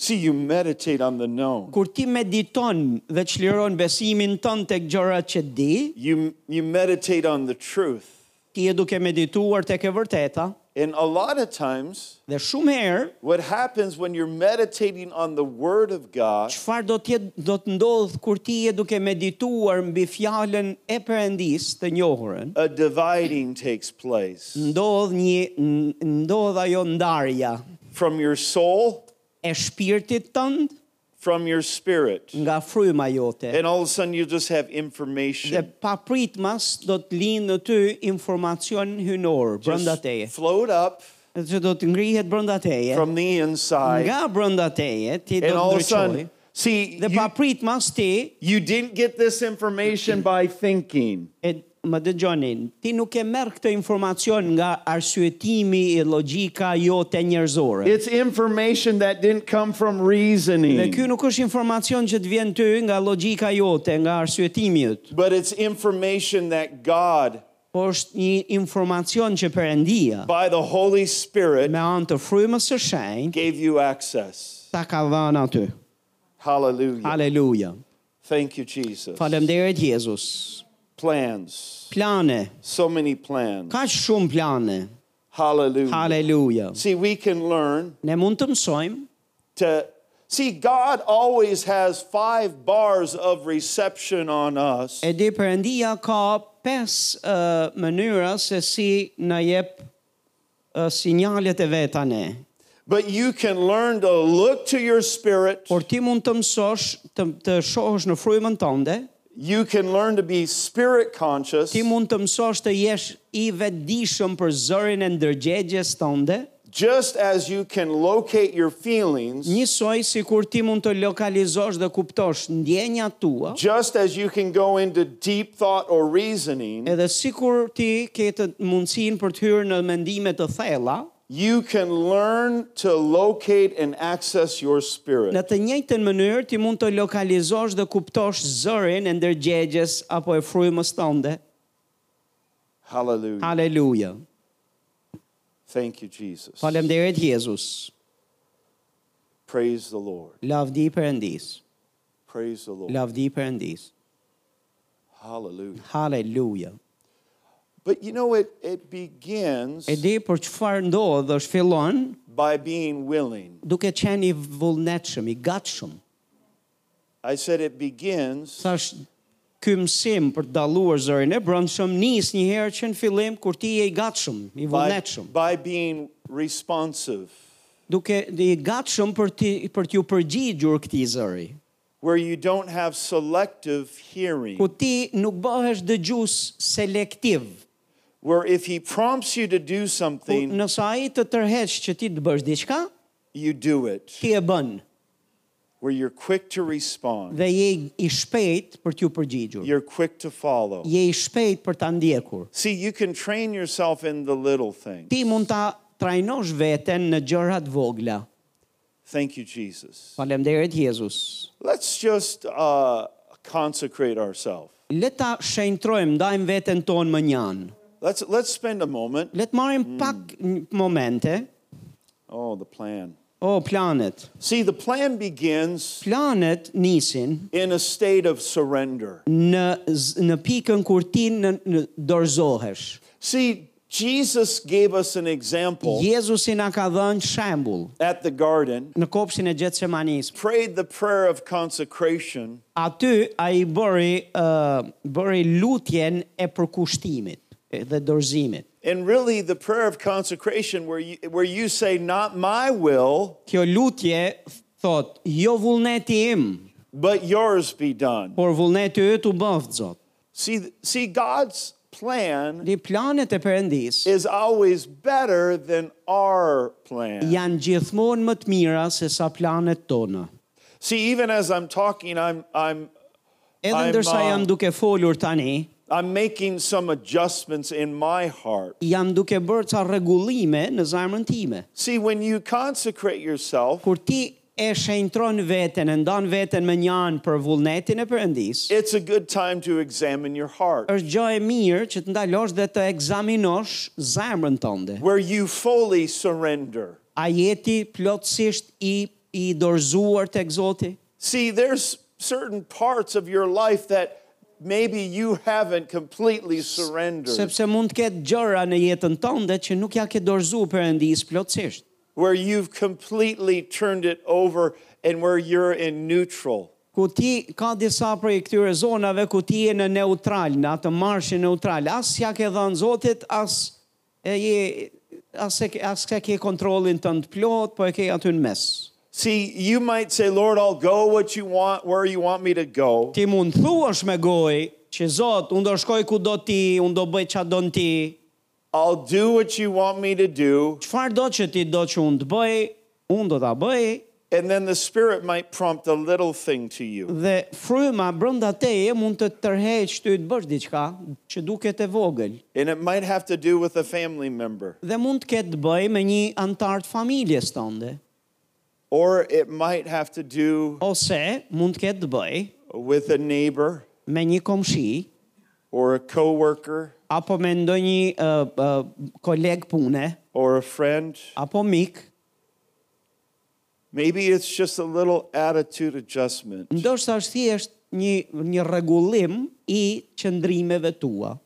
[SPEAKER 2] See, you meditate on the known.
[SPEAKER 1] Kur ti mediton dhe çliron besimin tënd tek gjërat që di,
[SPEAKER 2] You, you meditate on the truth.
[SPEAKER 1] ti je duke medituar tek e vërteta
[SPEAKER 2] And a lot of times,
[SPEAKER 1] dhe shumë herë
[SPEAKER 2] what happens when you're meditating on the Word of God
[SPEAKER 1] çfarë do të jetë do të ndodh kur ti je duke medituar mbi fjalën e Perëndis të njohurën?
[SPEAKER 2] a dividing takes place
[SPEAKER 1] Ndodh një n- ndodh ajo ndarja
[SPEAKER 2] from your soul,
[SPEAKER 1] e shpirtit tënd
[SPEAKER 2] from your spirit.
[SPEAKER 1] nga fryma jote.
[SPEAKER 2] And all of a sudden, you just have
[SPEAKER 1] Dhe
[SPEAKER 2] information
[SPEAKER 1] pa pritmas do të linë në ty informacion hynor brenda teje.
[SPEAKER 2] just float up
[SPEAKER 1] Që do të ngrihet brenda teje.
[SPEAKER 2] from the inside.
[SPEAKER 1] Nga brenda teje ti do
[SPEAKER 2] And
[SPEAKER 1] të
[SPEAKER 2] all of a
[SPEAKER 1] ndryqoj.
[SPEAKER 2] sudden, see,
[SPEAKER 1] Dhe
[SPEAKER 2] you-
[SPEAKER 1] pa pritmas ti
[SPEAKER 2] you didn't get this information by thinking.
[SPEAKER 1] e më dëgjonin, ti nuk e merr këtë informacion nga arsyetimi e logjika jote njerëzore.
[SPEAKER 2] It's information that didn't come from reasoning.
[SPEAKER 1] Dhe ky nuk është informacion që të vjen ty nga logjika jote, nga arsyetimi yt,
[SPEAKER 2] But it's information that God,
[SPEAKER 1] por është një informacion që Perëndia
[SPEAKER 2] by the Holy Spirit,
[SPEAKER 1] me anë të frymës së shenjtë
[SPEAKER 2] gave you access.
[SPEAKER 1] ta ka dhënë aty.
[SPEAKER 2] Hallelujah.
[SPEAKER 1] Haleluja.
[SPEAKER 2] Thank you, Jesus.
[SPEAKER 1] Faleminderit Jezus.
[SPEAKER 2] Plans.
[SPEAKER 1] Plane,
[SPEAKER 2] So many plans.
[SPEAKER 1] kaq shumë plane.
[SPEAKER 2] Hallelujah.
[SPEAKER 1] Haleluja.
[SPEAKER 2] See, we can learn
[SPEAKER 1] Ne mund të mësojmë
[SPEAKER 2] to. See, God always has five bars of reception on us.
[SPEAKER 1] E di përëndia ka pes uh, mënyra se si në jep uh, sinjalet e veta ne.
[SPEAKER 2] But you can learn to look to your spirit.
[SPEAKER 1] Por ti mund të mësosh, të, të shohësh në frymën tënde,
[SPEAKER 2] You can learn to be spirit conscious.
[SPEAKER 1] ti mund të mësosh të jesh i vetëdijshëm për zërin e ndërgjegjes tënde,
[SPEAKER 2] Just as you can locate your feelings.
[SPEAKER 1] njësoj si kur ti mund të lokalizosh dhe kuptosh ndjenja tua,
[SPEAKER 2] Just as you can go into deep thought or reasoning,
[SPEAKER 1] edhe si kur ti ke të mundësin për të hyrë në mendime të thella,
[SPEAKER 2] you can learn to locate and access your
[SPEAKER 1] Në
[SPEAKER 2] spirit.
[SPEAKER 1] të njëjtën mënyrë ti mund të lokalizosh dhe kuptosh zërin e ndërgjegjes apo e frymës tënde.
[SPEAKER 2] Hallelujah.
[SPEAKER 1] Haleluja.
[SPEAKER 2] Thank you, Jesus.
[SPEAKER 1] Faleminderit Jezus.
[SPEAKER 2] Praise the Lord.
[SPEAKER 1] Lavdi Perëndis.
[SPEAKER 2] Praise the Lord.
[SPEAKER 1] Lavdi Perëndis.
[SPEAKER 2] Hallelujah.
[SPEAKER 1] Haleluja.
[SPEAKER 2] But you know, it, it begins
[SPEAKER 1] E di për çfarë ndodh është fillon
[SPEAKER 2] by being willing.
[SPEAKER 1] duke qenë i vullnetshëm, i gatshëm.
[SPEAKER 2] I said it begins
[SPEAKER 1] Thash ky mësim për të dalluar zërin e brëndshëm nis një herë që në fillim kur ti je i gatshëm, i
[SPEAKER 2] by,
[SPEAKER 1] vullnetshëm,
[SPEAKER 2] by being responsive,
[SPEAKER 1] duke i gatshëm për ti për t'ju përgjigjur këtij zëri.
[SPEAKER 2] where you don't have selective hearing.
[SPEAKER 1] ku ti nuk bëhesh dëgjues selektiv.
[SPEAKER 2] Where if He prompts you to do
[SPEAKER 1] Ku
[SPEAKER 2] something,
[SPEAKER 1] nëse ai të tërheq që ti të bësh diçka,
[SPEAKER 2] you do it.
[SPEAKER 1] ti e bën
[SPEAKER 2] where you're quick to respond,
[SPEAKER 1] dhe je i shpejt për t'ju përgjigjur.
[SPEAKER 2] you're quick to follow.
[SPEAKER 1] Je i shpejt për ta ndjekur.
[SPEAKER 2] See, you can train yourself in the little thing.
[SPEAKER 1] Ti mund ta trajnosh veten në gjëra të vogla.
[SPEAKER 2] Thank you, Jesus.
[SPEAKER 1] Faleminderit Jezus.
[SPEAKER 2] Let's just uh, consecrate ourselves.
[SPEAKER 1] Le ta shenjtrojmë, ndajmë veten tonë më njanë.
[SPEAKER 2] Let's let's spend a moment.
[SPEAKER 1] Le të marrim pak n- momente.
[SPEAKER 2] Oh, the plan.
[SPEAKER 1] O planet.
[SPEAKER 2] See, the plan begins
[SPEAKER 1] Planet nisin
[SPEAKER 2] in a state of surrender.
[SPEAKER 1] në z- në pikën kur ti në, në dorëzohesh.
[SPEAKER 2] See, Jesus gave us an example
[SPEAKER 1] Jezusi na ka dhënë shembull
[SPEAKER 2] at the garden.
[SPEAKER 1] në kopshin e Getsemanis.
[SPEAKER 2] Prayed the prayer of consecration,
[SPEAKER 1] Aty ai bëri uh, bëri lutjen e përkushtimit e- dhe dorëzimit.
[SPEAKER 2] and really the prayer of consecration, where you, where you say, "Not my will,
[SPEAKER 1] Kjo lutje thot, jo vullneti im,
[SPEAKER 2] but yours be done.
[SPEAKER 1] por vullneti yt u bëft, Zot.
[SPEAKER 2] See, see, God's plan
[SPEAKER 1] Dhe planet e Perëndis
[SPEAKER 2] is always better than our plan.
[SPEAKER 1] janë gjithmonë më të mira se sa planet tona.
[SPEAKER 2] See, even as I'm talking, I'm I'm
[SPEAKER 1] Edhe
[SPEAKER 2] I'm,
[SPEAKER 1] ndërsa
[SPEAKER 2] uh,
[SPEAKER 1] jam duke folur tani,
[SPEAKER 2] I'm making some adjustments in my heart.
[SPEAKER 1] jam duke bërë ca rregullime në zemrën time.
[SPEAKER 2] See, when you consecrate yourself,
[SPEAKER 1] kur ti e shenjtron veten, e ndon veten me njan për vullnetin e Perëndis,
[SPEAKER 2] it's a good time to examine your heart,
[SPEAKER 1] është gjë e mirë që të ndalosh dhe të ekzaminosh zemrën tënde.
[SPEAKER 2] where you fully surrender.
[SPEAKER 1] A jeti plotësisht i i dorëzuar tek Zoti?
[SPEAKER 2] See, there's certain parts of your life that maybe you haven't completely surrendered,
[SPEAKER 1] Sepse mund të ketë gjëra në jetën tënde që nuk ja ke dorëzuar Perëndis plotësisht.
[SPEAKER 2] where you've completely turned it over and where you're in neutral.
[SPEAKER 1] Ku ti ka disa prej këtyre zonave ku ti je në neutral, në atë marshin neutral, as ja ke dhënë Zotit, as e je as e ke- as e ke kontrollin tënd plot, po e ke aty në mes.
[SPEAKER 2] See, you might say, Lord, I'll go what you want, where you want me to go.
[SPEAKER 1] Ti mund thuash me gojë që Zot, unë do shkoj ku do ti, unë do bëj çfarë don ti,
[SPEAKER 2] I'll do what you want me to do.
[SPEAKER 1] çfarë do që ti do që unë të bëj, unë do ta bëj
[SPEAKER 2] And then the Spirit might prompt a little thing to you.
[SPEAKER 1] dhe fryma brenda teje mund të tërheq ty të bësh diçka që duket e vogël
[SPEAKER 2] And it might have to do with a family member,
[SPEAKER 1] dhe mund të ketë të bëj me një antar të familjes tënde
[SPEAKER 2] or it might have to do
[SPEAKER 1] ose mund të ketë të bëj
[SPEAKER 2] with a neighbor
[SPEAKER 1] me një komshi
[SPEAKER 2] or a coworker
[SPEAKER 1] apo me ndonjë uh, uh, koleg pune
[SPEAKER 2] or a friend.
[SPEAKER 1] apo mik
[SPEAKER 2] Maybe it's just a little attitude adjustment.
[SPEAKER 1] ndoshta është thjesht një një rregullim i qëndrimeve tua.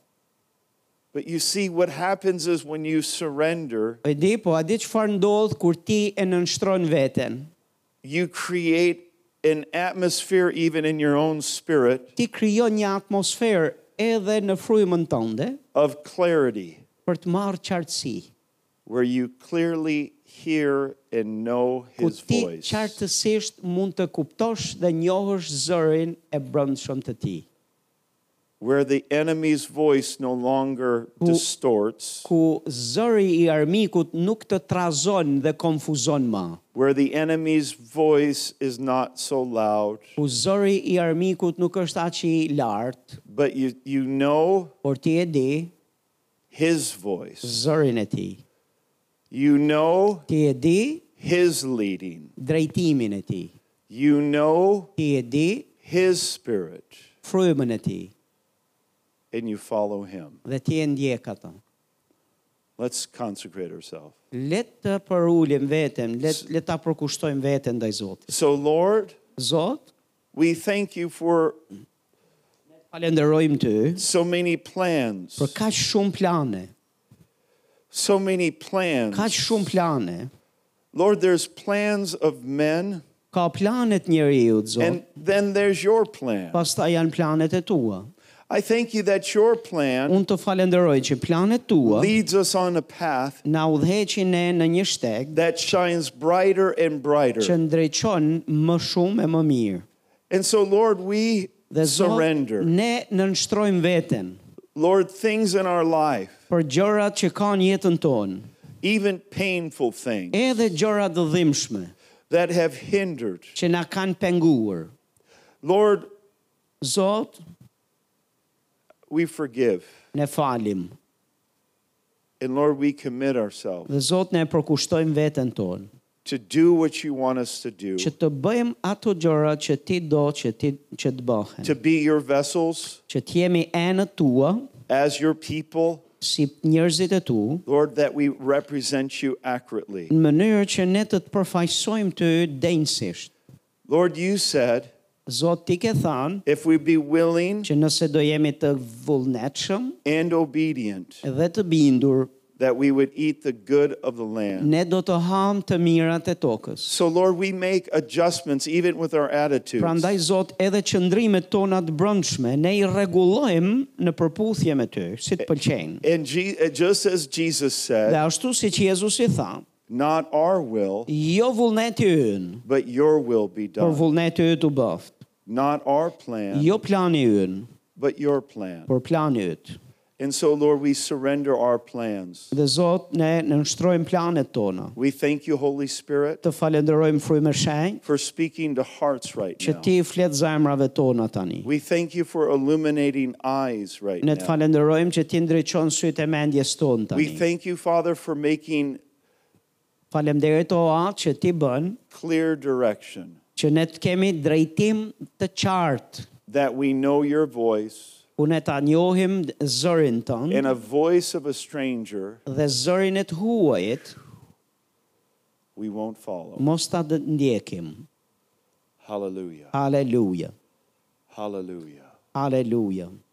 [SPEAKER 2] But you see, what happens is when you surrender,
[SPEAKER 1] E di, po a di çfarë ndodh kur ti e nënshtron veten?
[SPEAKER 2] you create an atmosphere even in your own spirit
[SPEAKER 1] ti krijon një atmosferë edhe në frymën tënde
[SPEAKER 2] of clarity
[SPEAKER 1] për të marrë qartësi,
[SPEAKER 2] where you clearly hear and know
[SPEAKER 1] ku
[SPEAKER 2] his
[SPEAKER 1] ti
[SPEAKER 2] voice.
[SPEAKER 1] qartësisht mund të kuptosh dhe njohësh zërin e brëndshëm të ti,
[SPEAKER 2] Where the enemy's voice no longer distorts,
[SPEAKER 1] ku zëri i armikut nuk të trazon dhe konfuzon më,
[SPEAKER 2] where the enemy's voice is not so loud,
[SPEAKER 1] ku zëri i armikut nuk është aq i lartë,
[SPEAKER 2] but you, you know
[SPEAKER 1] por ti e di
[SPEAKER 2] his voice.
[SPEAKER 1] zërin e ti.
[SPEAKER 2] You know
[SPEAKER 1] Ti e di
[SPEAKER 2] his leading.
[SPEAKER 1] drejtimin e ti.
[SPEAKER 2] You know
[SPEAKER 1] Ti e di
[SPEAKER 2] his spirit
[SPEAKER 1] frymën e ti
[SPEAKER 2] and you follow him.
[SPEAKER 1] dhe ti e ndjek atë.
[SPEAKER 2] Let's consecrate ourselves.
[SPEAKER 1] Le të përulim veten, le le ta përkushtojmë veten ndaj Zotit.
[SPEAKER 2] So, Lord,
[SPEAKER 1] Zot,
[SPEAKER 2] we thank you for
[SPEAKER 1] falenderojmë ty
[SPEAKER 2] so many plans.
[SPEAKER 1] për kaq shumë plane,
[SPEAKER 2] So many plans.
[SPEAKER 1] kaq shumë plane.
[SPEAKER 2] Lord, there's plans of men,
[SPEAKER 1] Ka planet njeriu, Zot.
[SPEAKER 2] and then there's your plan.
[SPEAKER 1] Pastaj janë planet e tua.
[SPEAKER 2] I thank you that your plan
[SPEAKER 1] Unë të falenderoj që planet tua
[SPEAKER 2] leads us on a path
[SPEAKER 1] na udhëheqin ne në një shteg
[SPEAKER 2] that shines brighter
[SPEAKER 1] që
[SPEAKER 2] and brighter.
[SPEAKER 1] ndreqon më shumë e më mirë.
[SPEAKER 2] And so, Lord, we
[SPEAKER 1] Dhe Zot,
[SPEAKER 2] surrender.
[SPEAKER 1] ne nënshtrojmë veten
[SPEAKER 2] Lord, things in our life,
[SPEAKER 1] për gjërat që kanë jetën tonë,
[SPEAKER 2] even painful things
[SPEAKER 1] edhe gjërat të dhimbshme
[SPEAKER 2] that have hindered.
[SPEAKER 1] që na kanë penguar.
[SPEAKER 2] Lord,
[SPEAKER 1] Zot,
[SPEAKER 2] we forgive.
[SPEAKER 1] ne falim
[SPEAKER 2] And Lord, we commit ourselves
[SPEAKER 1] dhe Zot ne e përkushtojmë veten tonë
[SPEAKER 2] to do what you want us to do,
[SPEAKER 1] që të bëjmë ato gjëra që ti do që ti që të bëhen,
[SPEAKER 2] to be your vessels
[SPEAKER 1] që të jemi enët tua
[SPEAKER 2] as your people,
[SPEAKER 1] si njerëzit e tu,
[SPEAKER 2] Lord, that we represent you accurately.
[SPEAKER 1] në mënyrë që ne të të përfaqësojmë ty denjësisht.
[SPEAKER 2] Lord, you said
[SPEAKER 1] Zot ti ke thënë
[SPEAKER 2] if we be willing
[SPEAKER 1] që nëse do jemi të vullnetshëm
[SPEAKER 2] and obedient,
[SPEAKER 1] dhe të bindur,
[SPEAKER 2] that we would eat the good of the land.
[SPEAKER 1] ne do të ham të mirat e tokës.
[SPEAKER 2] So, Lord, we make adjustments even with our attitudes.
[SPEAKER 1] Prandaj Zot, edhe qëndrimet tona të brëndshme, ne i rregullojmë në përputhje me ty, si të pëlqejnë.
[SPEAKER 2] And Je- uh, just as Jesus
[SPEAKER 1] Dhe
[SPEAKER 2] said,
[SPEAKER 1] ashtu si që Jezusi tha,
[SPEAKER 2] not our will,
[SPEAKER 1] jo vullneti ynë,
[SPEAKER 2] but your will be
[SPEAKER 1] por
[SPEAKER 2] done.
[SPEAKER 1] vullneti yt u bëft.
[SPEAKER 2] Not our plan,
[SPEAKER 1] Jo plani ynë,
[SPEAKER 2] but your plan.
[SPEAKER 1] por plani yt.
[SPEAKER 2] And so, Lord, we surrender our plans.
[SPEAKER 1] Dhe Zot, ne nënshtrojmë planet tona.
[SPEAKER 2] We thank you, Holy Spirit,
[SPEAKER 1] Të falenderojmë frymë e shenjë
[SPEAKER 2] for speaking to hearts right
[SPEAKER 1] që
[SPEAKER 2] now.
[SPEAKER 1] ti i flet zemrave tona tani.
[SPEAKER 2] We thank you for illuminating eyes right
[SPEAKER 1] Ne të
[SPEAKER 2] now.
[SPEAKER 1] falenderojmë që ti ndriçon sytë e mendjes tonë
[SPEAKER 2] We
[SPEAKER 1] tani.
[SPEAKER 2] thank you, Father, for making
[SPEAKER 1] Faleminderit o atë që ti bën
[SPEAKER 2] clear direction,
[SPEAKER 1] që ne të kemi drejtim të qartë,
[SPEAKER 2] that we know your voice,
[SPEAKER 1] ku ne ta njohim zërin tënë
[SPEAKER 2] and a voice of a stranger
[SPEAKER 1] dhe zërin e të huajit
[SPEAKER 2] we won't follow.
[SPEAKER 1] mos ta dë- ndjekim.
[SPEAKER 2] Hallelujah.
[SPEAKER 1] Haleluja.
[SPEAKER 2] Hallelujah.
[SPEAKER 1] Haleluja.